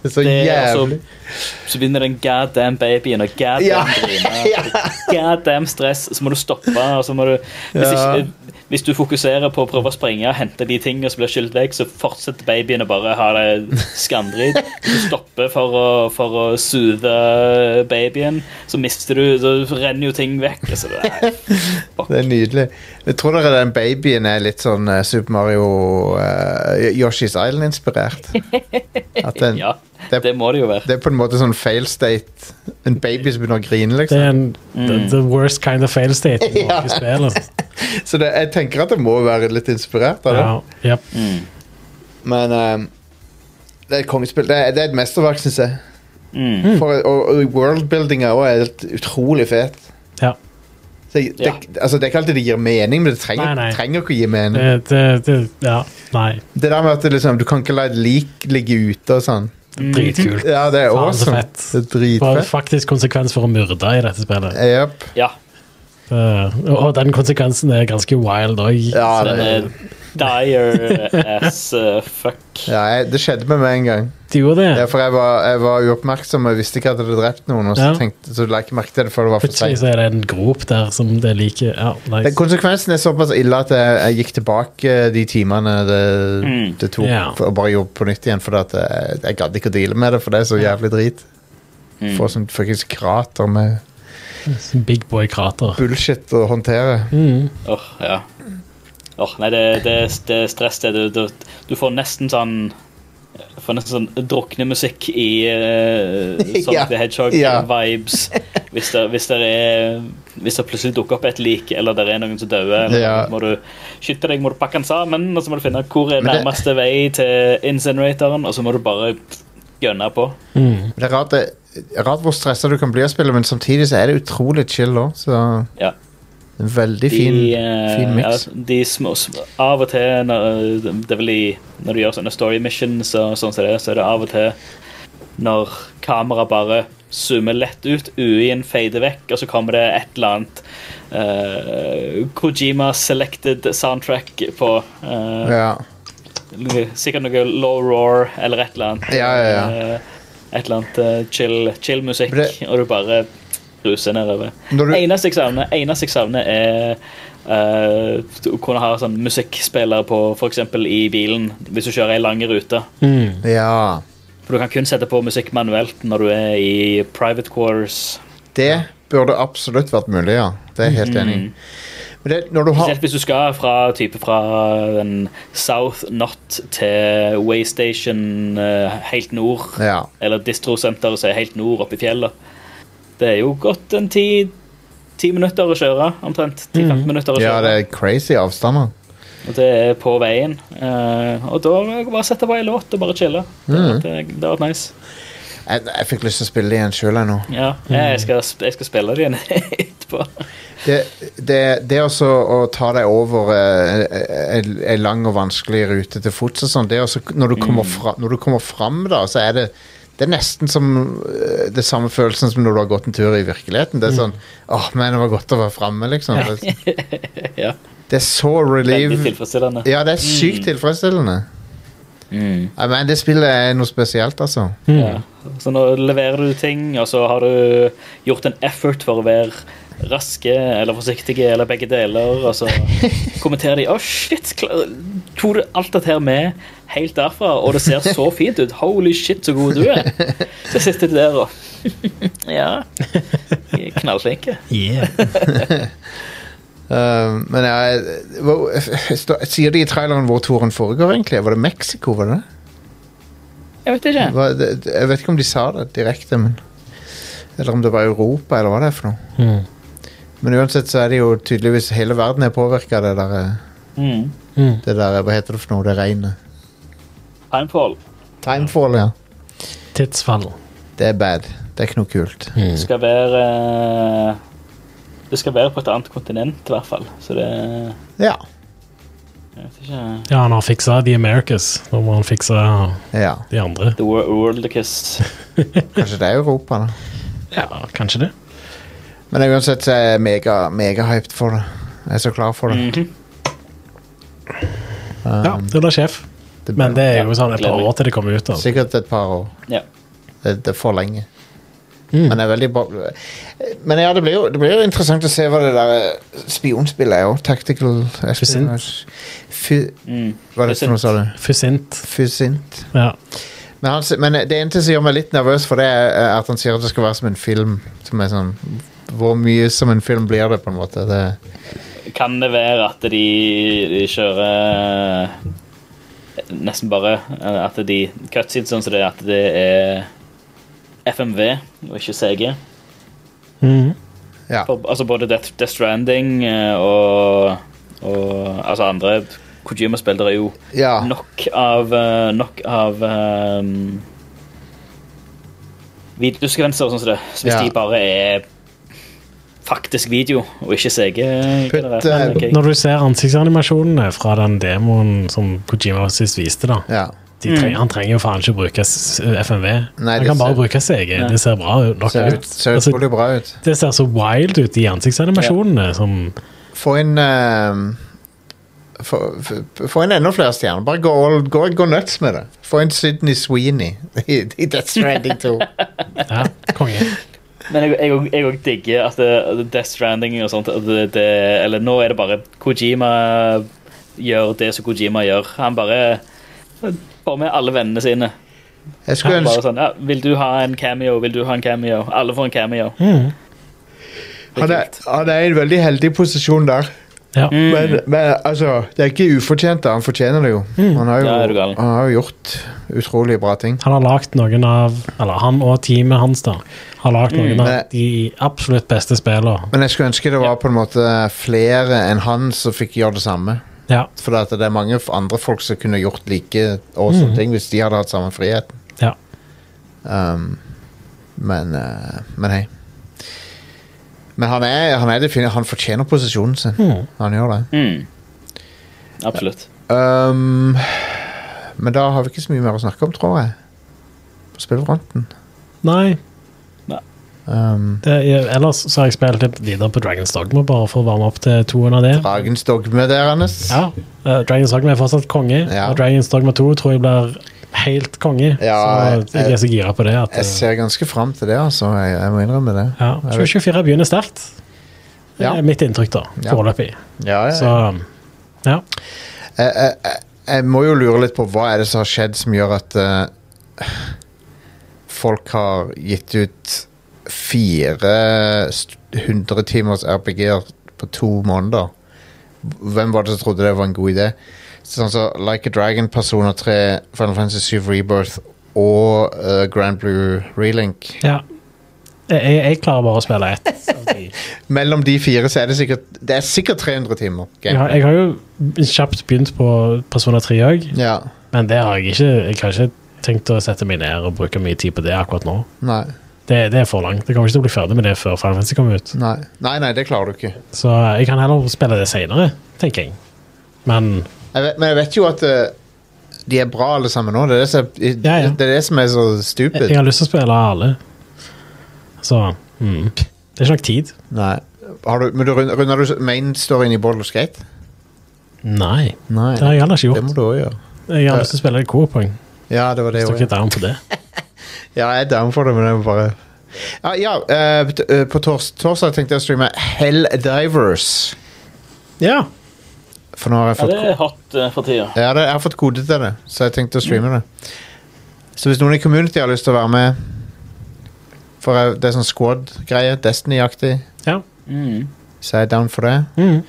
Speaker 3: Det er så
Speaker 5: Det er
Speaker 3: jævlig.
Speaker 5: altså- Så begynner den goddamn babyen og goddamn
Speaker 3: Ja.
Speaker 5: griner. Goddamn stress. Så må du stoppe. Og så må du, hvis,
Speaker 3: Ja.
Speaker 5: ikke, hvis du fokuserer på å prøve å springe og hente de tingene som blir skyldt deg, så fortsetter babyen å bare ha det skamdrit. Du stopper for å, for å soothe babyen, så mister du Så renner jo ting vekk. Altså, det er,
Speaker 3: Det er nydelig. Jeg tror dere den babyen er litt sånn eh, Super Mario eh, Yoshi's Island-inspirert. At den,
Speaker 5: ja,
Speaker 3: det,
Speaker 5: det må det jo være.
Speaker 3: det er på en måte sånn fail state. En baby som begynner å grine,
Speaker 4: Det
Speaker 3: liksom.
Speaker 4: er en, the, the worst kind of fail state i
Speaker 3: Ja.
Speaker 4: noe spill. altså.
Speaker 3: Så det, jeg tenker at det må være litt inspirert av det.
Speaker 4: Ja, jep.
Speaker 3: Men eh, det er et kongespill. Det er, det er et mesterverk, syns jeg.
Speaker 5: Mm.
Speaker 3: For, og, og worldbuildinga òg er helt utrolig fet.
Speaker 4: ja.
Speaker 3: Så jeg, det,
Speaker 5: Ja.
Speaker 3: altså, det er ikke alltid det gir mening, men det trenger,
Speaker 4: Nei, nei.
Speaker 3: trenger ikke å gi mening.
Speaker 4: Det, det, det, ja. Nei.
Speaker 3: Det der med at det, liksom, du kan ikke la et lik ligge ute og sånn.
Speaker 4: Mm. Dritkult.
Speaker 3: Ja, det er
Speaker 4: Faen, så
Speaker 3: awesome.
Speaker 4: fett.
Speaker 3: Det er
Speaker 4: Det var
Speaker 3: dritfett.
Speaker 4: faktisk konsekvens for å myrde i dette spillet.
Speaker 3: Yep.
Speaker 5: Ja.
Speaker 4: Eh, og- og den konsekvensen er ganske wild òg.
Speaker 3: Ja,
Speaker 5: Den
Speaker 3: det,
Speaker 5: er Eh, dire as uh, fuck.
Speaker 3: ja jeg, det skjedde med meg en gang.
Speaker 4: Du gjorde det?
Speaker 3: Ja, for jeg var, jeg var uoppmerksom og jeg visste ikke at jeg hadde drept noen. Og så,
Speaker 4: Ja.
Speaker 3: tenkte, så la jeg ikke merke til det før det var for
Speaker 4: Plutselig
Speaker 3: seint.
Speaker 4: så er det en grop der som det liker. Ja, nice.
Speaker 3: Konsekvensen er såpass ille at jeg, jeg gikk tilbake eh, de timene det,
Speaker 5: Mm.
Speaker 3: det tok,
Speaker 4: Ja.
Speaker 3: for, og bare gjorde på nytt igjen, for at jeg, jeg gadd ikke å deale med det, for det er så jævlig drit.
Speaker 5: Mm.
Speaker 3: Få sånn fuckings krater med
Speaker 4: Big boy-krater.
Speaker 3: bullshit å håndtere.
Speaker 4: Mm.
Speaker 5: Åh, ja. Åh, nei, det, det, det er stress, det. Du, du, du får nesten sånn du Får nesten sånn drukne musikk i uh, Sonic
Speaker 3: Ja,
Speaker 5: the
Speaker 3: ja.
Speaker 5: Hedgehog-vibes. Hvis, det- hvis, det er- hvis det plutselig dukker opp et lik, eller det er noen som dør, eller
Speaker 3: Ja.
Speaker 5: må du skyte deg, må du pakke den sammen, og så må du finne ut hvor er
Speaker 3: Men det-
Speaker 5: nærmeste vei til incineratoren, og så må du bare gønne på.
Speaker 4: Mm.
Speaker 3: Det er rart, det, rart hvor stressa du kan bli av spillet, men samtidig så er det utrolig chill òg, så
Speaker 5: Ja.
Speaker 3: en veldig fin,
Speaker 5: eh,
Speaker 3: fin miks.
Speaker 5: Ja, de små, små, av og til når, eh, Det er vel i Når du gjør sånne story missions og sånn som det, er, så er det av og til når kameraet bare zoomer lett ut, UI-en fader vekk, og så kommer det et eller annet eh, Kojima selected soundtrack på eh,
Speaker 3: Ja.
Speaker 5: Sikkert noe low roar eller et eller annet.
Speaker 3: Ja, ja, ja.
Speaker 5: Eh, et eller annet eh, chill, chill musikk,
Speaker 3: Men det-
Speaker 5: og du bare ruser nedover.
Speaker 3: Når du-
Speaker 5: Eneste jeg savner, eneste jeg savner er eh, å kunne ha sånn musikkspiller på f.eks. i bilen hvis du kjører ei lang rute.
Speaker 4: Mm.
Speaker 3: ja.
Speaker 5: For du kan kun sette på musikk manuelt når du er i private quarters.
Speaker 3: Det burde absolutt vært mulig, ja. Det er jeg helt enig i. Men det, når du har
Speaker 5: Spesielt Mhm. hvis du skal fra type fra den South Not til Waystation eh, helt nord.
Speaker 3: Ja.
Speaker 5: Eller distrosenteret som er helt nord oppe i fjellet. Det er jo godt en ti, ti minutter å kjøre, omtrent. 10-15 minutter å
Speaker 3: ja,
Speaker 5: kjøre.
Speaker 3: det er crazy avstander.
Speaker 5: Og det er på veien. Eh, og da må jeg bare sette på en låt og bare chille. Det har vært- det har vært nice.
Speaker 3: Jeg, jeg fikk lyst til å spille det igjen sjøl nå.
Speaker 5: Ja, jeg skal, sp- jeg skal spille det igjen etterpå.
Speaker 3: Det, det, det også å ta deg over ei lang og vanskelig rute til fots og sånn, det også, når, du
Speaker 5: Mhm.
Speaker 3: kommer fra, når du kommer fram, da, så er det det er nesten som eh, det samme følelsen som når du har gått en tur i virkeligheten. Det er sånn åh, men det var godt å være framme, liksom. Det,
Speaker 5: Mhm. Ja,
Speaker 3: det er så relief.
Speaker 5: Veldig tilfredsstillende.
Speaker 3: Ja, det er sykt tilfredsstillende.
Speaker 5: Mm.
Speaker 3: Ja, men det spillet er noe spesielt, altså.
Speaker 5: Ja. Så nå leverer du ting, og så har du gjort en effort for å være raske eller forsiktige eller begge deler, og så kommenterer de 'Å, shit, kla- tok du alt dette her med helt derfra?' Og det ser så fint ut. 'Holy shit, så god du er'. Så sitter de der og Ja. de er Knallflinke.
Speaker 4: Yeah.
Speaker 3: Eh, men jeg, hvor- Sier de i traileren hvor turen foregår, egentlig? Var det Mexico, var det det?
Speaker 5: Jeg vet ikke.
Speaker 3: Hva, det, det- jeg vet ikke om de sa det direkte, men Eller om det var Europa, eller hva det er for noe.
Speaker 4: Mm.
Speaker 3: Men uansett så er det jo tydeligvis hele verden er påvirka av det der, eh,
Speaker 5: Mm.
Speaker 3: det der Hva heter det for noe? Det regnet.
Speaker 5: Timefall.
Speaker 3: Timefall, ja.
Speaker 4: Tidsfall.
Speaker 3: Det er bad. Det er ikke noe kult.
Speaker 5: Det skal være eh, Det skal være på et annet kontinent, i hvert fall. Så det
Speaker 3: Ja.
Speaker 5: Jeg vet ikke
Speaker 4: Ja, han har fiksa The Americas. Nå må han fikse
Speaker 3: ja.
Speaker 4: de andre.
Speaker 5: The Wor- World Kiss.
Speaker 3: Kanskje det er Europa, da.
Speaker 4: Ja, kanskje det.
Speaker 3: Men uansett så er jeg mega, mega hyped for det. Jeg er så klar for det.
Speaker 4: Ja, det blir sjef.
Speaker 3: det
Speaker 4: Men det er jo
Speaker 5: Ja,
Speaker 4: sånn et par
Speaker 5: gleder meg.
Speaker 4: år til det kommer ut. Altså.
Speaker 3: Sikkert et par år.
Speaker 5: Ja.
Speaker 3: Det, det er for lenge.
Speaker 4: Mm.
Speaker 3: Men det er veldig bra Men ja, det blir, jo, det blir jo interessant å se hva det der eh, spionspillet er òg. Tactical espionage. Fy,
Speaker 5: Mm.
Speaker 3: hva er det for noe, sa du?
Speaker 4: Fusint.
Speaker 3: Fusint.
Speaker 4: Ja.
Speaker 3: Men, han, s- men det eneste som gjør meg litt nervøs for det, er eh, at han sier at det skal være som en film. Som er sånn Hvor mye som en film blir det, på en måte? Det,
Speaker 5: Kan det være at de, de kjører eh, Nesten bare eh, at de cutscenes sånn som det er at det er FMV og ikke CG.
Speaker 4: Mhm.
Speaker 3: ja.
Speaker 5: For, altså både Death, Death Stranding eh, og, og altså andre Kojima-spill. Det er jo
Speaker 3: ja.
Speaker 5: nok av eh, Nok av um, Videosekvenser og sånn som det. Så hvis
Speaker 3: Ja.
Speaker 5: de bare er faktisk video og ikke CG
Speaker 3: Putt,
Speaker 5: generert,
Speaker 3: eh,
Speaker 5: men ok.
Speaker 4: Når du ser ansiktsanimasjonene fra den demoen som Kojima sist viste, da
Speaker 3: ja. Mm.
Speaker 4: de treng, Han trenger jo faen ikke bruke s- FMV.
Speaker 3: Nei,
Speaker 4: han
Speaker 3: det
Speaker 4: kan bare
Speaker 3: ser-
Speaker 4: bruke CG.
Speaker 5: Ja.
Speaker 4: Det ser bra ut- nok
Speaker 3: Ser
Speaker 4: ut.
Speaker 3: ut- ser
Speaker 4: Altså,
Speaker 3: utrolig bra ut.
Speaker 4: det ser så wild ut i ansiktsanimasjonene. Som,
Speaker 3: Få inn ehm, få- f- Få inn enda flere stjerner. Bare gå, all, gå, gå nuts med det. Få inn Sydney Sweeney i, i Death Stranding 2.
Speaker 4: ja, konge.
Speaker 5: Men jeg- jeg òg- jeg òg digger at det- Death Stranding og sånt at det, det, Eller nå er det bare Kojima gjør det som Kojima gjør. Han bare får med alle vennene sine.
Speaker 3: Jeg skulle
Speaker 5: Bare
Speaker 3: ønske
Speaker 5: sånn, ja, 'Vil du ha en cameo? Vil du ha en cameo?' Alle får en cameo.
Speaker 3: han er, han er i en veldig heldig posisjon der.
Speaker 4: Ja.
Speaker 5: Mm.
Speaker 3: Men, men altså, det er ikke ufortjent. da. Han fortjener det jo. Han har jo,
Speaker 5: Mm. Ja, er du gal.
Speaker 3: han har jo gjort utrolig bra ting.
Speaker 4: Han har lagt noen av Eller han og teamet hans da har lagt noen
Speaker 3: Men-
Speaker 4: av de absolutt beste spillene.
Speaker 3: Men jeg skulle ønske det var på en måte flere enn han som fikk gjøre det samme.
Speaker 4: Ja,
Speaker 3: For det at det er mange f- andre folk som kunne gjort like
Speaker 5: Mm.
Speaker 3: awesome ting hvis de hadde hatt samme friheten.
Speaker 4: ja.
Speaker 3: Um, men, eh, men hei. Men han er, han er defini- Han fortjener posisjonen sin. Han gjør det.
Speaker 5: Mm. Absolutt.
Speaker 3: Um, men da har vi ikke så mye mer å snakke om, tror jeg. På spillfronten.
Speaker 4: Nei,
Speaker 3: Um,
Speaker 4: det, er- ellers så har jeg spilt litt videre på Dragons Dogma, bare for å varme opp til toen av det.
Speaker 3: Dragens dogme deres.
Speaker 4: Ja, eh, Dragons Dogma er fortsatt konge,
Speaker 3: Ja.
Speaker 4: og Dragons Dogma 2 tror jeg blir helt konge.
Speaker 3: Ja,
Speaker 4: så jeg er så gira på det. At, eh,
Speaker 3: Jeg ser ganske fram til det, altså. Jeg, jeg må innrømme det.
Speaker 4: ja,
Speaker 3: Jeg vet-
Speaker 4: 2024 begynner sterkt. Det
Speaker 3: Ja.
Speaker 4: er mitt inntrykk, da.
Speaker 3: Ja.
Speaker 4: Foreløpig.
Speaker 3: Ja, ja.
Speaker 4: Så ja.
Speaker 3: jeg, jeg, jeg- jeg må jo lure litt på hva er det som har skjedd som gjør at eh, folk har gitt ut 400 timers RPG-er på to måneder. Hvem var det som trodde det var en god idé? Sånn som Like a Dragon, Persona 3, Final Fantasy 7 Rebirth og eh, Grand Blue Relink.
Speaker 4: ja. Jeg, jeg klarer bare å spille ett. av de.
Speaker 3: Mellom de fire så er det sikkert Det er sikkert 300 timer.
Speaker 4: Jeg har,
Speaker 3: gameplay.
Speaker 4: jeg har jo kjapt begynt på Persona 3 òg,
Speaker 3: Ja,
Speaker 4: men det har jeg ikke Jeg har ikke tenkt å sette meg ned og bruke mye tid på det akkurat nå.
Speaker 3: nei,
Speaker 4: Det, det er for langt. Jeg kommer ikke til å bli ferdig med det før Final Fantasy kommer ut.
Speaker 3: nei. Nei, nei, det klarer du ikke.
Speaker 4: Så jeg kan heller spille det senere, tenker jeg. Men
Speaker 3: Jeg vet, men jeg vet jo at eh, de er bra alle sammen nå. Det er det som, i-
Speaker 4: Ja, ja.
Speaker 3: Det er, det som er så stupid.
Speaker 4: jeg, jeg har lyst til å spille alle. Så mm. Det er ikke nok tid.
Speaker 3: Nei. Har du, men du rund- runder du main storyen i Boulder Skate?
Speaker 4: Nei.
Speaker 3: Nei.
Speaker 4: Det har jeg heller ikke
Speaker 3: Det må
Speaker 4: gjort.
Speaker 3: du òg gjøre.
Speaker 4: Jeg har lyst til å spille Coop-poeng.
Speaker 3: Ja, det var det
Speaker 4: Hvis
Speaker 3: også,
Speaker 4: dere er down på det.
Speaker 3: Ja, jeg er down for det, men jeg må bare Ja, ja eh, t- eh, på tors torsdag tenkte jeg å streame Helldivers.
Speaker 4: Ja.
Speaker 3: For nå har jeg
Speaker 5: Ja,
Speaker 3: fått
Speaker 5: det er hot eh, for tida.
Speaker 3: Ja, det, jeg har fått kode til det, så jeg tenkte å streame
Speaker 4: Mm.
Speaker 3: det. Så hvis noen i community har lyst til å være med For eh, det er sånn squad-greie, Destiny-aktig,
Speaker 4: ja.
Speaker 5: Mm.
Speaker 3: så jeg er down for det.
Speaker 4: Mhm.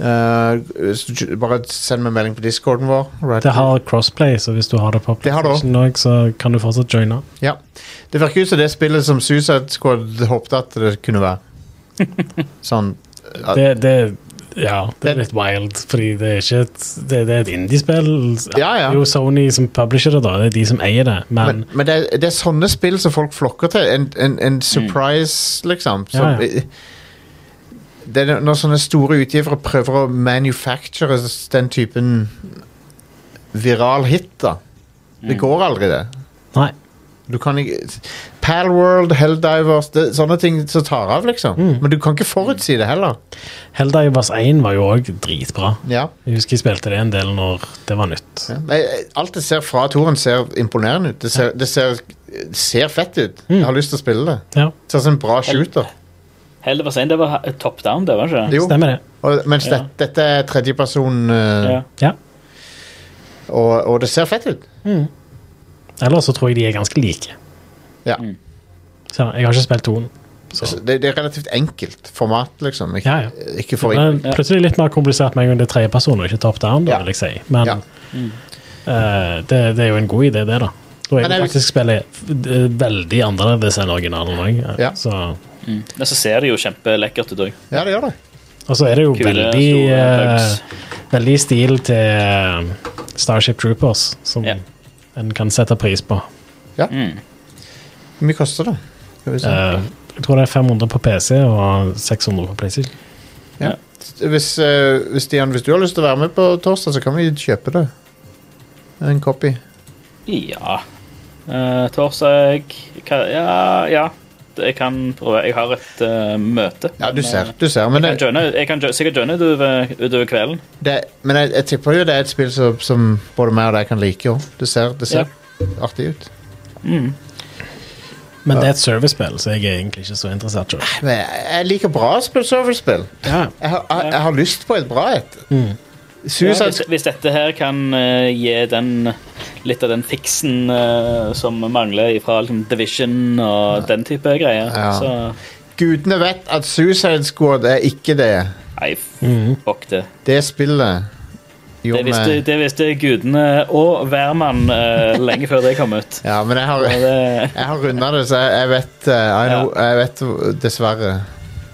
Speaker 3: Eh, hvis du ikke- bare send meg melding på discorden vår. Right.
Speaker 4: Det har crossplay, så hvis du har det på
Speaker 3: Det har det
Speaker 4: PlayStation òg, så kan du fortsatt joine.
Speaker 3: Ja. Det virker ut som det spillet som Suicide Squad håpte at det kunne være. sånn Ja.
Speaker 4: Det, det ja, det
Speaker 3: Det-
Speaker 4: er litt wild, fordi det er ikke et, det, det er et indiespill.
Speaker 3: Ja, ja.
Speaker 4: Det er jo Sony som publisher det, da. Det er de som eier det. Men,
Speaker 3: Men, men det, er, det er sånne spill som folk flokker til. En, en, en surprise, liksom. Som,
Speaker 4: Mm. Ja, ja.
Speaker 3: Det er når sånne store utgivere prøver å manufacture den typen viral hit, da.
Speaker 4: Mm.
Speaker 3: Det går aldri, det.
Speaker 4: nei.
Speaker 3: Du kan ikke Palworld, Helldivers det, Sånne ting som tar av, liksom. Men du kan ikke forutsi det heller.
Speaker 4: Helldivers 1 var jo òg dritbra.
Speaker 3: Ja.
Speaker 4: Jeg husker jeg spilte det en del når det var nytt.
Speaker 3: Ja. Nei, Alt det ser fra toren, ser imponerende ut. Det ser, det ser, ser fett ut. Jeg har lyst til å spille det.
Speaker 4: Ja,
Speaker 3: Det ser ut som en bra shooter.
Speaker 5: Heller var sein, det var he- top down, det, var ikke det?
Speaker 3: Jo.
Speaker 4: stemmer det.
Speaker 3: Og, mens
Speaker 5: Ja.
Speaker 3: det, dette er tredjeperson, uh,
Speaker 5: Ja.
Speaker 4: Ja.
Speaker 3: og, og det ser fett ut.
Speaker 4: Ellers så tror jeg de er ganske like.
Speaker 3: Ja.
Speaker 5: Mm.
Speaker 4: Så jeg har ikke spilt toen. Så.
Speaker 3: Så Det, det er relativt enkelt format, liksom. Ikke,
Speaker 4: Ja, ja.
Speaker 3: ikke for
Speaker 4: Men
Speaker 5: Ja.
Speaker 4: plutselig litt mer komplisert med en gang det er tredjeperson og ikke top down, da,
Speaker 3: Ja.
Speaker 4: vil jeg si. Men
Speaker 3: Ja.
Speaker 4: eh, det, det er jo en god idé, det, da. Da er
Speaker 3: Men
Speaker 4: det
Speaker 3: jeg-
Speaker 4: faktisk spillet f- d- veldig annerledes enn originalen òg.
Speaker 3: Ja.
Speaker 5: Men så ser det jo kjempelekkert ut òg.
Speaker 3: Ja, det gjør det.
Speaker 4: Og så er det jo
Speaker 5: Kule,
Speaker 4: veldig
Speaker 5: store
Speaker 4: eh,
Speaker 5: bugs.
Speaker 4: Veldig stil til eh, Starship Troopers, som
Speaker 5: Ja.
Speaker 4: en kan sette pris på.
Speaker 3: Hvor mye koster det? Skal vi se.
Speaker 4: Eh, jeg tror det er 500 på PC og 600 på PlayStation.
Speaker 3: ja. Hvis, eh, hvis, Stian, hvis du har lyst til å være med på torsdag, så kan vi kjøpe det. En copy.
Speaker 5: Ja. Eh, torsdag hva- Ja, ja. Jeg kan prøve. Jeg har et eh, møte.
Speaker 3: Ja, du
Speaker 5: men,
Speaker 3: ser.
Speaker 5: eh,
Speaker 3: Du ser men
Speaker 5: Jeg kan,
Speaker 3: det,
Speaker 5: joine, jeg kan jo, sikkert joine utover, utover kvelden.
Speaker 3: det, men jeg, jeg tipper jo det er et spill som, som både meg og deg kan like. jo. Det ser, det ser artig ut.
Speaker 4: Men det er et servicespill, så jeg er egentlig ikke så interessert. selv.
Speaker 3: Men jeg, jeg liker bra spill, serverspill.
Speaker 4: Ja.
Speaker 3: Jeg, har- jeg, jeg har lyst på et bra et.
Speaker 5: Mm.
Speaker 3: Suicide
Speaker 5: hvis, hvis dette her kan eh, gi den litt av den fiksen eh, som mangler fra liksom, Division og den type greier,
Speaker 3: Ja.
Speaker 5: så
Speaker 3: Gudene vet at Suicide Squad er ikke det.
Speaker 5: Nei, f-
Speaker 3: Mhm.
Speaker 5: fuck det.
Speaker 3: Det spillet
Speaker 5: Det
Speaker 3: gjorde
Speaker 5: visste,
Speaker 3: meg
Speaker 5: det visste gudene og hvermann eh, lenge før det kom ut.
Speaker 3: Ja, men jeg har,
Speaker 5: Og det,
Speaker 3: jeg har runda det, så jeg, jeg vet eh, I know, Jeg vet dessverre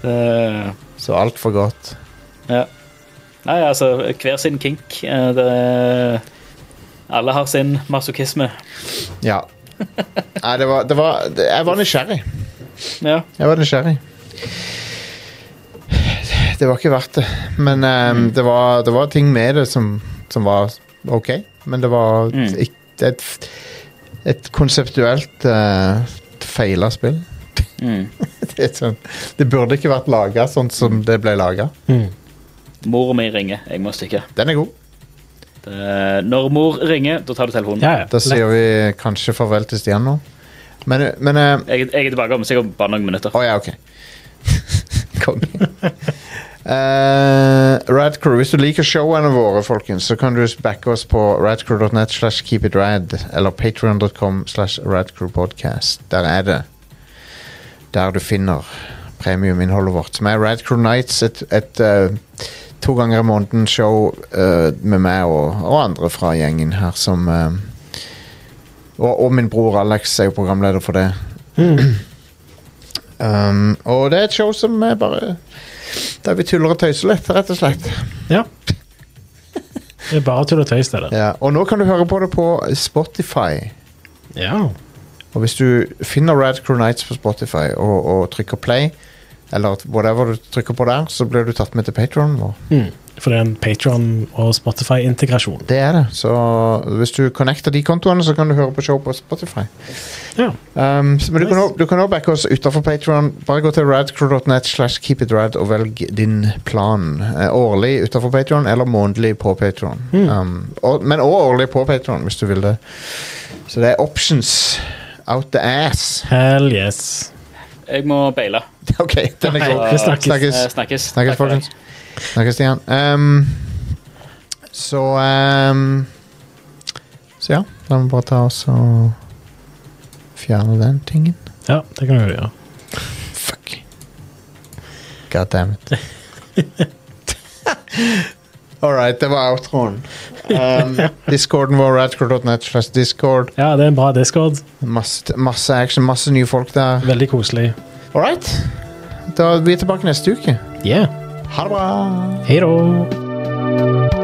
Speaker 5: det
Speaker 3: så altfor godt.
Speaker 5: Ja. Nei, altså, hver sin kink. eh, Det, alle har sin masochisme.
Speaker 3: Ja. Nei, det var, det var det, Jeg var nysgjerrig.
Speaker 5: Ja.
Speaker 3: Jeg var nysgjerrig. Det var ikke verdt det. Men eh, det, var, det var ting med det som, som var OK. Men det var
Speaker 5: Mm.
Speaker 3: ikke- et, et konseptuelt uh, feila spill.
Speaker 5: Mm.
Speaker 3: Det, er sånn, det burde ikke vært laga sånn som det ble laga.
Speaker 5: Mor mi ringer. Jeg må stikke.
Speaker 3: Den er god.
Speaker 5: Det, når mor ringer, da tar du telefonen.
Speaker 4: Ja, ja.
Speaker 3: Da sier vi kanskje farvel til Stian nå. Men, men eh,
Speaker 5: Jeg, jeg er tilbake om sikkert bare noen minutter.
Speaker 3: Å ja, ok. Konge. Eh, Radcrew, hvis du liker showene våre, folkens, så kan du backe oss på radcrew.net slash keepitrad eller patreon.com slash radcrewpodcast. Der er det. Der du finner premiuminnholdet vårt, som er Radcrew Nights, et, et eh, to ganger i måneden show eh, med meg og, og andre fra gjengen her som eh, og, og min bror Alex er jo programleder for det. Um, og det er et show som er bare Der vi tuller og tøyser litt, rett og slett.
Speaker 4: Ja. Det er bare tull og tøys, det der.
Speaker 3: Ja, og nå kan du høre på det på Spotify.
Speaker 4: Ja.
Speaker 3: Og hvis du finner Rad Crew Nights på Spotify og, og trykker play, eller whatever du trykker på der, så blir du tatt med til Patron vår.
Speaker 4: Mm. For det er en Patron- og Spotify-integrasjon.
Speaker 3: Det er det. Så hvis du connecter de kontoene, så kan du høre på show på Spotify.
Speaker 4: Ja.
Speaker 3: Um, så, men du kan
Speaker 4: Nice.
Speaker 3: også- du kan òg backe oss utafor Patron. Bare gå til radcrew.net slash keep it rad og velg din plan. Eh, Årlig utafor Patron eller månedlig på Patron.
Speaker 4: Hmm.
Speaker 3: Um, og, men òg årlig på Patron, hvis du vil det. Så det er options out the ass.
Speaker 4: Hell yes.
Speaker 5: Jeg må beile.
Speaker 3: OK, den er god.
Speaker 4: Hei, vi snakkes.
Speaker 3: Snakkes.
Speaker 5: Eh, Snakkes.
Speaker 3: Snakkes,
Speaker 5: Takk for
Speaker 3: folkens. Snakkes, Stian. Ehm, så ehm, Så ja, la meg bare ta oss og fjerne den tingen.
Speaker 4: Ja, det kan vi jo gjøre.
Speaker 3: Fuck. God damn it. All right, det var outroen. Ehm, Discorden vår, radcore.net slash discord.
Speaker 4: Ja, det er en bra Discord.
Speaker 3: Masse, masse action, masse nye folk der.
Speaker 4: Veldig koselig.
Speaker 3: All right. Da er vi tilbake neste uke.
Speaker 4: Yeah.
Speaker 3: Ha det bra.
Speaker 4: Hei da.